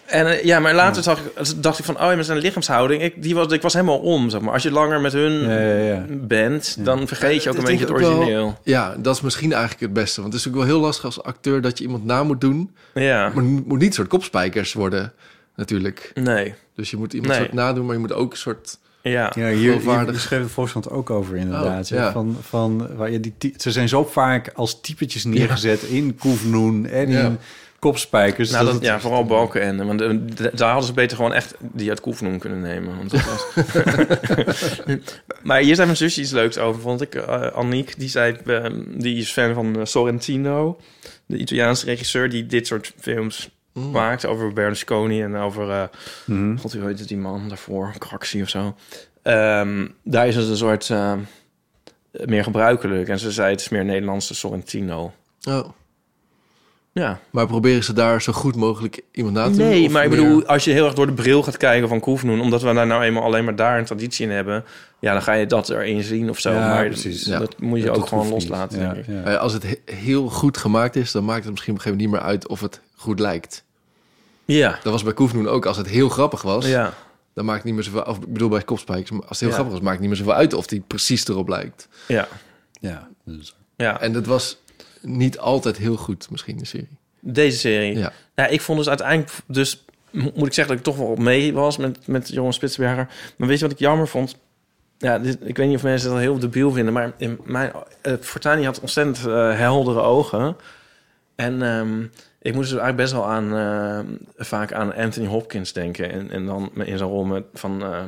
[SPEAKER 4] En eh, ja, maar later zag ik, dacht ik van, oh ja, maar zijn lichaamshouding, ik, die was, ik was helemaal om, zeg maar. Als je langer met hun
[SPEAKER 3] Ja, ja, ja.
[SPEAKER 4] bent, dan vergeet je ook
[SPEAKER 2] Ja,
[SPEAKER 4] een
[SPEAKER 2] dat
[SPEAKER 4] beetje het
[SPEAKER 2] denk ik ook wel.
[SPEAKER 4] origineel.
[SPEAKER 2] Ja, dat is misschien eigenlijk het beste. Want het is natuurlijk wel heel lastig als acteur dat je iemand na moet doen.
[SPEAKER 4] Ja,
[SPEAKER 2] Maar het moet niet een soort kopspijkers worden, natuurlijk.
[SPEAKER 4] nee,
[SPEAKER 2] Dus je moet iemand
[SPEAKER 4] Nee.
[SPEAKER 2] soort nadoen, maar je moet ook een soort...
[SPEAKER 4] ja.
[SPEAKER 3] Ja, hier, hier,
[SPEAKER 2] Geloofwaardig.
[SPEAKER 3] schreef de Volkskrant ook over inderdaad.
[SPEAKER 2] Oh,
[SPEAKER 3] hè,
[SPEAKER 2] ja.
[SPEAKER 3] van, van, waar je die, ty- ze zijn zo vaak als typetjes neergezet in Koefnoen en
[SPEAKER 2] Ja.
[SPEAKER 3] in kopspijkers.
[SPEAKER 4] Nou,
[SPEAKER 3] Dus dat
[SPEAKER 4] dat, ja, vooral balken en. Want eh, d- daar hadden ze beter gewoon echt die uit Koefnoen kunnen nemen. Want dat was... maar hier zei mijn zusje iets leuks over, vond ik. eh Aniek, die, zei, eh, die is fan van eh, Sorrentino. De Italiaanse regisseur die dit soort films maakt. Over Berlusconi en over... eh,
[SPEAKER 3] Mhm.
[SPEAKER 4] God, hoe heet het die man daarvoor? Craxi of zo. Ehm, daar is het een soort... eh, meer gebruikelijk. En ze zei, het is meer Nederlandse Sorrentino.
[SPEAKER 2] Oh.
[SPEAKER 4] Ja,
[SPEAKER 2] Maar proberen ze daar zo goed mogelijk iemand na te doen?
[SPEAKER 4] Nee,
[SPEAKER 2] Of
[SPEAKER 4] maar ik
[SPEAKER 2] meer-
[SPEAKER 4] bedoel, als je heel erg door de bril gaat kijken van Koefnoen... omdat we daar nou eenmaal alleen maar daar een traditie in hebben... ja, dan ga je dat erin zien of zo.
[SPEAKER 3] Ja,
[SPEAKER 4] maar
[SPEAKER 3] precies.
[SPEAKER 4] dat
[SPEAKER 2] Ja.
[SPEAKER 4] moet je
[SPEAKER 3] dat
[SPEAKER 4] ook gewoon
[SPEAKER 3] hoeft niet.
[SPEAKER 4] loslaten,
[SPEAKER 3] Ja,
[SPEAKER 4] denk ik.
[SPEAKER 3] ja.
[SPEAKER 2] Eh, als het he- heel goed gemaakt is, dan maakt het misschien op een gegeven moment niet meer uit of het goed lijkt.
[SPEAKER 4] Ja,
[SPEAKER 2] Dat was bij Koefnoen ook. Als het heel grappig was,
[SPEAKER 4] ja.
[SPEAKER 2] dan maakt het niet meer zoveel... Of, ik bedoel, bij Kopspijkers, maar als het heel
[SPEAKER 4] Ja.
[SPEAKER 2] grappig was, maakt het niet meer zoveel uit of die precies erop lijkt.
[SPEAKER 4] ja.
[SPEAKER 3] Ja, dus-
[SPEAKER 4] ja.
[SPEAKER 2] En dat was niet altijd heel goed, misschien, de serie.
[SPEAKER 4] Deze serie.
[SPEAKER 2] Ja.
[SPEAKER 4] Ja, ik vond dus uiteindelijk... Dus mo- moet ik zeggen dat ik toch wel op mee was met, met Johan Spitsberger. Maar weet je wat ik jammer vond? Ja, dit- ik weet niet of mensen dat heel debiel vinden... maar in mijn, eh Fortuyn die had ontzettend eh, heldere ogen. En ehm, ik moest dus eigenlijk best wel aan... eh, vaak aan Anthony Hopkins denken. En, en dan in zijn rol met, van... eh,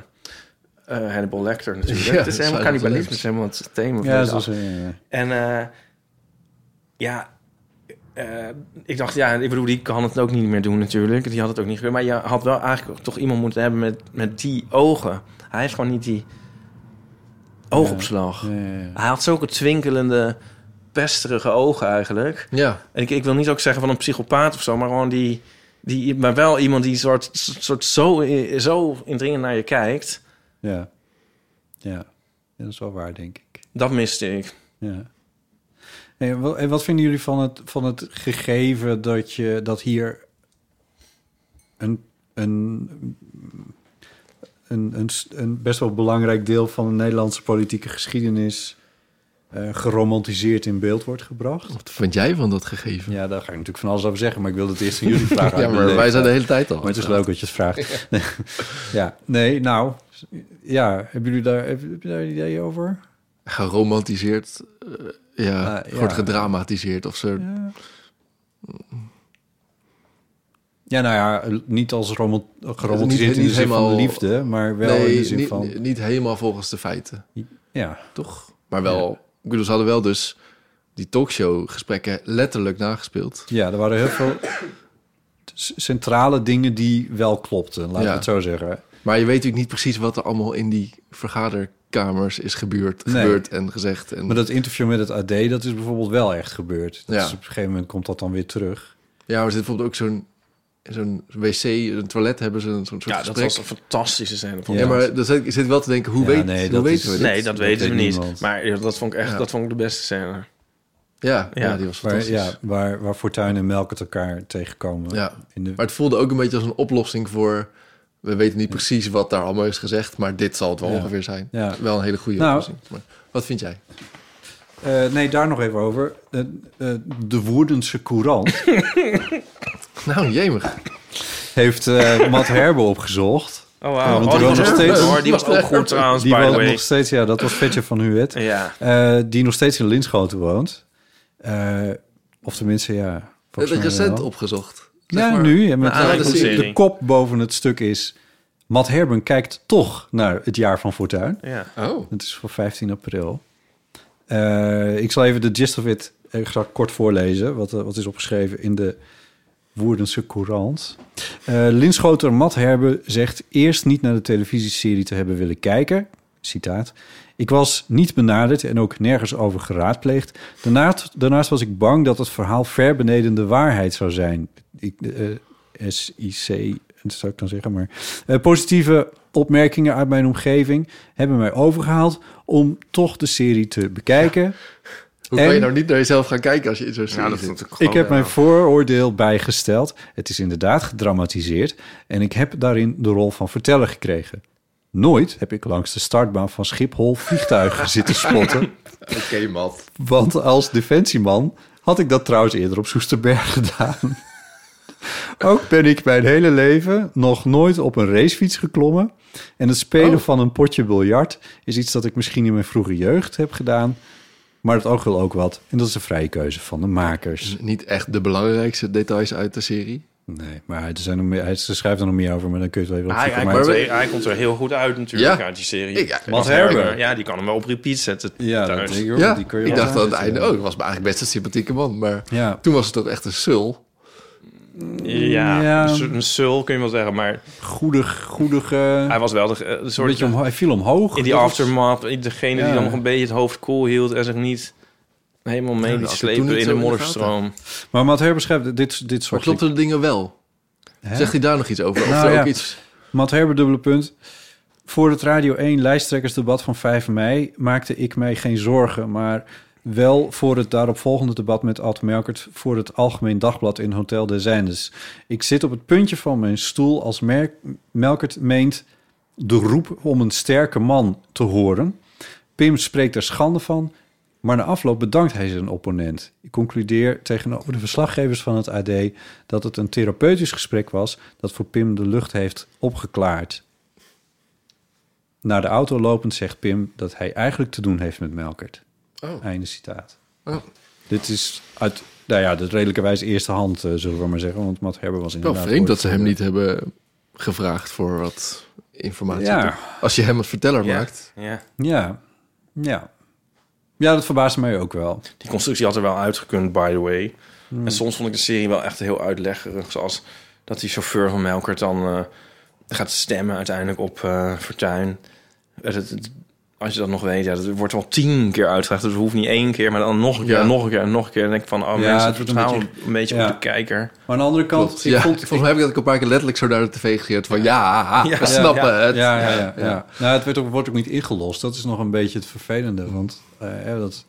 [SPEAKER 4] eh, Hannibal Lecter natuurlijk.
[SPEAKER 2] Ja,
[SPEAKER 4] het is helemaal
[SPEAKER 2] Silence
[SPEAKER 4] cannibalisme,
[SPEAKER 2] Lambs.
[SPEAKER 4] het is helemaal het thema. van
[SPEAKER 3] ja,
[SPEAKER 4] deze
[SPEAKER 3] zo is, eh, ja.
[SPEAKER 4] en eh, ja, eh, ik dacht, ja, ik bedoel, die kan het ook niet meer doen natuurlijk. Die had het ook niet gebeurd. Maar je had wel eigenlijk toch iemand moeten hebben met, met die ogen. Hij heeft gewoon niet die oogopslag.
[SPEAKER 3] Ja, ja, ja.
[SPEAKER 4] Hij had zulke twinkelende, pesterige ogen eigenlijk.
[SPEAKER 2] Ja,
[SPEAKER 4] En ik, ik wil niet ook zeggen van een psychopaat of zo, maar gewoon die... die maar wel iemand die soort, soort zo, zo indringend naar je kijkt.
[SPEAKER 3] Ja. Ja. Ja, dat is wel waar, denk ik.
[SPEAKER 4] Dat miste ik.
[SPEAKER 3] Ja. En wat, en wat vinden jullie van het, van het gegeven dat, je, dat hier een, een, een, een, s- een best wel belangrijk deel van de Nederlandse politieke geschiedenis eh, geromantiseerd in beeld wordt gebracht?
[SPEAKER 2] wat vind jij van dat gegeven?
[SPEAKER 3] Ja, daar ga ik natuurlijk van alles over zeggen, maar ik wilde het eerst aan jullie vragen.
[SPEAKER 2] Ja, maar wij zijn de hele tijd al.
[SPEAKER 3] eh, Maar het is leuk dat je het vraagt. Ja, nee, nou, ja, hebben jullie daar, heb, heb je daar een idee over?
[SPEAKER 2] Geromantiseerd, eh, ja,
[SPEAKER 3] Ah, ja.
[SPEAKER 2] wordt gedramatiseerd of ze...
[SPEAKER 3] Ja. Ja, nou ja, niet als romant geromantiseerd
[SPEAKER 2] Niet-
[SPEAKER 3] in de
[SPEAKER 2] niet
[SPEAKER 3] zin van
[SPEAKER 2] helemaal-
[SPEAKER 3] liefde, maar wel in de
[SPEAKER 2] nee,
[SPEAKER 3] zin
[SPEAKER 2] niet,
[SPEAKER 3] van...
[SPEAKER 2] niet helemaal volgens de feiten,
[SPEAKER 3] Ja,
[SPEAKER 2] toch? Maar wel, ik bedoel, ze hadden wel dus die talkshow-gesprekken letterlijk nagespeeld.
[SPEAKER 3] ja, er waren heel veel c- centrale dingen die wel klopten, laat ik
[SPEAKER 2] Ja.
[SPEAKER 3] het zo zeggen.
[SPEAKER 2] Maar je weet natuurlijk niet precies wat er allemaal in die vergaderkamers is gebeurd,
[SPEAKER 3] Nee.
[SPEAKER 2] gebeurd en gezegd. En,
[SPEAKER 3] Maar dat interview met het AD, dat is bijvoorbeeld wel echt gebeurd. Dat
[SPEAKER 2] Ja.
[SPEAKER 3] is, op een gegeven moment komt dat dan weer terug.
[SPEAKER 2] Ja, maar er zit bijvoorbeeld ook zo'n zo'n wc, een toilet hebben ze, een- zo'n soort
[SPEAKER 4] Ja, dat
[SPEAKER 2] gesprek.
[SPEAKER 4] was een fantastische scène.
[SPEAKER 2] ja, maar dan zit, ik zit wel te denken, hoe,
[SPEAKER 3] Ja,
[SPEAKER 2] weet,
[SPEAKER 3] nee,
[SPEAKER 2] hoe
[SPEAKER 3] dat
[SPEAKER 2] weten
[SPEAKER 3] is-
[SPEAKER 2] we dit?
[SPEAKER 4] Nee, dat weten we
[SPEAKER 3] weet
[SPEAKER 4] niet.
[SPEAKER 3] niemand.
[SPEAKER 4] Maar ja, dat vond ik echt
[SPEAKER 2] Ja.
[SPEAKER 4] dat vond ik de beste scène.
[SPEAKER 2] Ja, ja.
[SPEAKER 4] Ja.
[SPEAKER 2] die was
[SPEAKER 3] Waar,
[SPEAKER 2] fantastisch.
[SPEAKER 3] ja, waar, waar Fortuin en Melk het elkaar tegenkomen.
[SPEAKER 2] Ja.
[SPEAKER 3] In de,
[SPEAKER 2] Maar het voelde ook een beetje als een oplossing voor... We weten niet precies wat daar allemaal is gezegd, maar dit zal het wel
[SPEAKER 3] Ja.
[SPEAKER 2] ongeveer zijn.
[SPEAKER 3] Ja.
[SPEAKER 2] Wel een hele goede
[SPEAKER 3] Nou.
[SPEAKER 2] oplossing. Maar wat vind jij?
[SPEAKER 3] Eh, nee, daar nog even over. Eh, eh, de Woerdense Courant
[SPEAKER 2] Nou, jemig.
[SPEAKER 3] heeft eh Matt Herbe opgezocht.
[SPEAKER 4] Oh,
[SPEAKER 3] Ja,
[SPEAKER 4] wauw.
[SPEAKER 3] want
[SPEAKER 4] oh,
[SPEAKER 3] die
[SPEAKER 4] die
[SPEAKER 3] was
[SPEAKER 4] was
[SPEAKER 3] nog
[SPEAKER 4] ook
[SPEAKER 3] steeds-
[SPEAKER 4] goed, hoor. Die was ook goed trouwens,
[SPEAKER 3] Die
[SPEAKER 4] by the
[SPEAKER 3] woont
[SPEAKER 4] way.
[SPEAKER 3] nog steeds, ja, dat was Vetje van Huwet.
[SPEAKER 4] Ja.
[SPEAKER 3] Eh, die nog steeds in Linschoten woont. Eh, of tenminste, ja.
[SPEAKER 2] Het
[SPEAKER 3] volgens mij
[SPEAKER 2] recent
[SPEAKER 3] wel.
[SPEAKER 2] opgezocht.
[SPEAKER 3] Ja,
[SPEAKER 2] maar.
[SPEAKER 3] nu. ja, met
[SPEAKER 4] Nou,
[SPEAKER 3] de,
[SPEAKER 2] dat is
[SPEAKER 3] de
[SPEAKER 4] serie.
[SPEAKER 3] kop boven het stuk is... Matt Herben kijkt toch naar het jaar van Fortuin.
[SPEAKER 4] ja.
[SPEAKER 2] Oh,
[SPEAKER 3] Het is voor 15 april. Eh, ik zal even de gist of it eh, graag kort voorlezen. Wat, eh, wat is opgeschreven in de Woerdense Courant. Eh Linschoter Matt Herbe zegt eerst niet naar de televisieserie te hebben willen kijken. Citaat. Ik was niet benaderd en ook nergens over geraadpleegd. Daarnaast, daarnaast was ik bang dat het verhaal ver beneden de waarheid zou zijn. Ik, eh, SIC, dat zou ik dan zeggen, maar... Eh, positieve opmerkingen uit mijn omgeving hebben mij overgehaald om toch de serie te bekijken.
[SPEAKER 2] hoe kan je
[SPEAKER 3] En-
[SPEAKER 2] nou niet naar jezelf gaan kijken als je in zo'n serie
[SPEAKER 4] Ja, dat
[SPEAKER 2] zit?
[SPEAKER 4] vond ik gewoon,
[SPEAKER 3] Ik heb
[SPEAKER 4] ja.
[SPEAKER 3] mijn vooroordeel bijgesteld. Het is inderdaad gedramatiseerd en ik heb daarin de rol van verteller gekregen. Nooit heb ik langs de startbaan van Schiphol vliegtuigen zitten spotten.
[SPEAKER 2] Oké, Matt.
[SPEAKER 3] Want als defensieman had ik dat trouwens eerder op Soesterberg gedaan. Ook ben ik mijn hele leven nog nooit op een racefiets geklommen. En het
[SPEAKER 2] Oh.
[SPEAKER 3] spelen van een potje biljart is iets dat ik misschien in mijn vroege jeugd heb gedaan. Maar dat ook wil ook wat. En dat is de vrije keuze van de makers.
[SPEAKER 2] Niet echt de belangrijkste details uit de serie.
[SPEAKER 3] Nee, maar er zijn nog meer, hij ze schrijft er nog meer over, maar dan kun je het wel even op
[SPEAKER 4] Hij,
[SPEAKER 3] zoeken,
[SPEAKER 4] hij,
[SPEAKER 3] maar-
[SPEAKER 4] komt er, hij komt er heel goed uit natuurlijk
[SPEAKER 2] Ja.
[SPEAKER 4] uit die serie.
[SPEAKER 2] Ik- ja,
[SPEAKER 4] Matt
[SPEAKER 3] Matt
[SPEAKER 4] Herber.
[SPEAKER 3] Herber.
[SPEAKER 4] Ja, die kan hem wel op repeat zetten
[SPEAKER 3] Ja, dat
[SPEAKER 4] thuis.
[SPEAKER 3] denk ik hoor.
[SPEAKER 2] ja,
[SPEAKER 3] die kun je
[SPEAKER 2] ik
[SPEAKER 3] wel
[SPEAKER 2] dacht aan het
[SPEAKER 3] aanzetten.
[SPEAKER 2] einde ook. was maar eigenlijk best een sympathieke man. Maar
[SPEAKER 3] Ja.
[SPEAKER 2] toen was het toch echt een sul.
[SPEAKER 4] Ja,
[SPEAKER 3] Ja.
[SPEAKER 4] een su- een sul kun je wel zeggen, maar
[SPEAKER 3] Goedig, goedig, eh,
[SPEAKER 4] hij was wel de, eh, de
[SPEAKER 3] een
[SPEAKER 4] soort...
[SPEAKER 3] beetje omho- hij viel omhoog.
[SPEAKER 4] in die
[SPEAKER 3] Dat was-
[SPEAKER 4] aftermath, degene
[SPEAKER 3] Ja.
[SPEAKER 4] die dan nog een beetje het hoofd koel hield en zich niet helemaal mee
[SPEAKER 2] Ja,
[SPEAKER 4] liet
[SPEAKER 2] dat had ik toen niet
[SPEAKER 4] slepen
[SPEAKER 2] zo
[SPEAKER 4] in de
[SPEAKER 2] in de
[SPEAKER 4] modderstroom.
[SPEAKER 3] Maar Matt Herber schrijft dit, dit
[SPEAKER 2] Maar
[SPEAKER 3] soort
[SPEAKER 2] klopten de dingen wel?
[SPEAKER 3] Hè?
[SPEAKER 2] Zegt hij daar nog iets over? Of
[SPEAKER 3] Nou,
[SPEAKER 2] er
[SPEAKER 3] ja.
[SPEAKER 2] ook iets...
[SPEAKER 3] Matt Herber, dubbele punt. Voor het Radio 1 lijsttrekkersdebat van 5 mei maakte ik mij geen zorgen, maar wel voor het daaropvolgende debat met Ad Melkert voor het Algemeen Dagblad in Hotel des Zijndes. Ik zit op het puntje van mijn stoel als Mer- Melkert meent de roep om een sterke man te horen. Pim spreekt er schande van, maar na afloop bedankt hij zijn opponent. Ik concludeer tegenover de verslaggevers van het AD dat het een therapeutisch gesprek was dat voor Pim de lucht heeft opgeklaard. Naar de auto lopend zegt Pim dat hij eigenlijk te doen heeft met Melkert.
[SPEAKER 2] Oh.
[SPEAKER 3] Einde citaat.
[SPEAKER 2] Oh.
[SPEAKER 3] Dit is uit, nou ja, de redelijkerwijs eerste hand, eh, zullen we maar zeggen. Want Matt Herber was
[SPEAKER 2] Wel
[SPEAKER 3] inderdaad...
[SPEAKER 2] vreemd dat ze hem
[SPEAKER 3] voor-
[SPEAKER 2] niet hebben gevraagd voor wat informatie.
[SPEAKER 3] Ja.
[SPEAKER 2] Als je hem een verteller
[SPEAKER 4] Ja.
[SPEAKER 2] maakt.
[SPEAKER 4] Ja.
[SPEAKER 3] Ja, ja. Ja, dat verbaasde mij ook wel.
[SPEAKER 4] Die constructie had er wel uitgekund, by the way.
[SPEAKER 3] Hmm.
[SPEAKER 4] En soms vond ik de serie wel echt heel uitleggerig. Zoals dat die chauffeur van Melkert dan eh, gaat stemmen uiteindelijk op eh Fortuin. Het- het- het- als je dat nog weet, ja, dat wordt wel tien keer uitgelegd. Dus het hoeft niet één keer, maar dan nog een keer,
[SPEAKER 2] Ja.
[SPEAKER 4] en nog een keer, en nog een keer. En dan denk ik van, oh
[SPEAKER 3] Ja,
[SPEAKER 4] mensen,
[SPEAKER 3] het
[SPEAKER 4] het
[SPEAKER 3] wordt
[SPEAKER 4] wordt
[SPEAKER 3] een
[SPEAKER 4] een
[SPEAKER 3] beetje-
[SPEAKER 4] beetje, een beetje
[SPEAKER 3] ja.
[SPEAKER 4] op de kijker.
[SPEAKER 3] Maar aan de andere kant,
[SPEAKER 2] Klopt.
[SPEAKER 3] ik
[SPEAKER 2] ja,
[SPEAKER 3] vond...
[SPEAKER 2] volgens mij heb ik dat ook een paar keer letterlijk zo naar de tv gegeerd. Van ja, haha,
[SPEAKER 4] Ja.
[SPEAKER 2] we snappen
[SPEAKER 4] Ja.
[SPEAKER 2] het.
[SPEAKER 3] Ja, ja, ja. ja. Nou, het werd ook, wordt ook niet ingelost. Dat is nog een beetje het vervelende. Want eh, hè, dat,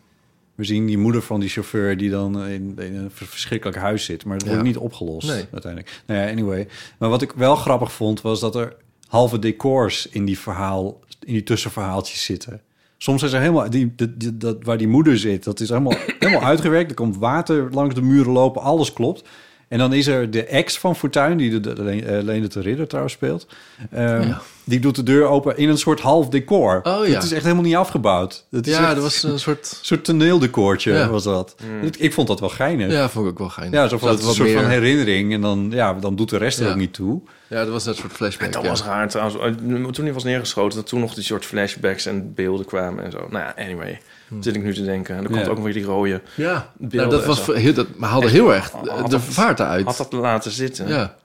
[SPEAKER 3] we zien die moeder van die chauffeur die dan in, in een vers- verschrikkelijk huis zit. Maar het wordt
[SPEAKER 2] Ja.
[SPEAKER 3] niet opgelost
[SPEAKER 2] Nee.
[SPEAKER 3] uiteindelijk. Nou ja, anyway. Maar wat ik wel grappig vond was dat er halve decors in die verhaal, in die tussenverhaaltjes zitten. Soms is er helemaal, die, die- die- dat, waar die moeder zit, dat is helemaal, helemaal uitgewerkt. Er komt water langs de muren lopen, alles klopt. En dan is er de ex van Fortuin, die de, de, de- eh, Leendert de Ridder trouwens speelt. Ehm, Die doet de deur open in een soort half decor.
[SPEAKER 2] Oh ja.
[SPEAKER 3] Het is echt helemaal niet afgebouwd. Het is
[SPEAKER 2] Ja,
[SPEAKER 3] echt
[SPEAKER 2] dat was een soort...
[SPEAKER 3] een soort toneeldecoortje
[SPEAKER 2] Ja.
[SPEAKER 3] was dat. Ik, ik vond dat wel geinig. Ja.
[SPEAKER 2] Ja, vond ik ook wel geinig.
[SPEAKER 3] zo van
[SPEAKER 2] Dat
[SPEAKER 3] het was een
[SPEAKER 2] wat
[SPEAKER 3] soort van
[SPEAKER 2] meer-
[SPEAKER 3] herinnering. En dan, ja, dan doet de rest er
[SPEAKER 2] Ja.
[SPEAKER 3] ook niet toe.
[SPEAKER 2] Ja, dat was net een soort flashback.
[SPEAKER 4] Dat
[SPEAKER 2] ja.
[SPEAKER 4] was raar trouwens. Eh, Toen hij was neergeschoten, dat toen nog die soort flashbacks en beelden kwamen en zo. Nou ja, anyway. Zit ik nu te denken. En dan komt
[SPEAKER 3] Hmm. Ja.
[SPEAKER 4] ook nog weer die rode.
[SPEAKER 2] Ja,
[SPEAKER 4] Beelden
[SPEAKER 2] nou, dat
[SPEAKER 4] en
[SPEAKER 2] was
[SPEAKER 4] zo.
[SPEAKER 2] voor- heel, dat maar haalde heel erg de-
[SPEAKER 4] had
[SPEAKER 2] de
[SPEAKER 4] dat-
[SPEAKER 2] vaart eruit.
[SPEAKER 4] Had dat laten zitten.
[SPEAKER 2] ja.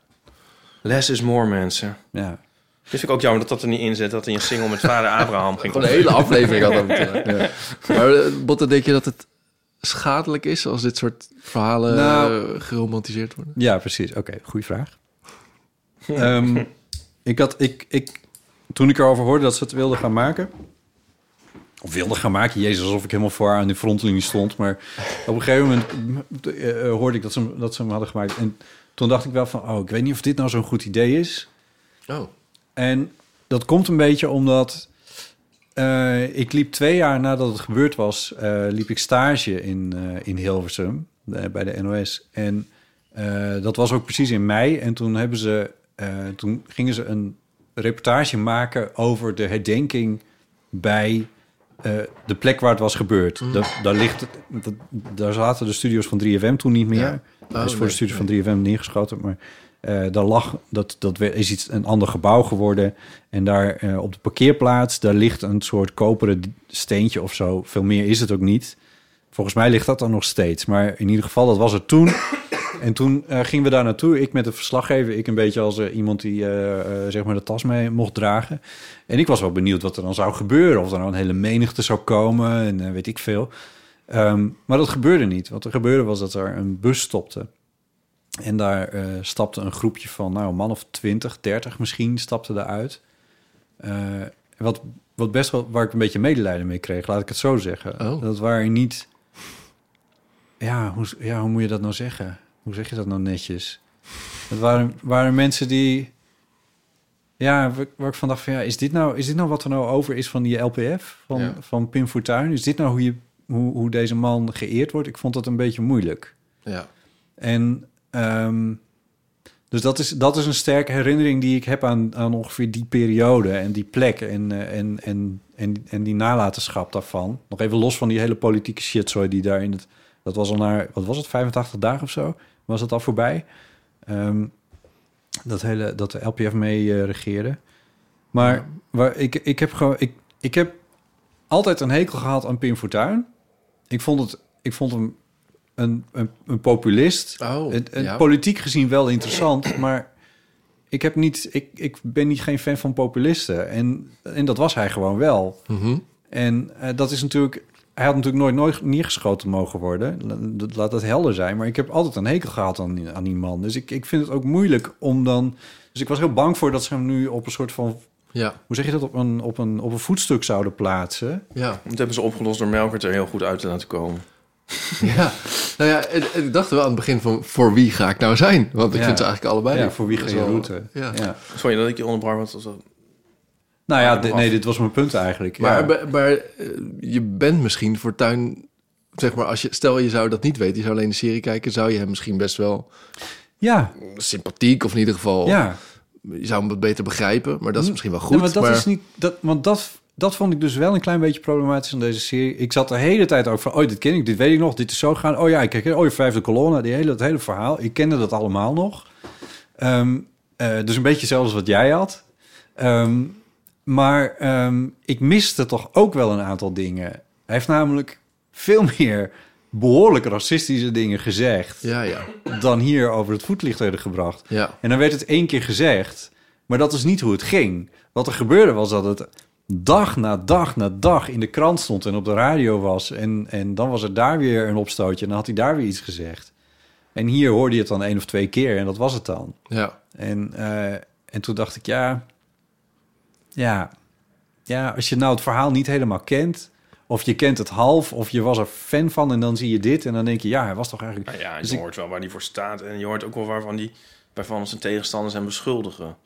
[SPEAKER 4] Less is more, mensen.
[SPEAKER 3] Ja.
[SPEAKER 4] Dus ik ook jammer dat dat er niet in zit, dat hij een single met vader Abraham ging.
[SPEAKER 2] Gewoon een hele aflevering had dat moeten zijn. Ja. Maar eh, Botte, denk je dat het schadelijk is als dit soort verhalen
[SPEAKER 3] Nou.
[SPEAKER 2] eh, geromantiseerd worden?
[SPEAKER 3] Ja, precies. Oké, goede vraag. Ehm, ik had, ik, ik, toen ik erover hoorde dat ze het wilden gaan maken... Of wilde gaan maken, jezus, alsof ik helemaal voor haar aan de frontlinie stond. Maar op een gegeven moment eh, eh, hoorde ik dat ze, hem- dat ze hem hadden gemaakt. En toen dacht ik wel van, oh, ik weet niet of dit nou zo'n goed idee is.
[SPEAKER 2] Oh,
[SPEAKER 3] En dat komt een beetje omdat eh, ik liep twee jaar nadat het gebeurd was, eh, liep ik stage in, eh, in Hilversum eh, bij de NOS. En eh, dat was ook precies in mei. En toen hebben ze, eh, toen gingen ze een reportage maken over de herdenking bij eh, de plek waar het was gebeurd.
[SPEAKER 2] Mhm.
[SPEAKER 3] Da- daar, ligt, het- dat- daar zaten de studios van 3FM toen niet meer.
[SPEAKER 2] Ja.
[SPEAKER 3] Dat is
[SPEAKER 2] Oh,
[SPEAKER 3] voor de
[SPEAKER 2] nee,
[SPEAKER 3] studios van 3FM neergeschoten. Maar eh, daar lag, dat, dat we- is iets, een ander gebouw geworden. En daar eh, op de parkeerplaats, daar ligt een soort koperen d- steentje of zo. Veel meer is het ook niet. Volgens mij ligt dat dan nog steeds. Maar in ieder geval, dat was het toen. En toen eh, gingen we daar naartoe. Ik met de verslaggever. Ik een beetje als eh, iemand die eh, eh, zeg maar de tas mee mocht dragen. En ik was wel benieuwd wat er dan zou gebeuren. Of er nou een hele menigte zou komen en eh, weet ik veel. Ehm, maar dat gebeurde niet. Wat er gebeurde was dat er een bus stopte. En daar eh, stapte een groepje van, nou, een man of 20, 30 misschien, stapte daaruit. Eh, wat, wat best wel, waar ik een beetje medelijden mee kreeg, laat ik het zo zeggen.
[SPEAKER 2] Oh.
[SPEAKER 3] Dat waren niet. Ja hoe, ja, hoe moet je dat nou zeggen? Hoe zeg je dat nou netjes? Het waren, waren mensen die. Ja, waar- waar ik van dacht van ja, is dit nou, is dit nou wat er nou over is van die LPF? Van,
[SPEAKER 2] Ja.
[SPEAKER 3] van Pim Fortuyn? Is dit nou hoe, je, hoe, hoe deze man geëerd wordt? Ik vond dat een beetje moeilijk.
[SPEAKER 2] ja.
[SPEAKER 3] En ehm, dus dat is, dat is een sterke herinnering die ik heb aan, aan ongeveer die periode en die plek en, eh, en, en, en, en die nalatenschap daarvan. Nog even los van die hele politieke shitzooi die daar in het... Dat was al naar, wat was het, 85 dagen of zo? Was dat al voorbij? Ehm, dat, hele, dat de LPF mee eh, regeerde. Maar waar, ik, ik, heb gewoon, ik, ik heb altijd een hekel gehad aan Pim Fortuyn. Ik vond, het, ik vond hem een, een, een populist.
[SPEAKER 2] Oh,
[SPEAKER 3] Het- het
[SPEAKER 2] ja.
[SPEAKER 3] Politiek gezien wel interessant, maar ik, heb niet, ik, ik ben niet geen fan van populisten. En, en dat was hij gewoon wel.
[SPEAKER 2] Mhm.
[SPEAKER 3] En eh, dat is natuurlijk... Hij had natuurlijk nooit, nooit neergeschoten mogen worden. La- dat- Laat dat helder zijn. Maar ik heb altijd een hekel gehad aan, die- aan die man. Dus ik, ik vind het ook moeilijk om dan... Dus ik was heel bang voor dat ze hem nu op een soort van...
[SPEAKER 2] ja,
[SPEAKER 3] Hoe zeg je dat? Op een, op een, op een voetstuk zouden plaatsen.
[SPEAKER 2] ja,
[SPEAKER 4] Dat hebben ze opgelost door Melkert er heel goed uit te laten komen.
[SPEAKER 2] ja. Nou ja, en, en ik dacht wel aan het begin van voor wie ga ik nou zijn? Want ik
[SPEAKER 3] Ja.
[SPEAKER 2] vind ze eigenlijk allebei.
[SPEAKER 3] Ja, voor wie
[SPEAKER 2] Dat
[SPEAKER 3] ga
[SPEAKER 2] is
[SPEAKER 3] je
[SPEAKER 2] wel-
[SPEAKER 3] route?
[SPEAKER 2] Ja.
[SPEAKER 3] Ja.
[SPEAKER 4] Sorry dat ik je onderbrak, want dat was wel-
[SPEAKER 3] Nou ja,
[SPEAKER 4] Ja,
[SPEAKER 3] dit-
[SPEAKER 4] af.
[SPEAKER 3] nee, dit was mijn punt eigenlijk.
[SPEAKER 2] Maar,
[SPEAKER 3] ja.
[SPEAKER 2] maar, maar, eh, je bent misschien voor tuin, zeg maar, als je, stel je zou dat niet weten, je zou alleen de serie kijken, zou je hem misschien best wel
[SPEAKER 3] ja,
[SPEAKER 2] sympathiek of in ieder geval,
[SPEAKER 3] ja.
[SPEAKER 2] je zou hem wat beter begrijpen, Hm. maar dat is misschien wel goed.
[SPEAKER 3] Ja, maar dat is niet. Dat, want dat, dat vond ik dus wel een klein beetje problematisch aan deze serie. Ik zat de hele tijd ook van: oh, dit ken ik, dit weet ik nog, dit is zo gaan. Oh ja, ik kijk, oh je vijfde kolonne, die hele, dat hele verhaal. Ik kende dat allemaal nog. Ehm, eh, dus een beetje zelfs wat jij had. Ehm, maar ehm, ik miste toch ook wel een aantal dingen. Hij heeft namelijk veel meer behoorlijk racistische dingen gezegd
[SPEAKER 2] Ja, ja,
[SPEAKER 3] dan hier over het voetlicht werden gebracht.
[SPEAKER 2] ja.
[SPEAKER 3] En dan werd het één keer gezegd, maar dat is niet hoe het ging. Wat er gebeurde was dat het dag na dag na dag in de krant stond en op de radio was. En, en dan was er daar weer een opstootje en dan had hij daar weer iets gezegd. En hier hoorde je het dan één of twee keer en dat was het dan.
[SPEAKER 2] ja.
[SPEAKER 3] En, eh, en toen dacht ik, ja, ja, ja, als je nou het verhaal niet helemaal kent... of je kent het half, of je was er fan van en dan zie je dit... en dan denk je, ja, hij was toch eigenlijk...
[SPEAKER 4] Nou ja, je
[SPEAKER 3] Dus ik-
[SPEAKER 4] hoort wel waar die voor staat. En je hoort ook wel waarvan die, waarvan zijn tegenstanders hem beschuldigen.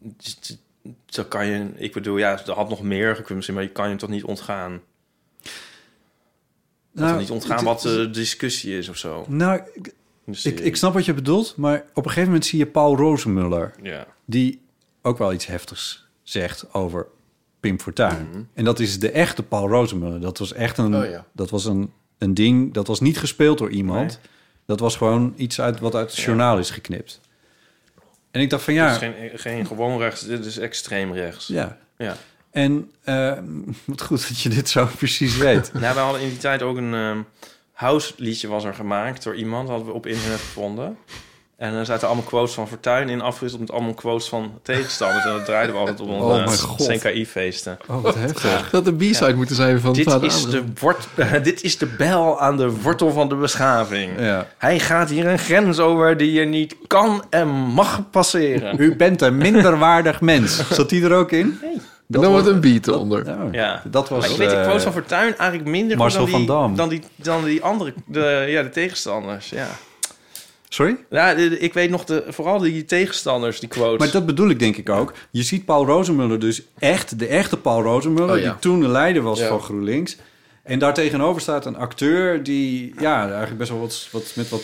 [SPEAKER 4] Dus het- Zo kan je, ik bedoel, ja, er had nog meer gekund misschien, maar je kan je hem toch niet ontgaan. Je kan
[SPEAKER 3] Nou,
[SPEAKER 4] toch niet ontgaan wat de discussie is of zo.
[SPEAKER 3] Nou,
[SPEAKER 4] Dus,
[SPEAKER 3] Ik,
[SPEAKER 4] eh,
[SPEAKER 3] ik snap wat je bedoelt, maar op een gegeven moment zie je Paul Rosemuller...
[SPEAKER 4] Ja.
[SPEAKER 3] die ook wel iets heftigs zegt over Pim Fortuyn. En dat is de echte Paul Rosemuller. Dat was echt een,
[SPEAKER 2] Oh ja.
[SPEAKER 3] dat was een, een ding, dat was niet gespeeld door iemand. Dat was gewoon iets uit, wat uit het journaal is geknipt. En ik dacht van
[SPEAKER 4] Het
[SPEAKER 3] ja,
[SPEAKER 4] is geen, geen gewoon rechts, dit is extreem rechts. Ja.
[SPEAKER 3] ja. en eh, wat goed dat je dit zo precies weet.
[SPEAKER 4] Nou, we hadden in die tijd ook een ehm house liedje was er gemaakt door iemand, hadden we op internet gevonden. En En dan zaten allemaal quotes van Fortuyn in, afgewisseld met allemaal quotes van tegenstanders. En dat draaiden we altijd op onze
[SPEAKER 3] Oh mijn god.
[SPEAKER 4] CKI-feesten.
[SPEAKER 3] Oh, wat heftig.
[SPEAKER 2] Ah, Dat de B-side moeten zijn van
[SPEAKER 4] Dit
[SPEAKER 2] Vader
[SPEAKER 4] is,
[SPEAKER 2] Abraham.
[SPEAKER 4] de wort, dit is de bel aan de wortel van de beschaving.
[SPEAKER 3] Ja.
[SPEAKER 4] Hij gaat hier een grens over die je niet kan en mag passeren.
[SPEAKER 3] U bent een minderwaardig mens. Zat die er ook in? Nee.
[SPEAKER 2] En dan wordt een beat eronder.
[SPEAKER 4] Ja.
[SPEAKER 3] Oh, Dat was...
[SPEAKER 4] Maar ik weet de
[SPEAKER 3] eh,
[SPEAKER 4] quotes van Fortuyn eigenlijk minder goed
[SPEAKER 3] Marcel
[SPEAKER 4] dan
[SPEAKER 3] van
[SPEAKER 4] die,
[SPEAKER 3] Dam.
[SPEAKER 4] dan die, dan die andere de, ja, de tegenstanders. Ja,
[SPEAKER 3] Sorry?
[SPEAKER 4] ja de- de- ik weet nog de, vooral die tegenstanders, die quotes.
[SPEAKER 3] Maar dat bedoel ik denk ik ook. Je ziet Paul Rozemuller dus echt, de echte Paul Rozemuller...
[SPEAKER 2] Oh, ja.
[SPEAKER 3] die toen de leider was
[SPEAKER 2] Ja.
[SPEAKER 3] van GroenLinks. En daartegenover staat een acteur die... ja, eigenlijk best wel wat, wat, met wat,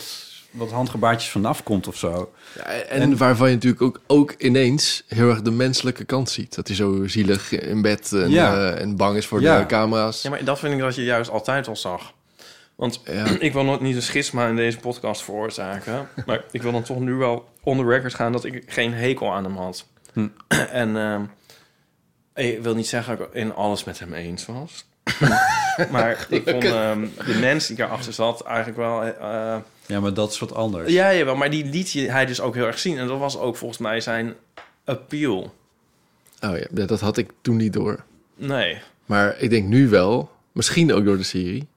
[SPEAKER 3] wat handgebaartjes vanaf komt of zo.
[SPEAKER 2] Ja, en, waarvan je natuurlijk ook, ook ineens heel erg de menselijke kant ziet. Dat hij zo zielig in bed en,
[SPEAKER 3] Ja.
[SPEAKER 2] eh, en bang is voor
[SPEAKER 3] Ja.
[SPEAKER 2] de camera's.
[SPEAKER 4] Ja, maar dat vind ik dat je juist altijd al zag. Want
[SPEAKER 2] Ja.
[SPEAKER 4] ik wil nooit niet een schisma in deze podcast veroorzaken. Maar ik wil dan toch nu wel on the record gaan dat ik geen hekel aan hem had.
[SPEAKER 3] Hm.
[SPEAKER 4] En ehm, ik wil niet zeggen dat ik in alles met hem eens was. maar ik vond ehm, de mens die daarachter zat eigenlijk wel... eh,
[SPEAKER 3] Ja, maar dat is wat anders.
[SPEAKER 4] ja, jawel, maar die liet je- hij dus ook heel erg zien. En dat was ook volgens mij zijn appeal.
[SPEAKER 2] Oh ja, dat- dat had ik toen niet door.
[SPEAKER 4] Nee.
[SPEAKER 2] Maar ik denk nu wel, misschien ook door de serie,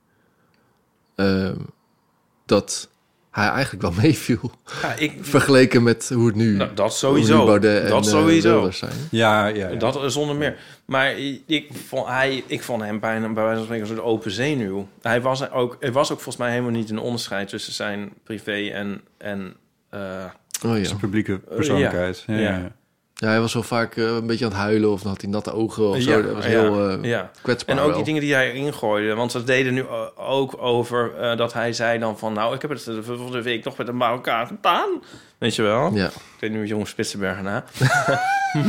[SPEAKER 2] ehm, dat hij eigenlijk wel meeviel.
[SPEAKER 4] Ja, ik,
[SPEAKER 2] Vergeleken met hoe het nu,
[SPEAKER 4] nou, dat
[SPEAKER 2] hoe nu
[SPEAKER 4] sowieso.
[SPEAKER 2] Baudet en,
[SPEAKER 4] dat
[SPEAKER 2] eh,
[SPEAKER 4] sowieso.
[SPEAKER 2] Wilders zijn.
[SPEAKER 3] Ja, ja, ja.
[SPEAKER 4] Dat eh, zonder meer. Maar ik vond, hij, ik vond hem bijna bij wijze van spreken een soort open zenuw. Hij was ook, er was ook volgens mij helemaal niet een onderscheid tussen zijn privé en. en eh,
[SPEAKER 2] Oh ja.
[SPEAKER 3] Zijn publieke persoonlijkheid. Ja,
[SPEAKER 4] ja.
[SPEAKER 3] ja.
[SPEAKER 4] Ja.
[SPEAKER 2] ja, hij was wel vaak eh, een beetje aan het huilen of dan had hij natte ogen of zo. Dat was heel eh,
[SPEAKER 4] ja.
[SPEAKER 2] kwetsbaar
[SPEAKER 4] En ook
[SPEAKER 2] wel.
[SPEAKER 4] die dingen die hij erin gooide. Want ze deden nu eh, ook over eh, dat hij zei dan van... nou, ik heb het de volgende week nog met een Marokkaan gedaan. Weet je wel?
[SPEAKER 2] Ja.
[SPEAKER 4] Ik weet nu jongen Spitsenbergen na.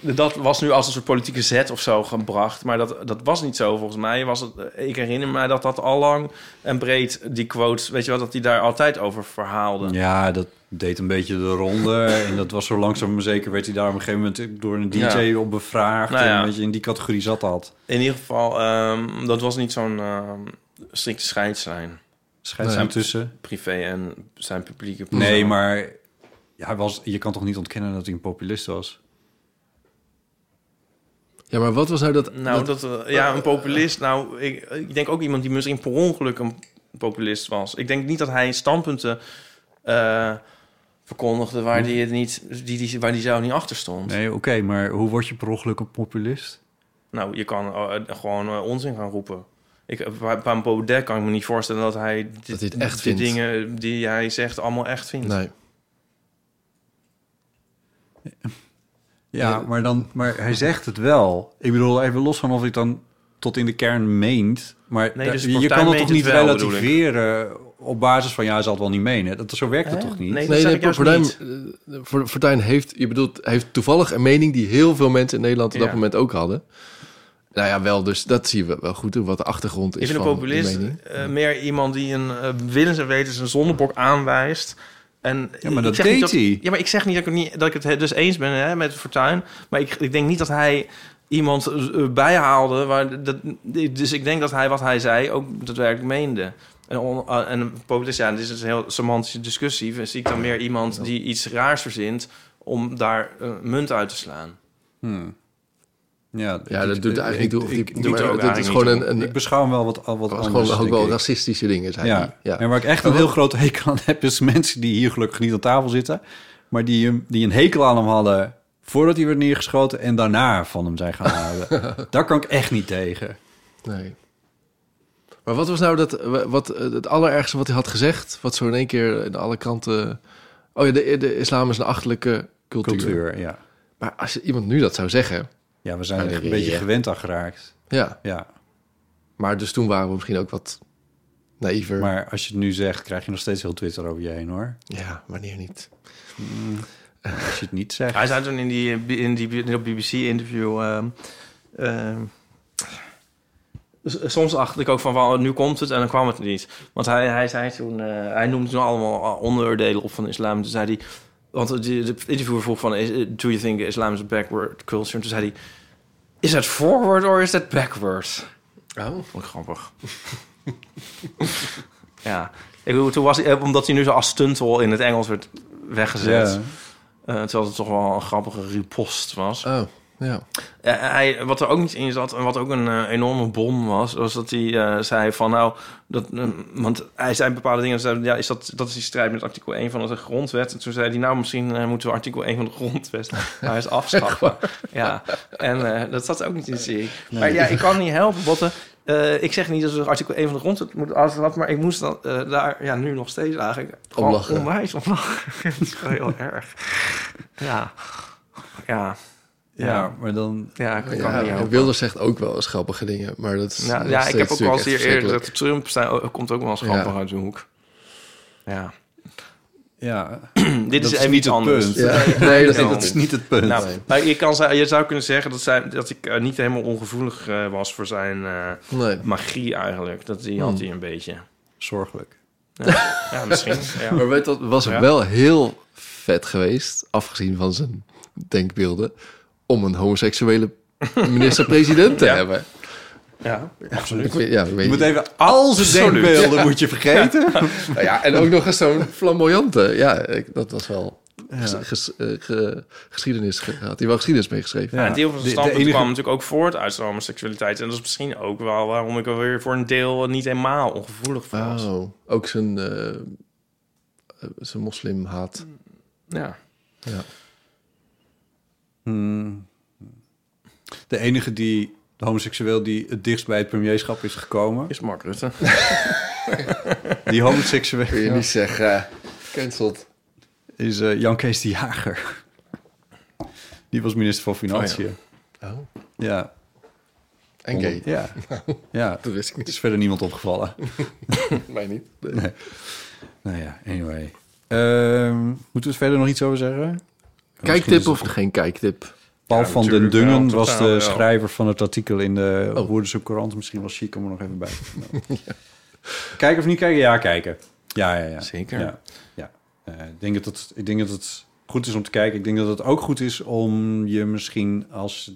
[SPEAKER 4] dat was nu als een soort politieke zet of zo gebracht. Maar dat, dat was niet zo volgens mij. Was het, eh, ik herinner me dat dat al lang en breed die quotes... weet je wel, dat hij daar altijd over verhaalde.
[SPEAKER 3] dat deed een beetje de ronde. en dat was zo langzaam maar zeker werd hij daar op een gegeven moment door een DJ
[SPEAKER 4] Ja.
[SPEAKER 3] op bevraagd.
[SPEAKER 4] Nou
[SPEAKER 3] En
[SPEAKER 4] ja.
[SPEAKER 3] een beetje in die categorie zat dat.
[SPEAKER 4] In ieder geval, ehm, dat was niet zo'n ehm, strikte scheidslijn.
[SPEAKER 3] Scheids
[SPEAKER 2] Nee.
[SPEAKER 3] tussen.
[SPEAKER 4] Privé en zijn publieke
[SPEAKER 3] Nee, maar hij was, je kan toch niet ontkennen dat hij een populist was?
[SPEAKER 2] ja, maar wat was nou dat...
[SPEAKER 4] Nou, dat, eh, ja, een populist. Nou, ik, ik denk ook iemand die misschien per ongeluk een populist was. Ik denk niet dat hij standpunten eh, verkondigde waar die het niet, die, die, waar die zelf niet achter stond.
[SPEAKER 3] Nee, oké, maar hoe word je per ongeluk een populist?
[SPEAKER 4] Nou, je kan eh, gewoon eh, onzin gaan roepen. Ik, eh, bij bij Baudet kan ik me niet voorstellen dat hij, dit,
[SPEAKER 2] Dat hij het echt
[SPEAKER 4] die
[SPEAKER 2] vindt.
[SPEAKER 4] dingen die hij zegt allemaal echt vindt.
[SPEAKER 2] Nee.
[SPEAKER 3] Ja, Eh, maar, dan, maar hij zegt het wel. Ik bedoel, even los van of hij het dan tot in de kern meent. Maar
[SPEAKER 4] Nee,
[SPEAKER 3] da-
[SPEAKER 4] dus de
[SPEAKER 3] je
[SPEAKER 4] partij
[SPEAKER 3] kan het
[SPEAKER 4] meent
[SPEAKER 3] toch niet
[SPEAKER 4] het wel, bedoel ik.
[SPEAKER 3] relativeren op basis van... ja, hij zal het wel niet menen. Dat, zo werkt het toch niet?
[SPEAKER 4] Nee, dat
[SPEAKER 2] Nee,
[SPEAKER 4] zeg
[SPEAKER 2] nee,
[SPEAKER 4] ik juist
[SPEAKER 2] Fortuyn,
[SPEAKER 4] niet.
[SPEAKER 2] eh, Fort- Fortuyn heeft, je bedoelt, hij heeft toevallig een mening die heel veel mensen in Nederland op dat
[SPEAKER 4] Ja.
[SPEAKER 2] moment ook hadden. Nou ja, wel, dus dat zien we wel goed, hoe- wat de achtergrond is
[SPEAKER 4] Ik vind een
[SPEAKER 2] van
[SPEAKER 4] populist
[SPEAKER 2] die mening.
[SPEAKER 4] eh, meer iemand die een eh, willens en wetens een zondebok aanwijst. En
[SPEAKER 3] Ja, maar
[SPEAKER 4] ik
[SPEAKER 3] dat
[SPEAKER 4] zeg niet
[SPEAKER 3] deed hij.
[SPEAKER 4] Ja, maar ik zeg niet dat ik, het niet, dat ik het dus eens ben hè, met Fortuyn. Maar ik, ik denk niet dat hij iemand eh, bijhaalde. Waar dat, dus ik denk dat hij wat hij zei ook daadwerkelijk meende. En, on, eh, en een populist, ja, dit is dus een heel semantische discussie. Dus Zie ik dan meer iemand die iets raars verzint om daar eh, munt uit te slaan.
[SPEAKER 3] Hmm. Ja,
[SPEAKER 2] Ja,
[SPEAKER 3] ik-
[SPEAKER 2] dat doet
[SPEAKER 3] ik-
[SPEAKER 2] er eigenlijk niet
[SPEAKER 3] ik-
[SPEAKER 2] toe. Of
[SPEAKER 3] ik-
[SPEAKER 2] die,
[SPEAKER 4] doet
[SPEAKER 2] maar
[SPEAKER 4] er ook
[SPEAKER 2] dat is
[SPEAKER 4] eigenlijk
[SPEAKER 2] gewoon
[SPEAKER 4] niet
[SPEAKER 2] een, een,
[SPEAKER 3] Ik beschouw hem wel wat, wat
[SPEAKER 2] dat was
[SPEAKER 3] anders,
[SPEAKER 2] gewoon ook
[SPEAKER 3] denk
[SPEAKER 2] wel
[SPEAKER 3] ik.
[SPEAKER 2] racistische dingen, zei hij.
[SPEAKER 3] Ja.
[SPEAKER 2] Ja.
[SPEAKER 3] En waar ik echt een heel groot hekel aan heb... is mensen die hier gelukkig niet aan tafel zitten... maar die, hem, die een hekel aan hem hadden... voordat hij werd neergeschoten... en daarna van hem zijn gaan houden. Daar kan ik echt niet tegen.
[SPEAKER 2] Nee. Maar wat was nou dat, wat, eh, het allerergste wat hij had gezegd? Wat zo in één keer in alle kanten... Oh ja, de, de islam is een achterlijke cultuur.
[SPEAKER 3] Cultuur, ja.
[SPEAKER 2] Maar als je iemand nu dat zou zeggen...
[SPEAKER 3] Ja, we zijn er
[SPEAKER 2] Ja,
[SPEAKER 3] een beetje
[SPEAKER 2] ja.
[SPEAKER 3] gewend aan geraakt.
[SPEAKER 2] Ja,
[SPEAKER 3] Ja,
[SPEAKER 2] maar dus toen waren we misschien ook wat naïver.
[SPEAKER 3] maar als je het nu zegt, krijg je nog steeds heel Twitter over je heen, hoor.
[SPEAKER 2] Ja, wanneer niet?
[SPEAKER 3] Als je het niet zegt.
[SPEAKER 4] Hij zei toen in die, in die, in dat BBC-interview... ehm, ehm, s- soms dacht ik ook van, wel, nu komt het en dan kwam het niet. Want hij, hij, zei toen, eh, hij noemde toen allemaal eh, onderdelen op van de islam. Toen zei hij... Want de, de interviewer vroeg van, is- do you think Islam is a backward culture? En toen zei hij, is dat forward or is that backward?
[SPEAKER 2] Oh.
[SPEAKER 4] Vond ik grappig. ja. Ik bedoel, toen was hij, eh, omdat hij nu zo als stuntel in het Engels werd weggezet.
[SPEAKER 3] Ja.
[SPEAKER 4] Eh, terwijl het toch wel een grappige ripost was.
[SPEAKER 2] Oh, ja.
[SPEAKER 4] Eh, hij, wat er ook niet in zat en wat ook een eh, enorme bom was, was dat hij eh, zei van nou, dat, eh, want hij zei bepaalde dingen, zei, ja, is dat, dat is die strijd met artikel 1 van de grondwet. En toen zei hij nou, misschien eh, moeten we artikel 1 van de grondwet maar eens afschaffen. ja, en eh, dat zat ook niet in de serie. Maar ja, ik kan niet helpen, Botten. Eh, ik zeg niet dat we artikel 1 van de grondwet moeten afschaffen, maar ik moest dan, eh, daar ja, nu nog steeds eigenlijk gewoon
[SPEAKER 2] Om lachen.
[SPEAKER 4] onwijs om lachen. dat is gewoon heel erg. Ja, ja.
[SPEAKER 3] Ja,
[SPEAKER 4] Ja.
[SPEAKER 3] maar dan...
[SPEAKER 4] Ja, ik kan
[SPEAKER 2] Ja,
[SPEAKER 4] niet helpen.
[SPEAKER 2] Wilders zegt ook wel eens grappige dingen, maar dat is
[SPEAKER 4] Ja,
[SPEAKER 2] nog
[SPEAKER 4] ja ik
[SPEAKER 2] steeds
[SPEAKER 4] heb ook wel eens hier
[SPEAKER 2] natuurlijk echt
[SPEAKER 4] eerder
[SPEAKER 2] verschrikkelijk.
[SPEAKER 4] gezegd... Trump sta- komt ook wel eens grappig
[SPEAKER 2] Ja.
[SPEAKER 4] uit de hoek. Ja. Hm,
[SPEAKER 3] Ja,
[SPEAKER 4] Dit
[SPEAKER 3] dat
[SPEAKER 4] is even
[SPEAKER 3] niet
[SPEAKER 4] iets
[SPEAKER 3] het
[SPEAKER 4] anders.
[SPEAKER 3] punt.
[SPEAKER 2] Ja, nee, dat,
[SPEAKER 4] Ja.
[SPEAKER 2] dat
[SPEAKER 3] Dat is niet het punt.
[SPEAKER 4] Nou, maar je, kan, ze- je zou kunnen zeggen dat, zij, dat ik eh, niet helemaal ongevoelig eh, was voor zijn eh,
[SPEAKER 2] Nee.
[SPEAKER 4] magie eigenlijk. Dat die had hij een beetje.
[SPEAKER 3] Zorgelijk.
[SPEAKER 4] Ja, misschien. ja.
[SPEAKER 2] Maar weet dat was
[SPEAKER 4] Ja.
[SPEAKER 2] wel heel vet geweest, afgezien van zijn denkbeelden, om een homoseksuele minister-president te
[SPEAKER 4] Ja.
[SPEAKER 2] hebben.
[SPEAKER 4] Ja.
[SPEAKER 2] Ik weet, ja, ik weet
[SPEAKER 3] Je moet
[SPEAKER 2] niet.
[SPEAKER 3] even al zijn
[SPEAKER 4] Absoluut.
[SPEAKER 3] denkbeelden moet je vergeten.
[SPEAKER 2] Nou ja, en ook nog eens zo'n flamboyante. Ja, ik- dat was wel ges- ges- eh, ge- geschiedenis. ge- had hij wel geschiedenis mee geschreven.
[SPEAKER 4] Ja,
[SPEAKER 3] Ja.
[SPEAKER 4] een deel van
[SPEAKER 3] De-
[SPEAKER 4] zijn
[SPEAKER 3] de
[SPEAKER 4] standpunt
[SPEAKER 3] enige-
[SPEAKER 4] kwam natuurlijk ook voort uit zijn homoseksualiteit. En dat is misschien ook wel waarom ik er weer voor een deel niet helemaal ongevoelig voor was.
[SPEAKER 2] Oh, ook zijn, eh, eh, zijn moslimhaat.
[SPEAKER 4] Mm. Ja.
[SPEAKER 3] Hmm. De enige die, de homoseksueel die het dichtst bij het premierschap is gekomen.
[SPEAKER 4] Is Mark Rutte.
[SPEAKER 3] Die
[SPEAKER 2] Kun je
[SPEAKER 3] homoseksueel
[SPEAKER 2] niet zeggen, cancelled.
[SPEAKER 3] is eh, Jan Kees de Jager. Die was minister van Financiën.
[SPEAKER 2] Oh,
[SPEAKER 3] ja.
[SPEAKER 2] en gay.
[SPEAKER 3] Ja. ja.
[SPEAKER 2] Dat wist ik
[SPEAKER 3] Het
[SPEAKER 2] niet,
[SPEAKER 3] is verder niemand opgevallen.
[SPEAKER 2] mij niet. Nee.
[SPEAKER 3] Nou ja, anyway. Ehm, moeten we er verder nog iets over zeggen? Misschien
[SPEAKER 2] Kijktip
[SPEAKER 3] is-
[SPEAKER 2] of geen kijktip?
[SPEAKER 3] Paul
[SPEAKER 4] Ja,
[SPEAKER 3] van den
[SPEAKER 4] natuurlijk wel,
[SPEAKER 3] Dungen
[SPEAKER 4] totaal
[SPEAKER 3] was de
[SPEAKER 4] wel.
[SPEAKER 3] schrijver van het artikel in de
[SPEAKER 2] Oh.
[SPEAKER 3] Woerdense Courant. Misschien wel chic om er nog even bij te vermelden. Kijken of niet kijken? Ja, kijken. Ja, ja, ja.
[SPEAKER 4] Zeker.
[SPEAKER 3] Ja, ja. Eh, ik, denk dat het, ik denk dat het goed is om te kijken. Ik denk dat het ook goed is om je misschien, als,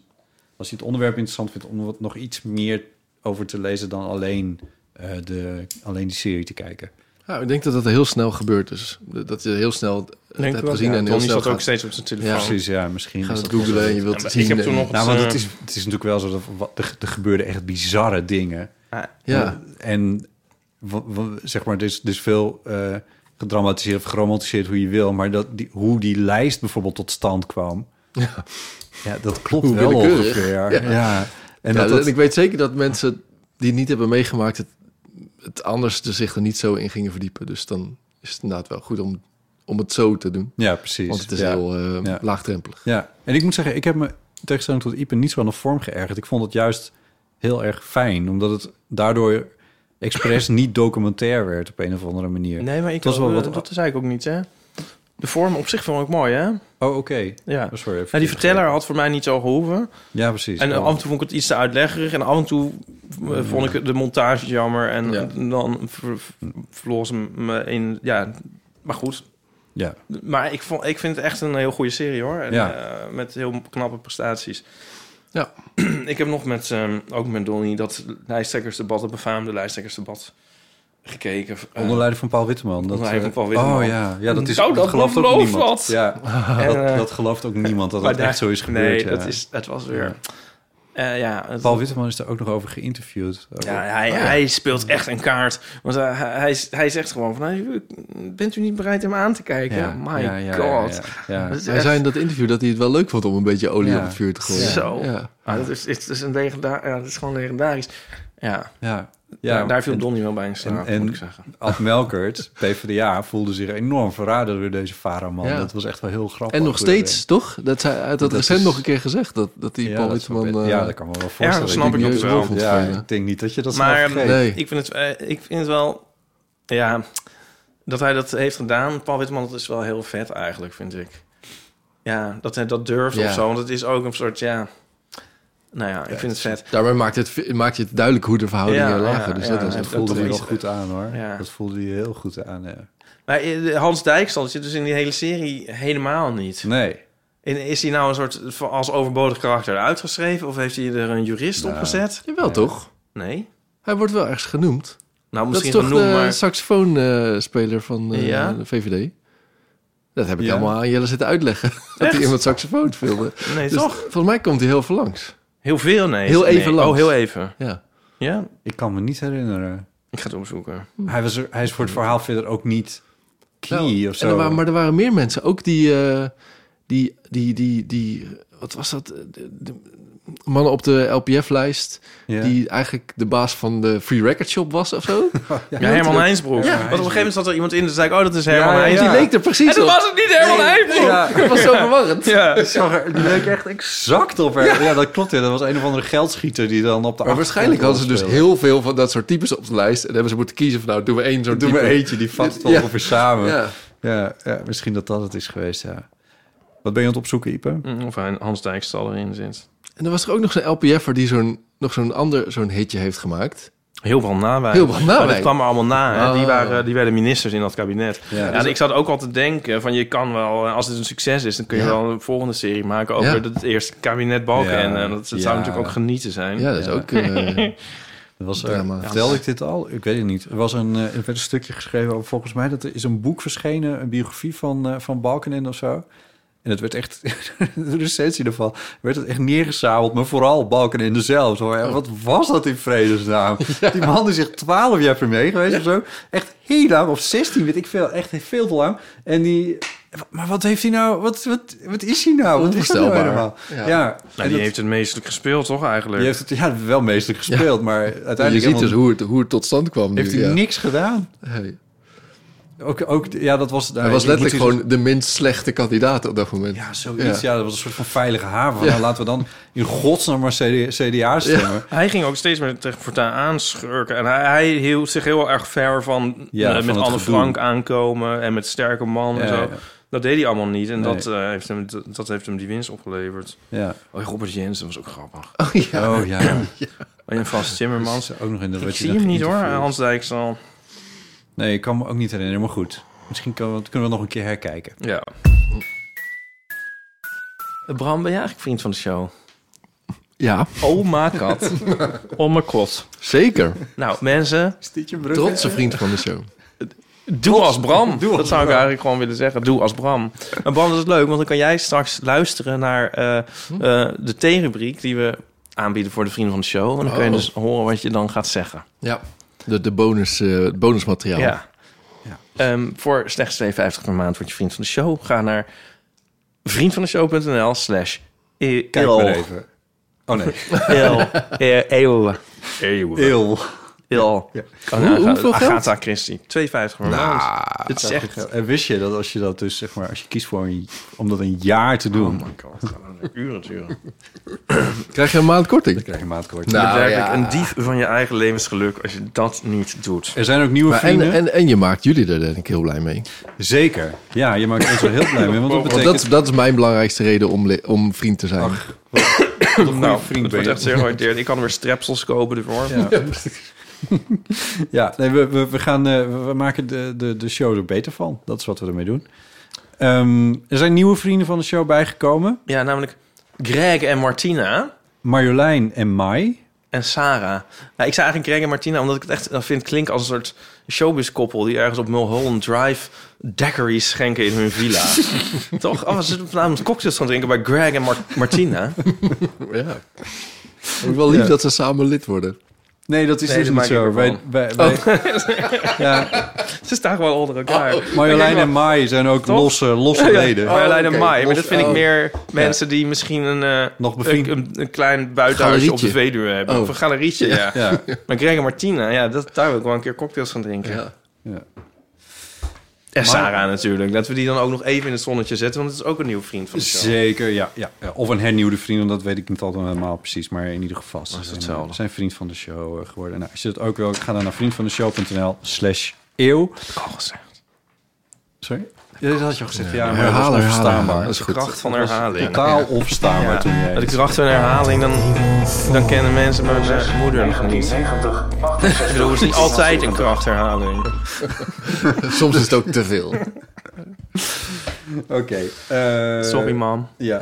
[SPEAKER 3] als je het onderwerp interessant vindt... om er wat nog iets meer over te lezen dan alleen, eh, de, alleen die serie te kijken.
[SPEAKER 2] Ja, Nou, ik denk dat dat heel snel gebeurt. Dus dat je heel snel het
[SPEAKER 4] Denk
[SPEAKER 2] hebt
[SPEAKER 4] ik wel.
[SPEAKER 2] gezien
[SPEAKER 4] Ja,
[SPEAKER 2] en heel
[SPEAKER 4] Tony
[SPEAKER 2] snel
[SPEAKER 4] zat ook
[SPEAKER 2] gaat,
[SPEAKER 4] steeds op zijn telefoon.
[SPEAKER 2] Ja.
[SPEAKER 3] Precies, ja. Misschien
[SPEAKER 2] gaat
[SPEAKER 3] is
[SPEAKER 2] het
[SPEAKER 3] dat-
[SPEAKER 2] googelen en je wilt
[SPEAKER 4] Ja,
[SPEAKER 2] het
[SPEAKER 4] maar
[SPEAKER 2] zien.
[SPEAKER 4] ik heb toen
[SPEAKER 2] en-
[SPEAKER 4] nog-
[SPEAKER 3] Nou, want het
[SPEAKER 4] eh,
[SPEAKER 3] is, het is natuurlijk wel zo dat wat- er, er gebeurden echt bizarre dingen.
[SPEAKER 2] Ja,
[SPEAKER 3] Eh, En wa- wa- zeg maar, dus, dus veel eh, gedramatiseerd of geromantiseerd hoe je wil, maar dat die, hoe die lijst bijvoorbeeld tot stand kwam, ja, dat klopt
[SPEAKER 2] Hoe
[SPEAKER 3] wel
[SPEAKER 2] willekeurig.
[SPEAKER 3] ongeveer. Ja. En
[SPEAKER 2] en
[SPEAKER 3] dat, dat,
[SPEAKER 2] ik weet zeker dat mensen die het niet hebben meegemaakt... het, het anders er zich er niet zo in gingen verdiepen. Dus dan is het inderdaad wel goed om, om het zo te doen.
[SPEAKER 3] ja, precies.
[SPEAKER 2] Want het is
[SPEAKER 3] ja.
[SPEAKER 2] heel eh,
[SPEAKER 3] Ja.
[SPEAKER 2] laagdrempelig.
[SPEAKER 3] Ja, en ik moet zeggen, ik heb me in tegenstelling tot Ipe niet zo aan de vorm geërgerd. Ik vond het juist heel erg fijn, omdat het daardoor expres niet documentair werd op een of andere manier.
[SPEAKER 4] Nee, maar ik
[SPEAKER 3] Dat is wel
[SPEAKER 4] eh,
[SPEAKER 3] wat-
[SPEAKER 4] dat zei ik ook niet, hè? De vorm op zich vond ik ook mooi, hè?
[SPEAKER 3] Oh, oké.
[SPEAKER 4] Ja.
[SPEAKER 3] Oh, sorry.
[SPEAKER 4] Ja, die verteller had voor mij niet zo gehoeven.
[SPEAKER 3] Ja, precies.
[SPEAKER 4] En eh,
[SPEAKER 3] Oh.
[SPEAKER 4] af en toe vond ik het iets te uitleggerig. En af en toe
[SPEAKER 3] Mm.
[SPEAKER 4] eh, vond ik de montage jammer. En
[SPEAKER 2] Ja.
[SPEAKER 4] dan ver- ver-
[SPEAKER 3] Mm.
[SPEAKER 4] verloor ze me in... Ja, maar goed.
[SPEAKER 3] Ja.
[SPEAKER 4] Maar ik, vond, ik vind het echt een heel goede serie, hoor. En,
[SPEAKER 3] Ja.
[SPEAKER 4] eh, met heel knappe prestaties.
[SPEAKER 2] Ja.
[SPEAKER 4] ik heb nog met, ehm, ook met Donnie, dat lijsttrekkersdebat, het befaamde lijsttrekkersdebat, gekeken. Eh,
[SPEAKER 3] Onder leiding van Paul Witteman. Dat,
[SPEAKER 4] onder leiding
[SPEAKER 3] eh,
[SPEAKER 4] van Paul Witteman.
[SPEAKER 3] Oh ja, ja dat, is,
[SPEAKER 4] Nou, dat
[SPEAKER 3] gelooft ook
[SPEAKER 4] belooft
[SPEAKER 3] niemand.
[SPEAKER 4] wat.
[SPEAKER 3] Ja, dat,
[SPEAKER 4] eh,
[SPEAKER 3] dat gelooft ook niemand dat
[SPEAKER 4] Maar
[SPEAKER 3] dat
[SPEAKER 4] daar-
[SPEAKER 3] echt zo is gebeurd.
[SPEAKER 4] Nee,
[SPEAKER 3] ja.
[SPEAKER 4] dat is, het was weer... Eh, ja, het-
[SPEAKER 3] Paul Oh, Witteman is er ook nog over geïnterviewd. Over-
[SPEAKER 4] Ja, hij, hij speelt echt een kaart. Want eh, hij, hij, hij zegt gewoon van... "Hey, Bent u niet bereid hem aan te kijken? My
[SPEAKER 3] ja, ja,
[SPEAKER 4] god.
[SPEAKER 3] Ja, ja, ja.
[SPEAKER 4] Dat is
[SPEAKER 2] Hij
[SPEAKER 4] echt-
[SPEAKER 2] zei in dat interview dat hij het wel leuk vond om een beetje olie
[SPEAKER 3] Ja.
[SPEAKER 2] op het vuur te gooien.
[SPEAKER 4] Zo.
[SPEAKER 2] Ja.
[SPEAKER 4] Ah, dat, is, het is een legenda- ja, dat is gewoon legendarisch. Ja,
[SPEAKER 3] Ja. Ja,
[SPEAKER 4] ja daar, daar viel
[SPEAKER 3] en
[SPEAKER 4] Donnie wel bij in slaap,
[SPEAKER 3] en-
[SPEAKER 4] moet ik zeggen.
[SPEAKER 3] Ad Melkert, PvdA, voelde zich enorm verraden door deze Faraman.
[SPEAKER 2] Ja.
[SPEAKER 3] Dat was echt wel heel grappig.
[SPEAKER 2] En nog steeds, toch? Dat hij had dat
[SPEAKER 3] Dat
[SPEAKER 2] recent
[SPEAKER 3] is-
[SPEAKER 2] nog een keer gezegd. Dat, dat die
[SPEAKER 3] Ja,
[SPEAKER 2] Paul
[SPEAKER 3] dat
[SPEAKER 2] Witteman...
[SPEAKER 3] snap ik.
[SPEAKER 2] eh,
[SPEAKER 3] ja, dat kan me wel
[SPEAKER 4] Ja,
[SPEAKER 3] voorstellen.
[SPEAKER 4] dat snap ik
[SPEAKER 2] die
[SPEAKER 4] ook
[SPEAKER 2] niet
[SPEAKER 4] wel.
[SPEAKER 2] eens
[SPEAKER 3] Ja,
[SPEAKER 2] Ja.
[SPEAKER 3] ik denk niet dat je dat
[SPEAKER 4] Maar
[SPEAKER 3] snap.
[SPEAKER 2] Nee.
[SPEAKER 4] ik, vind het, eh, ik vind het wel... Ja, dat hij dat heeft gedaan, Paul Witteman, dat is wel heel vet eigenlijk, vind ik. Ja, dat hij dat durft
[SPEAKER 2] Ja.
[SPEAKER 4] of zo. Want het is ook een soort, ja... Nou ja, ik vind het vet.
[SPEAKER 2] Daarbij maakt het, maakt het duidelijk hoe de verhoudingen
[SPEAKER 4] Ja,
[SPEAKER 2] lagen.
[SPEAKER 4] ja,
[SPEAKER 2] dus
[SPEAKER 4] ja,
[SPEAKER 2] dat was het
[SPEAKER 3] Dat
[SPEAKER 4] hij heeft
[SPEAKER 3] voelde
[SPEAKER 4] dat
[SPEAKER 3] hij wel
[SPEAKER 4] toch
[SPEAKER 3] goed aan, hoor.
[SPEAKER 4] Ja.
[SPEAKER 3] Dat voelde hij heel goed aan, ja.
[SPEAKER 4] Maar eh, Hans Dijkstand zit dus in die hele serie helemaal niet.
[SPEAKER 3] Nee.
[SPEAKER 4] En is hij nou een soort van als overbodig karakter uitgeschreven? Of heeft hij er een jurist op gezet?
[SPEAKER 2] Jawel, toch?
[SPEAKER 4] Nee.
[SPEAKER 2] Hij wordt wel ergens genoemd.
[SPEAKER 4] Nou,
[SPEAKER 2] Dat is
[SPEAKER 4] misschien
[SPEAKER 2] toch eh,
[SPEAKER 4] genoeg,
[SPEAKER 2] de
[SPEAKER 4] maar...
[SPEAKER 2] saxofoonspeler van eh,
[SPEAKER 4] Ja?
[SPEAKER 2] de VVD? Dat heb ik
[SPEAKER 3] Ja.
[SPEAKER 2] allemaal aan Jelle zitten uitleggen. Dat hij
[SPEAKER 4] Echt?
[SPEAKER 2] iemand saxofoon speelde.
[SPEAKER 4] Nee,
[SPEAKER 2] Dus
[SPEAKER 4] toch?
[SPEAKER 2] volgens mij komt hij heel veel langs.
[SPEAKER 4] Heel veel, nee.
[SPEAKER 2] Heel
[SPEAKER 4] Nee.
[SPEAKER 2] even langs.
[SPEAKER 4] Oh, heel even.
[SPEAKER 2] Ja.
[SPEAKER 4] Ja,
[SPEAKER 3] Ik kan me niet herinneren.
[SPEAKER 4] ik ga het opzoeken.
[SPEAKER 3] Hij, was er, hij is voor het verhaal verder ook niet key
[SPEAKER 2] Nou,
[SPEAKER 3] of
[SPEAKER 2] en
[SPEAKER 3] zo.
[SPEAKER 2] er waren, maar er waren meer mensen. Ook die, eh, die, die, die, die, wat was dat? De, de mannen op de LPF-lijst.
[SPEAKER 3] Ja.
[SPEAKER 2] Die eigenlijk de baas van de Free Record Shop was of zo.
[SPEAKER 4] Ja, Herman Heinsbroek.
[SPEAKER 3] Ja,
[SPEAKER 4] Want op een gegeven moment zat er iemand in en zei ik, oh, dat is Herman
[SPEAKER 3] Ja, ja, ja.
[SPEAKER 4] Heinsbroek.
[SPEAKER 2] Die leek er precies
[SPEAKER 4] En toen
[SPEAKER 2] op.
[SPEAKER 4] was het niet Herman Heinsbroek.
[SPEAKER 3] Ja,
[SPEAKER 2] Dat was zo verwarrend.
[SPEAKER 4] Ja.
[SPEAKER 3] ik zag er- die leek echt exact op haar. Ja. dat klopt. Ja. Dat was een of andere geldschieter die dan op de
[SPEAKER 2] Maar waarschijnlijk hadden ze dus
[SPEAKER 3] achtergrond
[SPEAKER 2] heel veel van dat soort types op de lijst. En hebben ze moeten kiezen van nou, doen we één zo'n
[SPEAKER 3] speelde. Doe
[SPEAKER 2] type.
[SPEAKER 3] maar eentje, die vat het wel
[SPEAKER 2] Ja.
[SPEAKER 3] ongeveer samen. Ja.
[SPEAKER 2] Ja.
[SPEAKER 3] Ja, misschien dat dat het is geweest, ja. Wat ben je aan het opzoeken, Ipe?
[SPEAKER 4] Mm, Of hij- Hans Dijkstal erin zit.
[SPEAKER 2] En er was er ook nog zo'n LPF'er die zo'n, nog zo'n ander zo'n hitje heeft gemaakt.
[SPEAKER 4] Heel veel nawijn.
[SPEAKER 2] Heel veel nawijn.
[SPEAKER 4] Maar dat kwam er allemaal na. Hè?
[SPEAKER 3] Ah.
[SPEAKER 4] Die,
[SPEAKER 2] Oh.
[SPEAKER 4] waren, die werden ministers in dat kabinet. Ja, en ik zat ook al te denken van je kan wel, eh, als het een succes is, dan kun je
[SPEAKER 2] Ja.
[SPEAKER 4] wel een volgende serie maken over
[SPEAKER 2] Ja.
[SPEAKER 4] het eerste kabinet Balken.
[SPEAKER 3] Ja.
[SPEAKER 4] En eh, dat, dat
[SPEAKER 3] Ja.
[SPEAKER 4] zou natuurlijk ook genieten zijn. Nou,
[SPEAKER 2] Ja, dat is ook... eh,
[SPEAKER 3] Dat was er,
[SPEAKER 2] Drama.
[SPEAKER 3] vertelde ik dit al? Ik weet het niet. Er, was een, eh, er werd een stukje geschreven over, volgens mij, dat er is een boek verschenen, een biografie van, eh, van Balkenende of zo. En het werd echt, de recensie ervan, werd het echt neergezabeld, maar vooral Balkenende zelf. Zo, ja, wat was dat in vredesnaam? Die man is echt 12 jaar premier geweest of zo. Echt heel lang, of 16, weet ik veel, echt veel te lang. En die... Maar wat heeft hij nou? Wat, wat, wat is hij nou? Wat is dat nou
[SPEAKER 2] Onvoorstelbaar.
[SPEAKER 3] helemaal? Ja.
[SPEAKER 2] Ja.
[SPEAKER 4] Nou,
[SPEAKER 3] en
[SPEAKER 4] die
[SPEAKER 3] dat-
[SPEAKER 4] heeft het meestelijk gespeeld, toch eigenlijk?
[SPEAKER 3] die heeft het ja, wel meestelijk gespeeld, maar uiteindelijk...
[SPEAKER 2] je ziet
[SPEAKER 3] helemaal-
[SPEAKER 2] dus hoe het, hoe het tot stand kwam. nu,
[SPEAKER 3] heeft hij
[SPEAKER 2] ja.
[SPEAKER 3] niks gedaan.
[SPEAKER 2] Hey.
[SPEAKER 3] Ook, ook, ja, dat was...
[SPEAKER 2] Hij was letterlijk gewoon de minst slechte kandidaat op dat moment.
[SPEAKER 3] Ja, zoiets. Ja. dat was een soort van veilige haven. Van, nou, laten we dan in godsnaam maar CD, CDA stemmen.
[SPEAKER 4] Hij ging ook steeds meer tegen voortaan aanschurken. En hij, hij hield zich heel erg ver van,
[SPEAKER 3] Ja,
[SPEAKER 4] eh,
[SPEAKER 3] van
[SPEAKER 4] met
[SPEAKER 3] het
[SPEAKER 4] Anne
[SPEAKER 3] gedoe.
[SPEAKER 4] Frank aankomen en met sterke man en
[SPEAKER 3] Ja,
[SPEAKER 4] zo.
[SPEAKER 3] ja.
[SPEAKER 4] Dat deed hij allemaal niet. En
[SPEAKER 3] Nee.
[SPEAKER 4] dat, eh, heeft hem, dat, dat heeft hem die winst opgeleverd.
[SPEAKER 3] Ja.
[SPEAKER 4] Oh, Robert Jensen was ook grappig.
[SPEAKER 3] Oh ja.
[SPEAKER 4] En Oh, Frans Timmermans.
[SPEAKER 3] Ook nog in de
[SPEAKER 4] Ik zie hem niet hoor, Hans Dijkstal.
[SPEAKER 3] Nee, ik kan me ook niet herinneren, maar goed. Misschien kunnen we, kunnen we nog een keer herkijken.
[SPEAKER 4] Ja. Bram, ben jij eigenlijk vriend van de show?
[SPEAKER 2] Ja,
[SPEAKER 4] Oh my god. oh my god.
[SPEAKER 2] zeker.
[SPEAKER 4] Nou, mensen,
[SPEAKER 2] Trotse vriend van de show.
[SPEAKER 4] Doe als Bram. dat zou ik eigenlijk gewoon willen zeggen. Doe als Bram. En Bram, dat is leuk, want dan kan jij straks luisteren naar eh, eh, de theerubriek die we aanbieden voor de vrienden van de show. En dan kun je
[SPEAKER 2] Oh.
[SPEAKER 4] dus horen wat je dan gaat zeggen.
[SPEAKER 2] Ja, de, de bonus, eh, het bonusmateriaal.
[SPEAKER 4] Ja. Ehm, voor slechts 2,50 per maand word je vriend van de show. Ga naar vriendvandeshow.nl slash e-
[SPEAKER 3] Kijk
[SPEAKER 4] eeuw.
[SPEAKER 3] maar even. Oh nee.
[SPEAKER 4] Eeuw. E- Eeuw.
[SPEAKER 3] Eeuw.
[SPEAKER 4] Eeuw. Oh, nou,
[SPEAKER 2] Hoe- hoeveel geld?
[SPEAKER 4] Agatha Christie. 2,50 per
[SPEAKER 3] Nou.
[SPEAKER 4] maand. Dit is echt...
[SPEAKER 3] En wist je dat als je dat dus, zeg maar, als je kiest voor een, om dat een jaar te doen,
[SPEAKER 4] Oh my god, het gaat over uren, uren.
[SPEAKER 2] Krijg je een maand korting?
[SPEAKER 3] krijg je maatkoord.
[SPEAKER 4] Je bent
[SPEAKER 2] Nou,
[SPEAKER 4] werkelijk
[SPEAKER 2] ja.
[SPEAKER 4] een dief van je eigen levensgeluk als je dat niet doet.
[SPEAKER 3] Er zijn ook nieuwe
[SPEAKER 2] Maar en,
[SPEAKER 3] vrienden.
[SPEAKER 2] en, en je maakt jullie er denk ik heel blij mee.
[SPEAKER 3] Zeker. Ja, je maakt ons er heel blij mee, want
[SPEAKER 2] Want
[SPEAKER 3] dat betekent...
[SPEAKER 2] dat, is- dat is mijn belangrijkste reden om, le- om vriend te zijn.
[SPEAKER 4] nou,
[SPEAKER 3] vriend
[SPEAKER 4] het
[SPEAKER 3] ben
[SPEAKER 4] wordt
[SPEAKER 3] je.
[SPEAKER 4] echt zeer gewaardeerd. Ik kan er weer strepsels kopen ervoor.
[SPEAKER 3] Ja. ja, nee, we, we, we gaan, eh, we- we maken de, de, de show er beter van. Dat is wat we ermee doen. Ehm, er zijn nieuwe vrienden van de show bijgekomen.
[SPEAKER 4] Ja, namelijk Greg en Martina
[SPEAKER 3] Marjolein en Mai.
[SPEAKER 4] en Sarah. Nou, ik zei eigenlijk Greg en Martina omdat ik het echt eh, vind klinken als een soort showbiz-koppel... die ergens op Mulholland Drive daiquiris schenken in hun villa. Toch? Oh, ze zitten vanavond cocktails gaan drinken bij Greg en Mar- Martina.
[SPEAKER 2] Ja. Ook wel lief dat ze samen lid worden.
[SPEAKER 3] Nee, dat is
[SPEAKER 4] Nee,
[SPEAKER 3] dus
[SPEAKER 4] dat
[SPEAKER 3] niet
[SPEAKER 4] maak ik
[SPEAKER 3] zo. Wij,
[SPEAKER 4] ervan. Oh.
[SPEAKER 3] wij, wij- ja,
[SPEAKER 4] ze staan gewoon onder
[SPEAKER 2] Oh,
[SPEAKER 4] elkaar.
[SPEAKER 3] Marjolein en Mai zijn ook
[SPEAKER 4] Toch? Oh.
[SPEAKER 3] losse, losse leden.
[SPEAKER 4] Marjolein en
[SPEAKER 2] oké.
[SPEAKER 4] Mai. Maar dat
[SPEAKER 2] Los-
[SPEAKER 4] vind ik
[SPEAKER 2] oh.
[SPEAKER 4] meer mensen die misschien een, eh,
[SPEAKER 3] Nog bevriend.
[SPEAKER 4] een, een, een klein buitenhuisje op de
[SPEAKER 2] Galerietje.
[SPEAKER 4] Veluwe hebben.
[SPEAKER 2] Oh.
[SPEAKER 4] Of een galerietje, ja.
[SPEAKER 3] Ja,
[SPEAKER 4] Maar Greg en Martina, ja, dat, daar wil ik wel een keer cocktails gaan drinken.
[SPEAKER 2] Ja.
[SPEAKER 3] ja.
[SPEAKER 4] En Sarah natuurlijk. Dat we die dan ook nog even in het zonnetje zetten. Want dat is ook een nieuw vriend van de show.
[SPEAKER 3] Zeker, ja, ja. ja. Of een hernieuwde vriend, want dat weet ik niet altijd helemaal precies. Maar in ieder geval, ze
[SPEAKER 4] is
[SPEAKER 3] zijn,
[SPEAKER 4] hetzelfde.
[SPEAKER 3] eh, zijn vriend van de show eh, geworden. Nou, als je dat ook wil, ga dan naar vriendvandeshow.nl slash eeuw.
[SPEAKER 4] Oh, gezegd.
[SPEAKER 3] Sorry? Ja, dat had je al gezegd. Ja, maar
[SPEAKER 2] Herhalen,
[SPEAKER 3] dat was
[SPEAKER 2] herhalen.
[SPEAKER 3] onverstaanbaar.
[SPEAKER 2] Dat is goed.
[SPEAKER 4] Kracht van herhaling.
[SPEAKER 3] Totaal onverstaanbaar toen jij...
[SPEAKER 4] Als ik kracht van herhaling, dan, dan kennen mensen mijn eh, moeder nog niet. Ik bedoel, het is niet altijd een krachtherhaling.
[SPEAKER 2] Soms is het ook te veel.
[SPEAKER 3] Oké. eh,
[SPEAKER 4] Sorry, mam.
[SPEAKER 3] Ja.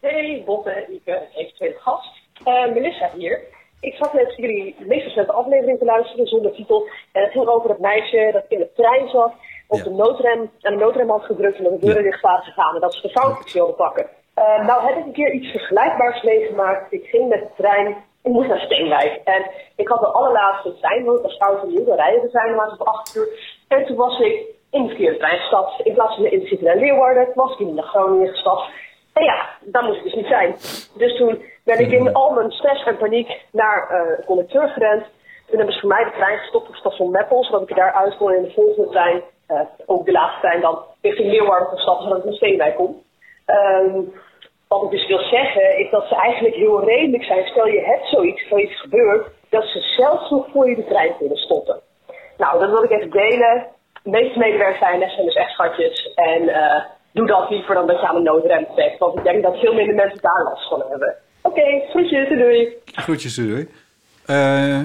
[SPEAKER 6] Hey, Botte, Ipe, eventueel gast. Eh, Melissa hier. ik zat net jullie meest recente aflevering te luisteren zonder titel. En het ging over dat meisje dat in de trein zat, op
[SPEAKER 3] Ja.
[SPEAKER 6] de noodrem, en de noodrem had gedrukt en dat de deuren dicht waren gegaan. En dat ze de foutjes wilde pakken. Eh, nou heb ik een keer iets vergelijkbaars meegemaakt. Ik ging met de trein, ik moest naar Steenwijk. En ik had de allerlaatste trein, want als oud en nieuw, dan rijden de trein maar op acht uur. En toen was ik in de verkeerde trein gestapt. In plaats van in de City naar Leeuwarden, was ik in naar Groningen gestapt. En ja, dat moest ik dus niet zijn. Dus toen ben ik in al mijn stress en paniek naar eh, de conducteur gerend. Toen hebben ze voor mij de trein gestopt op station Meppel, zodat ik er daar uit kon en in de volgende trein, eh, ook de laatste trein dan, richting Leeuwarden kon stappen, zodat ik meteen bij kom. Ehm, wat ik dus wil zeggen, is dat ze eigenlijk heel redelijk zijn. Stel je hebt zoiets, zoiets gebeurt, dat ze zelfs nog voor je de trein kunnen stoppen. Nou, dat wil ik even delen. De meeste medewerkers zijn net zijn dus echt schatjes. En eh, doe dat liever dan dat je aan de noodrem trekt. Want ik denk dat veel minder mensen daar last van hebben. Oké, groetjes, doei, doei.
[SPEAKER 3] Groetjes, doei, doei. Eh,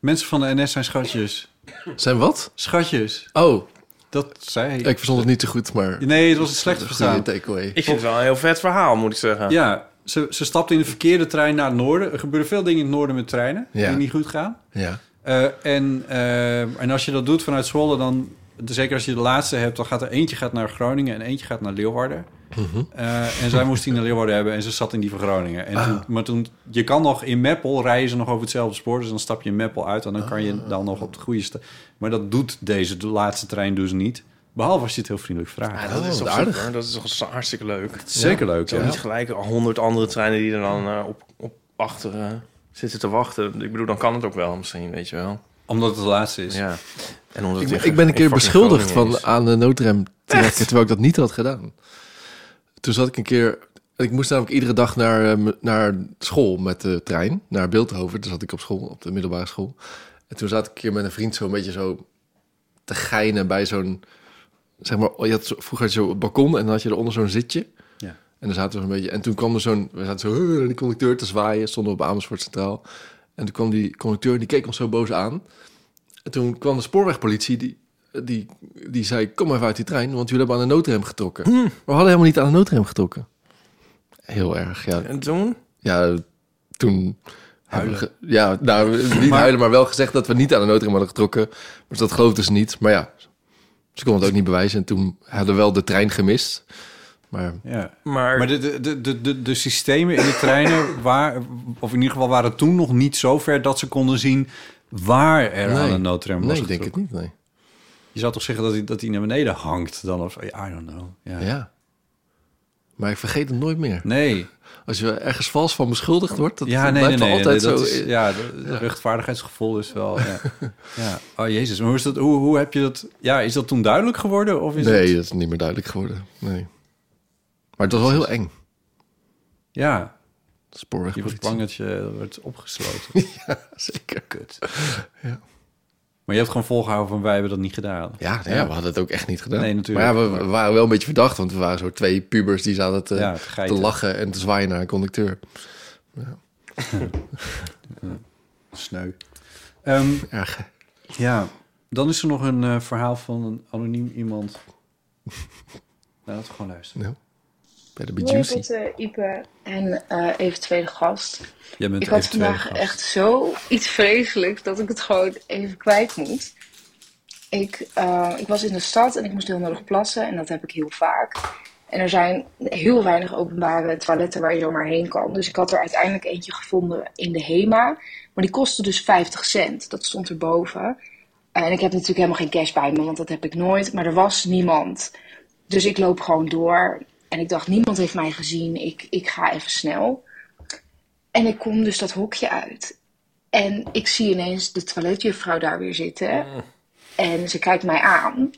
[SPEAKER 3] mensen van de NS zijn schatjes.
[SPEAKER 2] Zijn wat?
[SPEAKER 3] Schatjes.
[SPEAKER 2] Oh,
[SPEAKER 3] Dat zei
[SPEAKER 2] ik verstond het niet zo goed, maar...
[SPEAKER 3] Nee, het was een slecht
[SPEAKER 2] Een goede
[SPEAKER 3] verstaan.
[SPEAKER 2] takeaway.
[SPEAKER 4] Ik vind het wel een heel vet verhaal, moet ik zeggen.
[SPEAKER 3] Ja, ze, ze stapte in de verkeerde trein naar het noorden. Er gebeuren veel dingen in het noorden met treinen
[SPEAKER 2] Ja.
[SPEAKER 3] die niet goed gaan.
[SPEAKER 2] Ja.
[SPEAKER 3] Eh, en, eh, en als je dat doet vanuit Zwolle, dan... Zeker als je de laatste hebt, dan gaat er eentje gaat naar Groningen en eentje gaat naar Leeuwarden. Eh, en zij moest die naar Leeuwarden hebben en ze zat in die van Groningen. En toen- maar toen, je kan nog in Meppel rijden ze nog over hetzelfde spoor. Dus dan stap je in Meppel uit en dan kan je dan nog op de goede... sta- Maar dat doet deze de laatste trein dus niet. Behalve als je het heel vriendelijk vraagt.
[SPEAKER 4] Ja, Ah, dat is
[SPEAKER 2] Oh,
[SPEAKER 4] toch
[SPEAKER 2] wat aardig.
[SPEAKER 4] super. Dat is toch zo hartstikke leuk. Het
[SPEAKER 3] Zeker leuk,
[SPEAKER 4] zijn
[SPEAKER 3] ja.
[SPEAKER 4] niet gelijk eh, honderd andere treinen die er dan eh, op, op achteren zitten te wachten. Ik bedoel, dan kan het ook wel misschien, weet je wel.
[SPEAKER 3] Omdat het de laatste is.
[SPEAKER 4] Ja. En omdat
[SPEAKER 2] Ik,
[SPEAKER 4] het
[SPEAKER 2] ben-
[SPEAKER 4] in-
[SPEAKER 2] ik ben een
[SPEAKER 4] in
[SPEAKER 2] keer
[SPEAKER 4] fucking
[SPEAKER 2] beschuldigd
[SPEAKER 4] Groningen
[SPEAKER 2] van aan de noodrem trekken, terwijl ik dat niet had gedaan. Toen zat ik een keer... Ik moest namelijk iedere dag naar, eh, m- naar school met de trein, naar Beeldhoven. Toen zat ik op school, op de middelbare school. En toen zat ik een keer met een vriend zo een beetje zo te geinen bij zo'n... Zeg maar, je had, zo- vroeger had je zo'n balkon en dan had je eronder zo'n zitje.
[SPEAKER 3] Ja.
[SPEAKER 2] En dan zaten we zo'n beetje... En toen kwam er zo'n... We zaten zo eh, die conducteur te zwaaien, stonden we op Amersfoort Centraal. En toen kwam die conducteur, die keek ons zo boos aan. En toen kwam de spoorwegpolitie, die, die, die zei... Kom even uit die trein, want jullie hebben aan de noodrem getrokken. Maar we hadden helemaal niet aan de noodrem getrokken. Heel erg, ja.
[SPEAKER 4] is. En toen?
[SPEAKER 2] Ja, toen... hebben we ge- ja, nou, niet huilen, maar wel gezegd dat we niet aan de noodrem hadden getrokken. Maar dat geloofden ze niet. Maar ja, ze konden het ook niet bewijzen. En toen hadden we wel de trein gemist. Maar
[SPEAKER 3] Ja.
[SPEAKER 4] Maar,
[SPEAKER 3] Maar de, de, de- de, de, de systemen in de treinen, waar, of in ieder geval waren toen nog niet zo ver dat ze konden zien waar er aan
[SPEAKER 2] Nee.
[SPEAKER 3] een noodrem was.
[SPEAKER 2] nee, ik denk het
[SPEAKER 3] getrokken.
[SPEAKER 2] niet, nee.
[SPEAKER 3] Je zou toch zeggen dat hij, dat hij naar beneden hangt dan? Of, I don't know. Ja.
[SPEAKER 2] Ja. Maar ik vergeet het nooit meer.
[SPEAKER 3] Nee.
[SPEAKER 2] Als je ergens vals van beschuldigd wordt, dat
[SPEAKER 3] Ja,
[SPEAKER 2] dat
[SPEAKER 3] nee, nee,
[SPEAKER 2] blijft
[SPEAKER 3] nee.
[SPEAKER 2] wel altijd
[SPEAKER 3] nee, dat
[SPEAKER 2] zo. eh,
[SPEAKER 3] is- ja, de- de rechtvaardigheidsgevoel is wel... Ja. ja. Oh, jezus. Maar hoe, is dat, hoe, hoe heb je dat... Ja, is dat toen duidelijk geworden? Of is
[SPEAKER 2] nee,
[SPEAKER 3] het-
[SPEAKER 2] dat is niet meer duidelijk geworden. Nee. Maar het was wel heel eng.
[SPEAKER 3] Ja, je was
[SPEAKER 2] Spoorwegpolitie.
[SPEAKER 3] bang dat je werd opgesloten.
[SPEAKER 2] Zeker.
[SPEAKER 3] Kut. Maar je hebt gewoon volgehouden van wij hebben dat niet gedaan.
[SPEAKER 2] Ja, nee, ja, we hadden het ook echt niet gedaan.
[SPEAKER 3] Nee, natuurlijk.
[SPEAKER 2] Maar ja, we, we waren wel een beetje verdacht, want we waren zo twee pubers die zaten te,
[SPEAKER 3] Ja, te
[SPEAKER 2] te,
[SPEAKER 3] geiten.
[SPEAKER 2] lachen en te zwaaien naar een conducteur.
[SPEAKER 3] Sneu. Ehm,
[SPEAKER 2] Erg. hè?
[SPEAKER 3] Ja, dan is er nog een eh, verhaal van een anoniem iemand. nou, laten we gewoon luisteren.
[SPEAKER 2] Nou, better be
[SPEAKER 7] Hoi
[SPEAKER 2] juicy.
[SPEAKER 7] Botte, Ipe en eh eventuele gast.
[SPEAKER 3] Jij bent
[SPEAKER 7] Ik had
[SPEAKER 3] eventueel
[SPEAKER 7] vandaag
[SPEAKER 3] gast.
[SPEAKER 7] echt zo iets vreselijks dat ik het gewoon even kwijt moet. Ik, eh, ik was in de stad en ik moest heel nodig plassen en dat heb ik heel vaak. En er zijn heel weinig openbare toiletten waar je zomaar heen kan. Dus ik had er uiteindelijk eentje gevonden in de HEMA. Maar die kostte dus 50 cent. Dat stond erboven. En ik heb natuurlijk helemaal geen cash bij me, want dat heb ik nooit. Maar er was niemand. Dus ik loop gewoon door. En ik dacht, niemand heeft mij gezien. Ik, ik ga even snel. En ik kom dus dat hokje uit. En ik zie ineens de toiletjuffrouw daar weer zitten. En ze kijkt mij aan.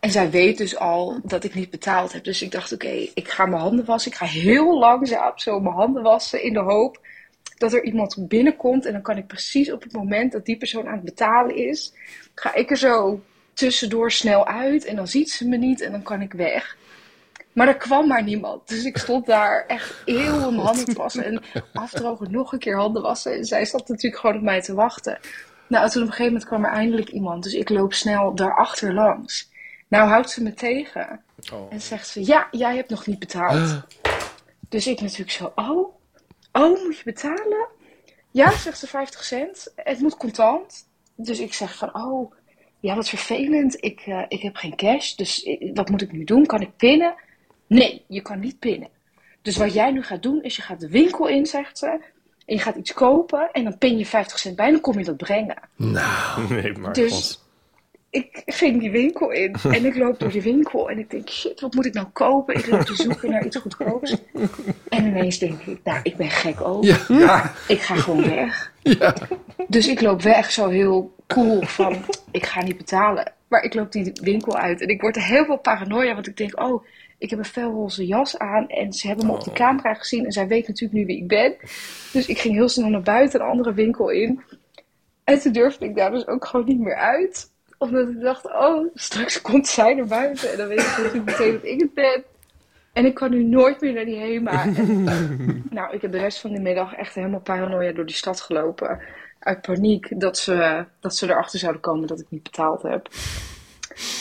[SPEAKER 7] En zij weet dus al dat ik niet betaald heb. Dus ik dacht, oké, ik ga mijn handen wassen. Ik ga heel langzaam zo mijn handen wassen in de hoop dat er iemand binnenkomt. En dan kan ik precies op het moment dat die persoon aan het betalen is, ga ik er zo tussendoor snel uit. En dan ziet ze me niet en dan kan ik weg. Maar er kwam maar niemand. Dus ik stond daar echt eeuwen mijn handen te wassen. En afdrogen, nog een keer handen wassen. En zij zat natuurlijk gewoon op mij te wachten. Nou, toen op een gegeven moment kwam er eindelijk iemand. Dus ik loop snel daarachter langs. Nou houdt ze me tegen. En zegt ze, ja, jij hebt nog niet betaald. Dus ik natuurlijk zo, oh, oh, moet je betalen? Ja, zegt ze 50 cent. Het moet contant. Dus ik zeg van, oh, ja, wat vervelend. Ik, eh, ik heb geen cash, dus ik- wat moet ik nu doen? Kan ik pinnen? Nee, je kan niet pinnen. Dus wat jij nu gaat doen, is je gaat de winkel in, zegt ze. En je gaat iets kopen en dan pin je 50 cent bij en dan kom je dat brengen.
[SPEAKER 4] Nee, maar
[SPEAKER 7] Dus-
[SPEAKER 4] God.
[SPEAKER 7] ik ging die winkel in en ik loop door die winkel en ik denk, shit, wat moet ik nou kopen? Ik loop te zoeken naar iets goedkoops. En ineens denk ik, nou, ik ben gek ook.
[SPEAKER 2] Ja.
[SPEAKER 7] Ik ga gewoon weg. Dus ik loop weg zo heel cool van, ik ga niet betalen. Maar ik loop die winkel uit en ik word heel veel paranoia, want ik denk, oh, ik heb een felroze jas aan en ze hebben me
[SPEAKER 2] Oh.
[SPEAKER 7] op de camera gezien en zij weet natuurlijk nu wie ik ben. Dus ik ging heel snel naar buiten, een andere winkel in. En toen durfde ik daar dus ook gewoon niet meer uit. Omdat ik dacht, oh, straks komt zij naar buiten. En dan weet ik natuurlijk meteen dat ik het ben. En ik kan nu nooit meer naar die HEMA. En, nou, ik heb de rest van die middag echt helemaal paranoia door die stad gelopen. Uit paniek dat ze, dat ze erachter zouden komen dat ik niet betaald heb.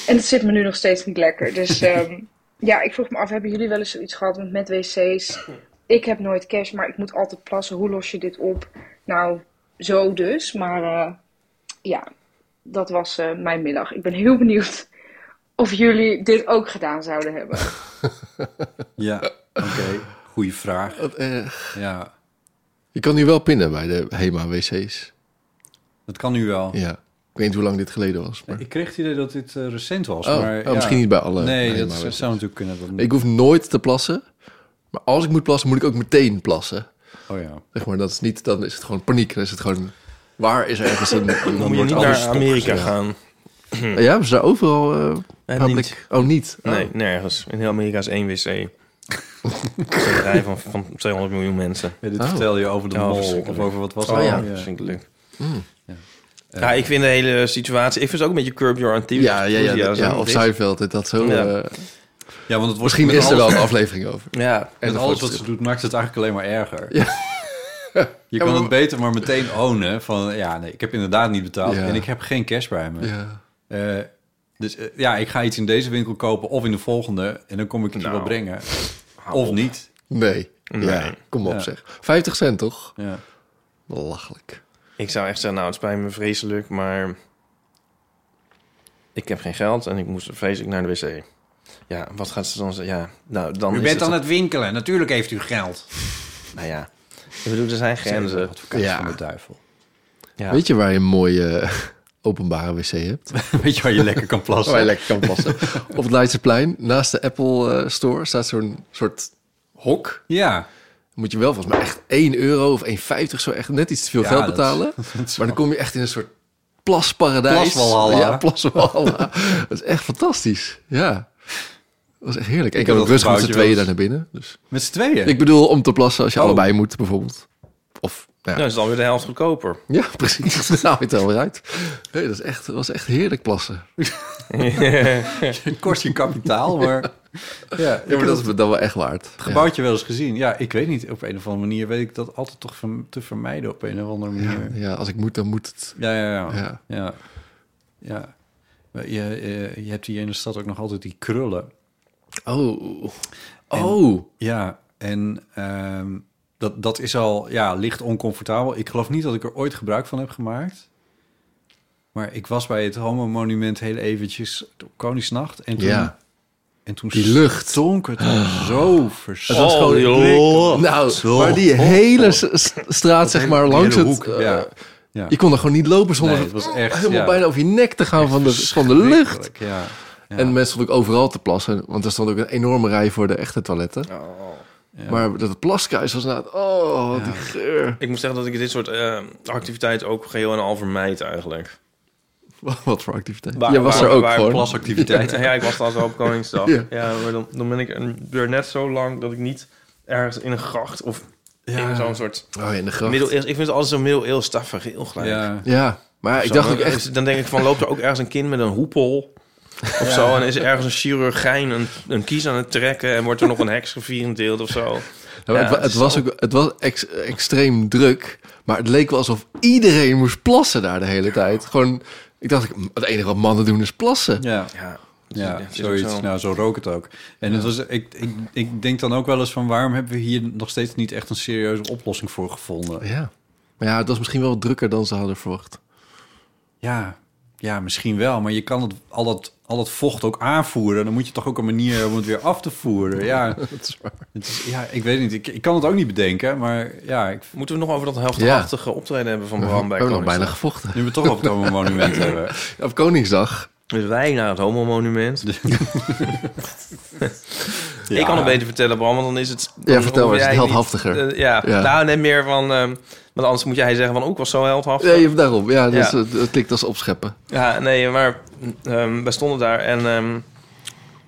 [SPEAKER 7] En het zit me nu nog steeds niet lekker. Dus ehm, ja, ik vroeg me af, hebben jullie wel eens zoiets gehad met, met wc's? Ik heb nooit cash, maar ik moet altijd plassen. Hoe los je dit op? Nou, zo dus. Maar eh, ja, dat was eh, mijn middag. Ik ben heel benieuwd of jullie dit ook gedaan zouden hebben.
[SPEAKER 3] Ja, oké. Goeie vraag.
[SPEAKER 2] Wat erg.
[SPEAKER 3] Ja,
[SPEAKER 2] Je kan nu wel pinnen bij de HEMA-wc's.
[SPEAKER 3] dat kan nu wel.
[SPEAKER 2] Ja. Ik weet niet hoe lang dit geleden was. Maar...
[SPEAKER 3] Oh. Ik kreeg het idee dat dit eh, recent was.
[SPEAKER 2] Oh,
[SPEAKER 3] maar,
[SPEAKER 2] oh,
[SPEAKER 3] ja.
[SPEAKER 2] misschien niet bij alle
[SPEAKER 3] Nee, dat
[SPEAKER 2] HEMA-wc's.
[SPEAKER 3] zou natuurlijk kunnen. Dat...
[SPEAKER 2] Ik hoef nooit te plassen. Maar als ik moet plassen, moet ik ook meteen plassen.
[SPEAKER 3] Oh ja.
[SPEAKER 2] Zeg maar, dat is niet, dan is het gewoon paniek. Dan is het gewoon, waar is ergens een... Dan
[SPEAKER 4] Dan moet je
[SPEAKER 2] wordt
[SPEAKER 4] niet
[SPEAKER 2] alles
[SPEAKER 4] naar Amerika
[SPEAKER 2] stopgezet.
[SPEAKER 4] gaan.
[SPEAKER 2] Ja, hebben ze daar overal eh
[SPEAKER 4] Nee,
[SPEAKER 2] public-
[SPEAKER 4] niet.
[SPEAKER 2] Oh, niet? Oh.
[SPEAKER 4] Nee, nergens. In heel Amerika is één wc. Een bedrijf van, van 200 miljoen mensen.
[SPEAKER 3] Ja, dit
[SPEAKER 2] Oh.
[SPEAKER 3] vertel je over de
[SPEAKER 4] Ja,
[SPEAKER 3] mol
[SPEAKER 4] verschrikkelijk.
[SPEAKER 3] of over wat was
[SPEAKER 4] Oh,
[SPEAKER 3] het?
[SPEAKER 4] ja,
[SPEAKER 2] ja.
[SPEAKER 4] verschrikkelijk.
[SPEAKER 2] Hmm.
[SPEAKER 3] Ja.
[SPEAKER 4] Ja. ik vind de hele situatie... Ik vind het ook een beetje curb your enthusiasm.
[SPEAKER 2] Ja, ja, ja, dat- ja, of
[SPEAKER 4] dit.
[SPEAKER 2] Seinfeld. Dat, dat zo,
[SPEAKER 4] Ja.
[SPEAKER 2] eh,
[SPEAKER 3] Ja, want het wordt
[SPEAKER 2] misschien
[SPEAKER 3] met
[SPEAKER 2] is er
[SPEAKER 3] alles-
[SPEAKER 2] wel een aflevering over.
[SPEAKER 4] Ja,
[SPEAKER 2] En een
[SPEAKER 3] Met alles wat
[SPEAKER 2] fotostrip.
[SPEAKER 3] ze doet maakt het eigenlijk alleen maar erger.
[SPEAKER 2] Ja.
[SPEAKER 3] Je
[SPEAKER 2] Ja,
[SPEAKER 3] kan
[SPEAKER 2] maar-
[SPEAKER 3] het beter maar meteen ownen van... ja, nee, ik heb inderdaad niet betaald
[SPEAKER 2] Ja.
[SPEAKER 3] en ik heb geen cash bij me.
[SPEAKER 2] Ja.
[SPEAKER 3] Eh, dus eh, ja, ik ga iets in deze winkel kopen of in de volgende... en dan kom ik het je
[SPEAKER 4] Nou.
[SPEAKER 3] wel brengen. Of niet.
[SPEAKER 2] Nee.
[SPEAKER 4] Nee.
[SPEAKER 2] Ja, kom op
[SPEAKER 3] Ja.
[SPEAKER 2] zeg. 50 cent toch?
[SPEAKER 3] Ja.
[SPEAKER 2] Belachelijk.
[SPEAKER 4] ik zou echt zeggen, nou, het spijt me vreselijk, maar... Ik heb geen geld en ik moest vreselijk naar de wc. Ja, wat gaat ze dan zeggen? Ja, nou, dan is het...
[SPEAKER 3] het winkelen, natuurlijk heeft u geld.
[SPEAKER 4] Nou ja, ik bedoel, er zijn grenzen. Nou,
[SPEAKER 3] Advocaat
[SPEAKER 2] Ja.
[SPEAKER 3] van de duivel.
[SPEAKER 4] Ja.
[SPEAKER 2] Weet je waar je een mooie eh, openbare wc hebt?
[SPEAKER 3] Weet je waar je Oh, lekker kan plassen?
[SPEAKER 2] Waar je lekker kan passen. Op het Leidseplein, naast de Apple eh, Store, staat zo'n soort hok.
[SPEAKER 3] Ja,
[SPEAKER 2] moet je wel volgens mij echt 1 euro of 1,50 zo echt net iets te veel
[SPEAKER 3] Ja,
[SPEAKER 2] geld
[SPEAKER 3] dat-
[SPEAKER 2] betalen. maar dan kom je echt in een soort plasparadijs.
[SPEAKER 3] Plaswalhalla.
[SPEAKER 2] Ja, plaswalhalla. dat is echt fantastisch. Ja. Dat was echt heerlijk. Ik,
[SPEAKER 3] Ik
[SPEAKER 2] heb
[SPEAKER 3] heb
[SPEAKER 2] ook
[SPEAKER 3] dat
[SPEAKER 2] rustig met z'n
[SPEAKER 3] gebouwtje
[SPEAKER 2] tweeën
[SPEAKER 3] wel
[SPEAKER 2] daar
[SPEAKER 3] eens-
[SPEAKER 2] naar binnen. Dus.
[SPEAKER 3] met z'n tweeën.
[SPEAKER 2] Ik bedoel, om te plassen als je
[SPEAKER 3] Oh.
[SPEAKER 2] allebei moet, bijvoorbeeld. Of, nou
[SPEAKER 4] Nou,
[SPEAKER 2] ja,
[SPEAKER 4] is het alweer de helft goedkoper.
[SPEAKER 2] ja precies. Daar haal je het er alweer uit. Nee, dat, is echt, dat was echt heerlijk plassen.
[SPEAKER 3] Het kost je kapitaal, maar... Ja,
[SPEAKER 2] Ja, maar dat is dan wel echt waard.
[SPEAKER 3] gebouwtje wel eens gezien. Ja, ik weet niet. Op een of andere manier weet ik dat altijd toch verm- te vermijden op een of andere
[SPEAKER 2] Ja.
[SPEAKER 3] manier.
[SPEAKER 2] ja, als ik moet, dan moet het.
[SPEAKER 3] Ja, ja, ja. ja.
[SPEAKER 2] Ja.
[SPEAKER 3] ja. Maar Je, eh, je hebt hier in de stad ook nog altijd die krullen.
[SPEAKER 2] Oh. Oh.
[SPEAKER 3] Ja, en ehm, dat, dat is al ja, licht oncomfortabel. Ik geloof niet dat ik er ooit gebruik van heb gemaakt. Maar ik was bij het homo-monument heel eventjes op Koningsnacht. En toen,
[SPEAKER 2] Ja.
[SPEAKER 3] en toen
[SPEAKER 2] Die lucht. Ah.
[SPEAKER 3] zonk het al zo
[SPEAKER 2] dus
[SPEAKER 3] verschrikkelijk.
[SPEAKER 4] Oh, joh.
[SPEAKER 2] Nou, maar die hele s- s- straat, zeg maar, langs
[SPEAKER 3] Oh, Hele
[SPEAKER 2] het...
[SPEAKER 3] hoek,
[SPEAKER 2] eh,
[SPEAKER 3] ja. Ja.
[SPEAKER 2] Je kon er gewoon niet lopen zonder
[SPEAKER 3] Nee, het was echt,
[SPEAKER 2] helemaal
[SPEAKER 3] ja.
[SPEAKER 2] bijna over je nek te gaan van de, van de lucht.
[SPEAKER 3] Verschrikkelijk, Ja. Ja.
[SPEAKER 2] En mensen stonden ook overal te plassen, want er stond ook een enorme rij voor de echte toiletten.
[SPEAKER 4] Oh,
[SPEAKER 2] Maar dat plaskuis was nou, oh, wat die geur.
[SPEAKER 4] Ik moet zeggen dat ik dit soort eh, activiteiten ook geheel en al vermijd eigenlijk.
[SPEAKER 2] Wat- Wat voor activiteit.
[SPEAKER 4] Waar-
[SPEAKER 2] Jij was
[SPEAKER 4] waar-
[SPEAKER 2] er ook
[SPEAKER 4] waar-
[SPEAKER 2] gewoon.
[SPEAKER 3] Plasactiviteit.
[SPEAKER 4] Ja, ik was trouwens wel op Koningsdag. Ja,
[SPEAKER 2] Ja.
[SPEAKER 4] maar dan, dan ben ik een- weer net zo lang dat ik niet ergens in een gracht of in zo'n soort
[SPEAKER 2] Oh, ja, in de gracht.
[SPEAKER 4] middeleeuws... Ik vind het altijd zo middeleeuws tafereel heel gelijk.
[SPEAKER 3] Ja.
[SPEAKER 2] Ja, maar ik
[SPEAKER 4] Zo,
[SPEAKER 2] dacht
[SPEAKER 4] dan-
[SPEAKER 2] ook echt...
[SPEAKER 4] Dan denk ik van, loopt er ook ergens een kind met een hoepel of zo... en is er ergens een chirurgijn een, een kies aan het trekken... en wordt er nog een heks gevierendeeld of zo.
[SPEAKER 2] nou, het,
[SPEAKER 4] ja,
[SPEAKER 2] wa- het was, ook, het was ex- extreem druk, maar het leek wel alsof iedereen moest plassen daar de hele tijd. Gewoon, ik dacht, het enige wat mannen doen is plassen.
[SPEAKER 3] Ja.
[SPEAKER 4] Ja,
[SPEAKER 3] Ja,
[SPEAKER 4] het is ook
[SPEAKER 3] zoiets.
[SPEAKER 4] zo.
[SPEAKER 3] Nou, zo rook het ook. En het was, ik, ik, ik denk dan ook wel eens van... waarom hebben we hier nog steeds niet echt een serieuze oplossing voor gevonden?
[SPEAKER 2] Ja. Maar ja, het was misschien wel drukker dan ze hadden verwacht.
[SPEAKER 3] Ja, ja, misschien wel. Maar je kan het, al, dat, al dat vocht ook aanvoeren. Dan moet je toch ook een manier om het weer af te voeren. Ja,
[SPEAKER 2] Dat is waar.
[SPEAKER 3] het is- ja ik weet niet. Ik, ik kan het ook niet bedenken. Maar ja, ik,
[SPEAKER 4] Moeten we nog over dat helftachtige optreden hebben van Bram bij
[SPEAKER 2] ook nog bijna
[SPEAKER 4] Koningsdag?
[SPEAKER 2] gevochten.
[SPEAKER 3] nu we het toch op het homo monument hebben.
[SPEAKER 2] Ja, Op Koningsdag.
[SPEAKER 4] Dus wij naar het homo-monument.
[SPEAKER 2] Dus-
[SPEAKER 4] Ik kan het beter vertellen, Bram, want dan is het... dan
[SPEAKER 2] vertel
[SPEAKER 4] hoef
[SPEAKER 2] maar, is het
[SPEAKER 4] jij niet-
[SPEAKER 2] heldhaftiger?
[SPEAKER 4] eh, ja.
[SPEAKER 2] Ja.
[SPEAKER 4] nou net meer van... ehm, want anders moet jij zeggen van, ook was zo heldhaftig.
[SPEAKER 2] Nee, daarom. Ja, dat, is-
[SPEAKER 4] Ja.
[SPEAKER 2] het- het klinkt als opscheppen.
[SPEAKER 4] Ja, nee, maar ehm wij stonden daar en... ehm,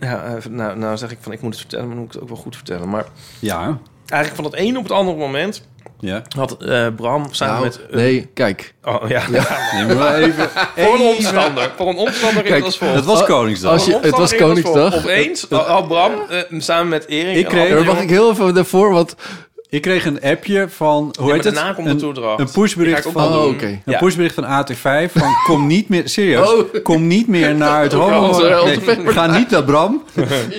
[SPEAKER 4] ja, eh, nou, nou zeg ik van, ik moet het vertellen, maar dan moet ik het ook wel goed vertellen. Maar
[SPEAKER 3] Ja,
[SPEAKER 4] eigenlijk van het ene op het andere moment
[SPEAKER 3] ja.
[SPEAKER 4] had eh, Bram samen
[SPEAKER 2] Nou,
[SPEAKER 4] met...
[SPEAKER 2] nee, kijk.
[SPEAKER 4] Oh ja,
[SPEAKER 3] Neem maar wel even.
[SPEAKER 4] voor een omstander. Voor een omstander in
[SPEAKER 2] Kijk,
[SPEAKER 4] het was vol.
[SPEAKER 3] Het was
[SPEAKER 2] Oh,
[SPEAKER 3] Koningsdag.
[SPEAKER 2] als je- het was Koningsdag.
[SPEAKER 4] Opeens had Bram eh, samen met Erik...
[SPEAKER 3] Ik
[SPEAKER 4] en
[SPEAKER 3] kreeg-
[SPEAKER 4] andere
[SPEAKER 2] Maar mag
[SPEAKER 4] jongen-
[SPEAKER 2] ik heel even daarvoor, want...
[SPEAKER 3] Ik kreeg een appje van... Hoe
[SPEAKER 4] maar
[SPEAKER 3] heet het?
[SPEAKER 4] daarna komt de toedracht.
[SPEAKER 3] Een, een pushbericht
[SPEAKER 4] Die ga ik ook
[SPEAKER 3] van...
[SPEAKER 4] wel
[SPEAKER 2] Oh,
[SPEAKER 4] doen.
[SPEAKER 2] oké.
[SPEAKER 3] Een
[SPEAKER 4] Ja.
[SPEAKER 3] pushbericht van AT5 van kom niet meer... Serieus,
[SPEAKER 2] Oh.
[SPEAKER 3] kom niet meer naar het homo...
[SPEAKER 2] onze- onze
[SPEAKER 3] Nee,
[SPEAKER 2] Pepper.
[SPEAKER 3] ga niet naar Bram.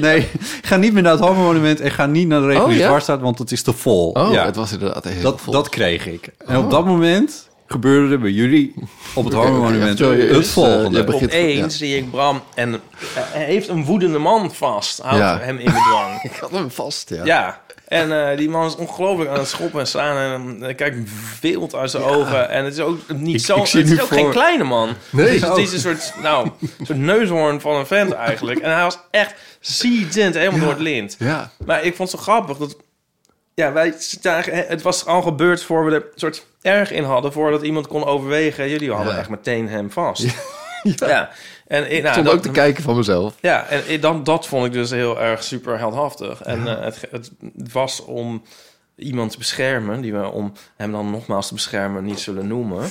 [SPEAKER 3] Nee, ga niet meer naar het homo-monument en ga niet naar de
[SPEAKER 2] Oh,
[SPEAKER 3] reguliere
[SPEAKER 2] ja?
[SPEAKER 3] dwarsstraat, want het is te vol.
[SPEAKER 2] Oh,
[SPEAKER 3] ja,
[SPEAKER 2] het was inderdaad heel
[SPEAKER 3] dat,
[SPEAKER 2] vol. Oh.
[SPEAKER 3] dat kreeg ik. En op dat moment gebeurde er bij jullie op het homo-monument
[SPEAKER 2] oké, sorry,
[SPEAKER 3] het
[SPEAKER 2] dus, eh,
[SPEAKER 3] volgende.
[SPEAKER 2] je begint- Begit-
[SPEAKER 4] Opeens
[SPEAKER 2] ja.
[SPEAKER 4] zie ik Bram en eh, hij heeft een woedende man vast. Houdt
[SPEAKER 2] Ja.
[SPEAKER 4] hem in bedwang.
[SPEAKER 2] Ik had hem vast, ja.
[SPEAKER 4] ja. En eh, die man is ongelooflijk aan het schoppen en slaan. En eh, kijkt wild uit zijn ogen. En het is ook niet zo...
[SPEAKER 3] ik zie
[SPEAKER 4] het is
[SPEAKER 3] nu
[SPEAKER 4] ook
[SPEAKER 3] voor-
[SPEAKER 4] geen kleine man.
[SPEAKER 2] Nee. Oh.
[SPEAKER 4] Het, is, het is een soort, nou, een soort neushoorn van een vent eigenlijk. En hij was echt ziedend, helemaal door het lint.
[SPEAKER 2] Ja.
[SPEAKER 4] Maar ik vond het zo grappig dat. Ja, wij zagen, het was al gebeurd voor we er soort erg in hadden, voordat iemand kon overwegen. Jullie hadden
[SPEAKER 2] Ja.
[SPEAKER 4] echt meteen hem vast. Ja. En, ik-
[SPEAKER 2] Ik
[SPEAKER 4] nou,
[SPEAKER 2] stond
[SPEAKER 4] dat,
[SPEAKER 2] ook te kijken van mezelf.
[SPEAKER 4] ja, en ik- dan, dat vond ik dus heel erg super heldhaftig. En eh, het, ge- het was om iemand te beschermen, die we om hem dan nogmaals te beschermen niet zullen noemen.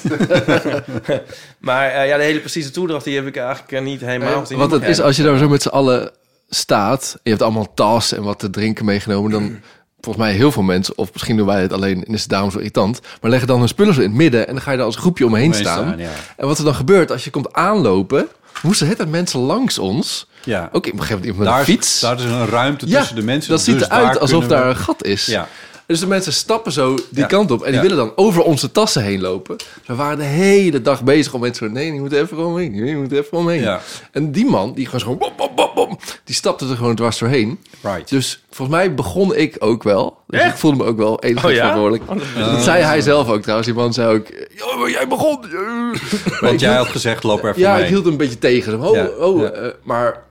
[SPEAKER 4] maar eh, ja, de hele precieze toedracht, die heb ik eigenlijk eh, niet helemaal. gezien.
[SPEAKER 2] Want het
[SPEAKER 4] Oké.
[SPEAKER 2] is, als je daar zo met z'n allen staat... en je hebt allemaal tas en wat te drinken meegenomen...
[SPEAKER 3] Hmm.
[SPEAKER 2] dan volgens mij heel veel mensen... of misschien doen wij het alleen en is het daarom zo irritant... maar leggen dan hun spullen zo in het midden... en dan ga je daar als groepje omheen
[SPEAKER 3] Omheen
[SPEAKER 2] staan.
[SPEAKER 3] staan, ja.
[SPEAKER 2] En wat er dan gebeurt als je komt aanlopen... moesten het dat mensen langs ons...
[SPEAKER 3] Ja.
[SPEAKER 2] ook op een gegeven moment iemand met
[SPEAKER 3] Daar,
[SPEAKER 2] een fiets...
[SPEAKER 3] is, daar is een ruimte tussen de mensen.
[SPEAKER 2] dat ziet
[SPEAKER 3] dus
[SPEAKER 2] eruit alsof
[SPEAKER 3] kunnen we-
[SPEAKER 2] daar een gat is.
[SPEAKER 3] Ja.
[SPEAKER 2] Dus de mensen stappen zo die
[SPEAKER 3] Ja.
[SPEAKER 2] kant op en die
[SPEAKER 3] Ja.
[SPEAKER 2] willen dan over onze tassen heen lopen. Ze waren de hele dag bezig om mensen zo, nee, die moeten even omheen, nee, die moeten even omheen.
[SPEAKER 3] Ja.
[SPEAKER 2] En die man, die gewoon, zo bom, bom, bom, bom, die stapte er gewoon dwars doorheen.
[SPEAKER 3] Right.
[SPEAKER 2] Dus volgens mij begon ik ook wel. Dus ik voelde me ook wel enigszins
[SPEAKER 4] Oh ja?
[SPEAKER 2] verantwoordelijk. dat zei hij zelf ook trouwens. Die man zei ook, ja, maar jij begon. Maar ik
[SPEAKER 3] Want jij
[SPEAKER 2] hield-
[SPEAKER 3] had gezegd, loop er even
[SPEAKER 2] ja,
[SPEAKER 3] mee.
[SPEAKER 2] ik hield hem een beetje tegen. Zo, Oh,
[SPEAKER 3] Ja,
[SPEAKER 2] oh,
[SPEAKER 3] ja.
[SPEAKER 2] eh, maar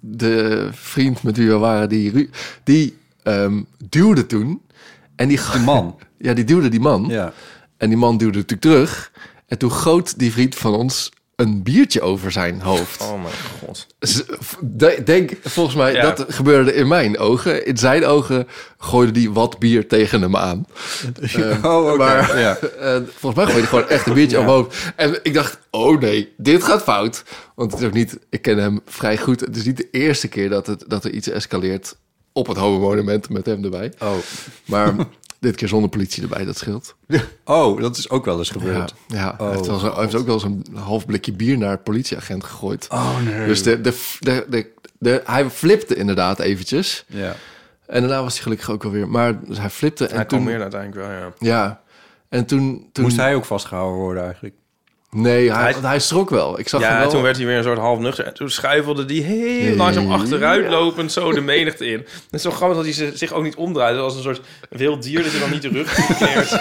[SPEAKER 2] de vriend met wie we waren, die, Ru- die ehm, duwde toen. En die
[SPEAKER 3] De man.
[SPEAKER 2] Ja, die duwde die man.
[SPEAKER 3] Ja.
[SPEAKER 2] En die man duwde natuurlijk terug. En toen goot die vriend van ons een biertje over zijn hoofd.
[SPEAKER 4] Oh mijn god.
[SPEAKER 2] Z- v- de- Denk, volgens mij,
[SPEAKER 4] Ja.
[SPEAKER 2] dat gebeurde in mijn ogen. In zijn ogen gooide die wat bier tegen hem aan.
[SPEAKER 3] Oh, oké.
[SPEAKER 2] maar-
[SPEAKER 3] Ja.
[SPEAKER 2] Eh, volgens mij gooide hij gewoon echt een biertje omhoog. En ik dacht, oh nee, dit gaat fout. Want het is ook niet, ik ken hem vrij goed. Het is niet de eerste keer dat, het, dat er iets escaleert op het homo-monument met hem erbij.
[SPEAKER 3] Oh.
[SPEAKER 2] Maar dit keer zonder politie erbij, dat scheelt.
[SPEAKER 3] oh, dat is ook wel eens
[SPEAKER 2] Ja,
[SPEAKER 3] gebeurd.
[SPEAKER 2] ja.
[SPEAKER 3] Oh,
[SPEAKER 2] hij heeft, wel zo- hij heeft ook wel eens een half blikje bier naar een politieagent gegooid.
[SPEAKER 3] Oh, nee.
[SPEAKER 2] Dus de, de, de, de, de- hij flipte inderdaad eventjes.
[SPEAKER 3] Ja.
[SPEAKER 2] En daarna was hij gelukkig ook alweer. Maar dus hij flipte en
[SPEAKER 4] Hij
[SPEAKER 2] toen...
[SPEAKER 4] kalmeerde uiteindelijk wel, ja.
[SPEAKER 2] Ja. En toen... toen
[SPEAKER 3] Moest hij ook vastgehouden worden eigenlijk?
[SPEAKER 2] Nee, hij,
[SPEAKER 4] Hij-
[SPEAKER 2] hij, schrok wel. Ik zag hem
[SPEAKER 4] Ja,
[SPEAKER 2] wel.
[SPEAKER 4] toen werd hij weer een soort half nuchter. En toen schuifelde hij heel
[SPEAKER 2] Ja.
[SPEAKER 4] langzaam achteruit lopend zo de menigte in. Het is zo grappig dat hij ze- zich ook niet omdraaide. Als een soort wild dier dat hij dan niet de rug keert.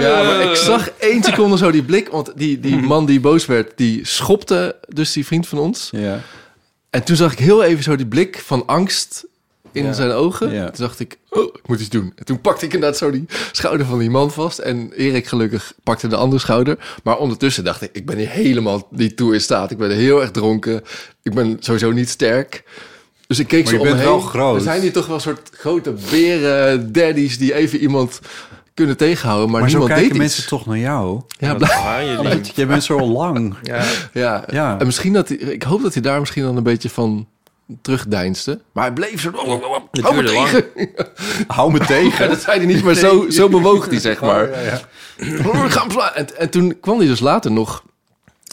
[SPEAKER 2] Ja, maar ik zag één seconde zo die blik. Want die, die man die boos werd, die schopte dus die vriend van ons.
[SPEAKER 3] Ja.
[SPEAKER 2] En toen zag ik heel even zo die blik van angst in
[SPEAKER 3] Ja.
[SPEAKER 2] zijn ogen.
[SPEAKER 3] Ja.
[SPEAKER 2] Toen dacht ik, oh, ik moet iets doen. En toen pakte ik inderdaad zo die schouder van die man vast. En Erik gelukkig pakte de andere schouder. Maar ondertussen dacht ik, ik ben hier helemaal niet toe in staat. Ik ben heel erg dronken. Ik ben sowieso niet sterk. Dus ik keek
[SPEAKER 3] Maar
[SPEAKER 2] zo
[SPEAKER 3] je
[SPEAKER 2] om me
[SPEAKER 3] bent
[SPEAKER 2] heen.
[SPEAKER 3] wel groot.
[SPEAKER 2] Er zijn hier toch wel een soort grote beren, daddies... die even iemand kunnen tegenhouden. Maar,
[SPEAKER 3] Maar zo
[SPEAKER 2] niemand
[SPEAKER 3] kijken
[SPEAKER 2] deed
[SPEAKER 3] mensen
[SPEAKER 2] iets.
[SPEAKER 3] toch naar jou?
[SPEAKER 2] Ja,
[SPEAKER 4] Wat waren jullie?
[SPEAKER 3] Jij bent zo lang.
[SPEAKER 4] Oh, Ja,
[SPEAKER 2] Ja,
[SPEAKER 3] Ja.
[SPEAKER 2] en misschien dat hij, ik hoop dat hij daar misschien dan een beetje van terugdeinste. Maar hij bleef zo. Oh, Hou me
[SPEAKER 4] duurde lang.
[SPEAKER 2] tegen.
[SPEAKER 3] Hou me tegen.
[SPEAKER 2] Ja, dat zei hij niet, maar zo, Oh, zo bewoog hij, zeg maar. Oh, ik ga hem slaan. En, en toen kwam hij dus later nog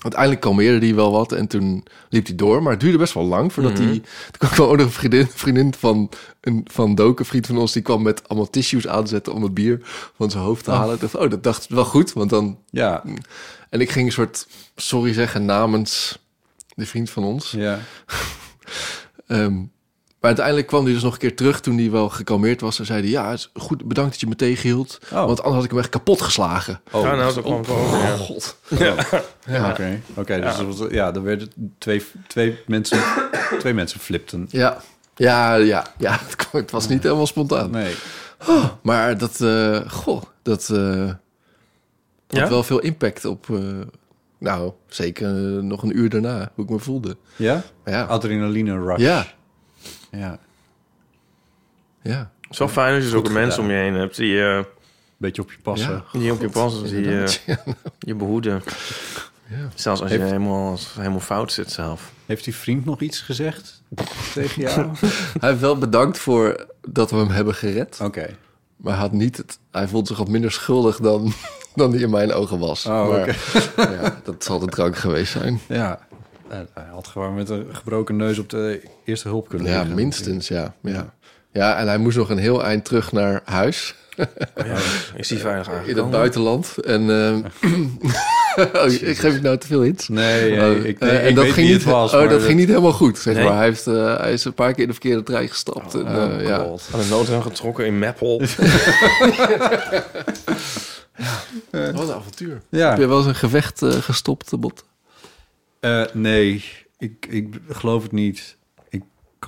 [SPEAKER 2] Uiteindelijk kalmeerde hij wel wat en toen liep hij door. Maar het duurde best wel lang voordat
[SPEAKER 3] Mhm.
[SPEAKER 2] hij... Toen kwam gewoon ook nog een vriendin, vriendin van, een, van Doke, een vriend van ons... die kwam met allemaal tissues aanzetten om het bier van zijn hoofd te halen. Ik dacht, oh, dat dacht wel goed, want dan...
[SPEAKER 3] Ja,
[SPEAKER 2] En ik ging een soort sorry zeggen namens de vriend van ons.
[SPEAKER 3] ja.
[SPEAKER 2] Ehm, maar uiteindelijk kwam hij dus nog een keer terug toen hij wel gekalmeerd was. En zei hij, ja, is goed, bedankt dat je me tegenhield.
[SPEAKER 3] Oh.
[SPEAKER 2] Want anders had ik hem echt kapot geslagen.
[SPEAKER 4] Oh, nou, dat kwam ik wel over, ja.
[SPEAKER 2] god.
[SPEAKER 3] Oké, oké, dus dat was- ja, er werden twee, twee, mensen, twee mensen flipten.
[SPEAKER 2] Ja, ja, ja. ja het, kwam- het was niet helemaal spontaan.
[SPEAKER 3] Nee.
[SPEAKER 2] Maar dat, eh, goh, dat eh, had
[SPEAKER 4] Ja?
[SPEAKER 2] wel veel impact op... eh, nou, zeker eh, nog een uur daarna, hoe ik me voelde.
[SPEAKER 3] Ja?
[SPEAKER 2] Maar Ja,
[SPEAKER 3] Adrenaline rush.
[SPEAKER 2] ja,
[SPEAKER 3] ja.
[SPEAKER 2] ja.
[SPEAKER 4] Het is wel fijn als je zulke
[SPEAKER 2] gedaan.
[SPEAKER 4] mensen om je heen hebt die, eh,
[SPEAKER 3] Beetje op je passen.
[SPEAKER 2] Ja.
[SPEAKER 4] die op je passen, die eh,
[SPEAKER 2] inderdaad. Ja.
[SPEAKER 4] je behoeden. Zelfs als je helemaal, als- helemaal fout zit zelf.
[SPEAKER 3] Heeft die vriend nog iets gezegd tegen jou? Oké.
[SPEAKER 2] Hij heeft wel bedankt voor dat we hem hebben gered. Maar hij, had niet het, hij vond zich wat minder schuldig dan, dan die in mijn ogen was.
[SPEAKER 3] Oh,
[SPEAKER 2] maar, ja, dat zal de drank geweest zijn.
[SPEAKER 3] Ja. Eh, Hij had gewoon met een gebroken neus op de eerste hulp kunnen
[SPEAKER 2] Ja,
[SPEAKER 3] liggen.
[SPEAKER 2] minstens, ja. ja. Ja, en hij moest nog een heel eind terug naar huis
[SPEAKER 4] Is die veilig
[SPEAKER 2] in het
[SPEAKER 4] aangekomen?
[SPEAKER 2] buitenland. En eh, oh, ik geef ik nou te veel hints.
[SPEAKER 3] Nee,
[SPEAKER 2] Oh,
[SPEAKER 3] nee, ik, nee,
[SPEAKER 2] eh,
[SPEAKER 3] ik weet
[SPEAKER 2] ging
[SPEAKER 3] wie
[SPEAKER 2] niet,
[SPEAKER 3] het was.
[SPEAKER 2] oh,
[SPEAKER 3] maar
[SPEAKER 2] dat, ging niet helemaal goed, zeg
[SPEAKER 4] Nee?
[SPEAKER 2] maar. Hij, heeft, eh, hij is een paar keer in de verkeerde trein gestapt. en, eh, ja.
[SPEAKER 3] Oh, God.
[SPEAKER 4] Aan de noodrem getrokken in Meppel.
[SPEAKER 2] Wat een avontuur.
[SPEAKER 3] Ja.
[SPEAKER 2] Heb je wel eens een gevecht eh, gestopt, Bot?
[SPEAKER 3] Eh, nee, ik, ik geloof het niet. Ik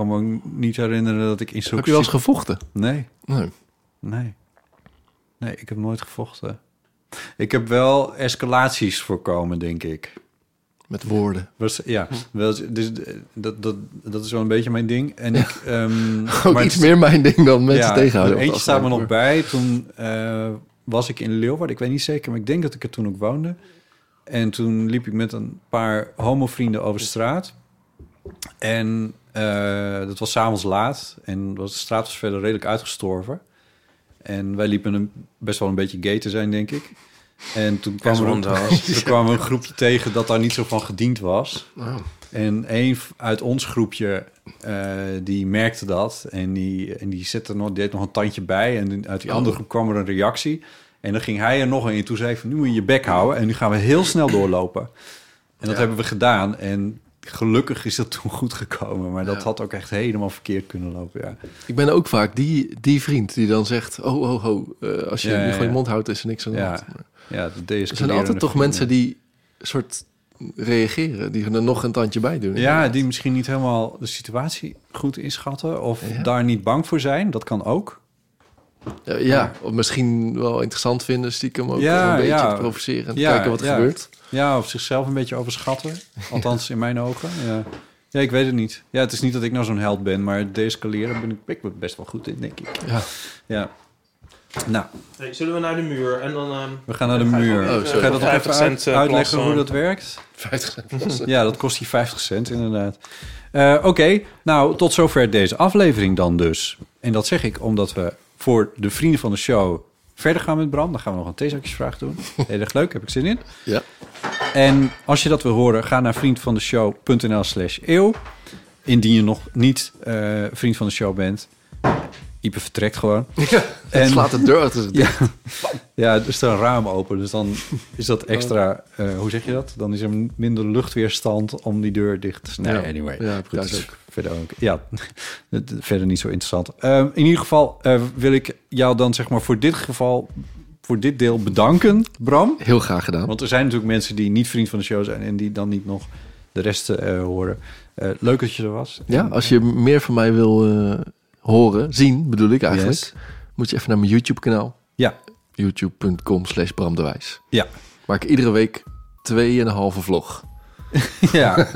[SPEAKER 3] kan me niet herinneren dat ik in zo'n...
[SPEAKER 2] Heb je wel eens gevochten?
[SPEAKER 3] Nee,
[SPEAKER 2] Nee.
[SPEAKER 3] nee. Nee, ik heb nooit gevochten. Ik heb wel escalaties voorkomen, denk ik.
[SPEAKER 2] Met woorden.
[SPEAKER 3] Was, ja, wel, eens- dus, eh, dat, dat, dat is wel een beetje mijn ding. En ik, ehm,
[SPEAKER 2] Ook
[SPEAKER 3] maar
[SPEAKER 2] iets
[SPEAKER 3] het-
[SPEAKER 2] meer mijn ding dan mensen
[SPEAKER 3] ja,
[SPEAKER 2] tegenhouden.
[SPEAKER 3] er Eentje staat me nog
[SPEAKER 2] bij.
[SPEAKER 3] bij. Toen eh, was ik in Leeuwarden. Ik weet niet zeker, maar ik denk dat ik er toen ook woonde. En toen liep ik met een paar homovrienden over straat. En eh, dat was s'avonds laat. En was- de straat was verder redelijk uitgestorven. En wij liepen een, best wel een beetje gay te zijn, denk ik. En toen kwam,
[SPEAKER 4] En
[SPEAKER 3] er, een,
[SPEAKER 4] rondhals.
[SPEAKER 3] toen kwam er een groep tegen dat daar niet zo van gediend was. En een v- uit ons groepje, eh, die merkte dat. En die, en die zette nog, deed nog een tandje bij. En uit die
[SPEAKER 2] Oh.
[SPEAKER 3] andere groep kwam er een reactie. En dan ging hij er nog een in. Toen zei ik van, nu moet je je bek houden. En nu gaan we heel snel doorlopen. En dat hebben we gedaan. En gelukkig is dat toen goed gekomen. Maar dat had ook echt helemaal verkeerd kunnen lopen, ja.
[SPEAKER 2] Ik ben ook vaak die, die vriend die dan zegt... oh, ho, ho, eh, als je
[SPEAKER 3] Ja,
[SPEAKER 2] nu
[SPEAKER 3] ja,
[SPEAKER 2] gewoon je
[SPEAKER 3] ja.
[SPEAKER 2] mond houdt, is er niks aan de hand.
[SPEAKER 3] Ja,
[SPEAKER 2] Maar
[SPEAKER 3] ja dat
[SPEAKER 2] Er zijn altijd toch mensen die soort reageren... die er nog een tandje bij doen.
[SPEAKER 3] Ja, die misschien niet helemaal de situatie goed inschatten... of
[SPEAKER 2] Ja.
[SPEAKER 3] daar niet bang voor zijn. Dat kan ook.
[SPEAKER 2] Ja, ja, of misschien wel interessant vinden stiekem ook
[SPEAKER 3] Ja,
[SPEAKER 2] om een beetje
[SPEAKER 3] ja.
[SPEAKER 2] te provoceren... en te
[SPEAKER 3] Ja,
[SPEAKER 2] kijken wat er
[SPEAKER 3] ja.
[SPEAKER 2] gebeurt.
[SPEAKER 3] Ja, of zichzelf een beetje overschatten. Althans, in mijn ogen. Ja. ja, ik weet het niet. Ja, het is niet dat ik nou zo'n held ben... maar deescaleren ben ik, ben ik best wel goed in, denk ik.
[SPEAKER 2] Ja.
[SPEAKER 3] ja. Nou,
[SPEAKER 4] zullen we naar de muur en dan... ehm,
[SPEAKER 3] we gaan naar de muur.
[SPEAKER 2] even-
[SPEAKER 3] Ga je dat nog even
[SPEAKER 4] 50 eh, cent,
[SPEAKER 3] uit-
[SPEAKER 4] eh,
[SPEAKER 3] uitleggen hoe
[SPEAKER 4] plassen.
[SPEAKER 3] dat werkt?
[SPEAKER 2] 50
[SPEAKER 3] Ja, dat kost die 50 cent inderdaad. Eh, Oké, nou tot zover deze aflevering dan dus. En dat zeg ik omdat we voor de vrienden van de show verder gaan met Bram. Dan gaan we nog een theezakjesvraag doen. Heel erg leuk, heb ik zin in.
[SPEAKER 2] Ja.
[SPEAKER 3] En als je dat wil horen, ga naar vriendvandeshow.nl slash eeuw. Indien je nog niet eh, vriend van de show bent. Ipe vertrekt gewoon.
[SPEAKER 2] Het slaat de deur achter
[SPEAKER 3] Ja. Ja, er is een raam open, dus dan is dat extra... eh, hoe zeg je dat? Dan is er minder luchtweerstand om die deur dicht te snijden. Nou,
[SPEAKER 2] Ja.
[SPEAKER 3] anyway.
[SPEAKER 2] Ja,
[SPEAKER 3] goed.
[SPEAKER 2] thuis ook.
[SPEAKER 3] Verder ook. Ja, het- verder niet zo interessant. Ehm, in ieder geval eh, wil ik jou dan zeg maar voor dit geval... voor dit deel bedanken, Bram.
[SPEAKER 2] Heel graag gedaan.
[SPEAKER 3] Want er zijn natuurlijk mensen die niet vriend van de show zijn... en die dan niet nog de rest eh, horen. Eh, leuk dat je er was.
[SPEAKER 2] Ja,
[SPEAKER 3] En-
[SPEAKER 2] als je meer van mij wil eh, horen, zien bedoel ik eigenlijk...
[SPEAKER 3] Yes.
[SPEAKER 2] moet je even naar mijn YouTube-kanaal.
[SPEAKER 3] Ja,
[SPEAKER 2] youtube.com slash Bram de Wijs.
[SPEAKER 3] ja,
[SPEAKER 2] Maak iedere week 2,5 vlog.
[SPEAKER 3] ja.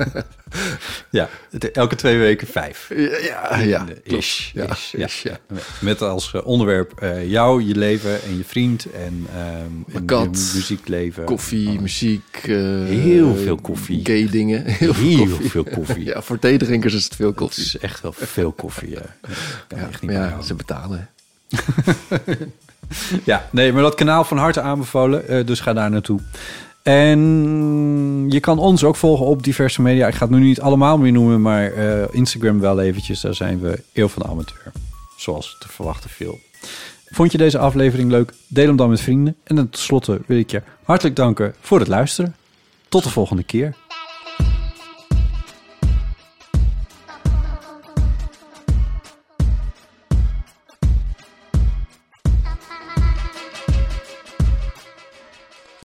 [SPEAKER 3] ja, het- elke twee weken vijf. Eh,
[SPEAKER 2] Ja, ja, ja.
[SPEAKER 3] Ish,
[SPEAKER 2] Ja,
[SPEAKER 3] ish, ja.
[SPEAKER 2] ish, ja.
[SPEAKER 3] Met als eh, onderwerp eh, jou, je leven en je vriend en, ehm en
[SPEAKER 2] kat.
[SPEAKER 3] je muziekleven.
[SPEAKER 2] Koffie, muziek. eh,
[SPEAKER 3] Oh. Heel veel koffie.
[SPEAKER 2] Gay dingen. Heel veel
[SPEAKER 3] Heel
[SPEAKER 2] koffie.
[SPEAKER 3] veel koffie.
[SPEAKER 2] Ja, voor theedrinkers is het veel
[SPEAKER 3] Het
[SPEAKER 2] koffie.
[SPEAKER 3] is echt wel veel koffie. Ja, kan
[SPEAKER 2] Ja,
[SPEAKER 3] echt
[SPEAKER 2] maar
[SPEAKER 3] niet meer
[SPEAKER 2] ja,
[SPEAKER 3] houden.
[SPEAKER 2] ze betalen.
[SPEAKER 3] ja, nee, maar dat kanaal van harte aanbevolen. eh, dus ga daar naartoe. En je kan ons ook volgen op diverse media. Ik ga het nu niet allemaal meer noemen, maar eh, Instagram wel eventjes. Daar zijn we Eeuw van de Amateur. Zoals te verwachten veel. Vond je deze aflevering leuk? Deel hem dan met vrienden. En tenslotte wil ik je hartelijk danken voor het luisteren. Tot de volgende keer.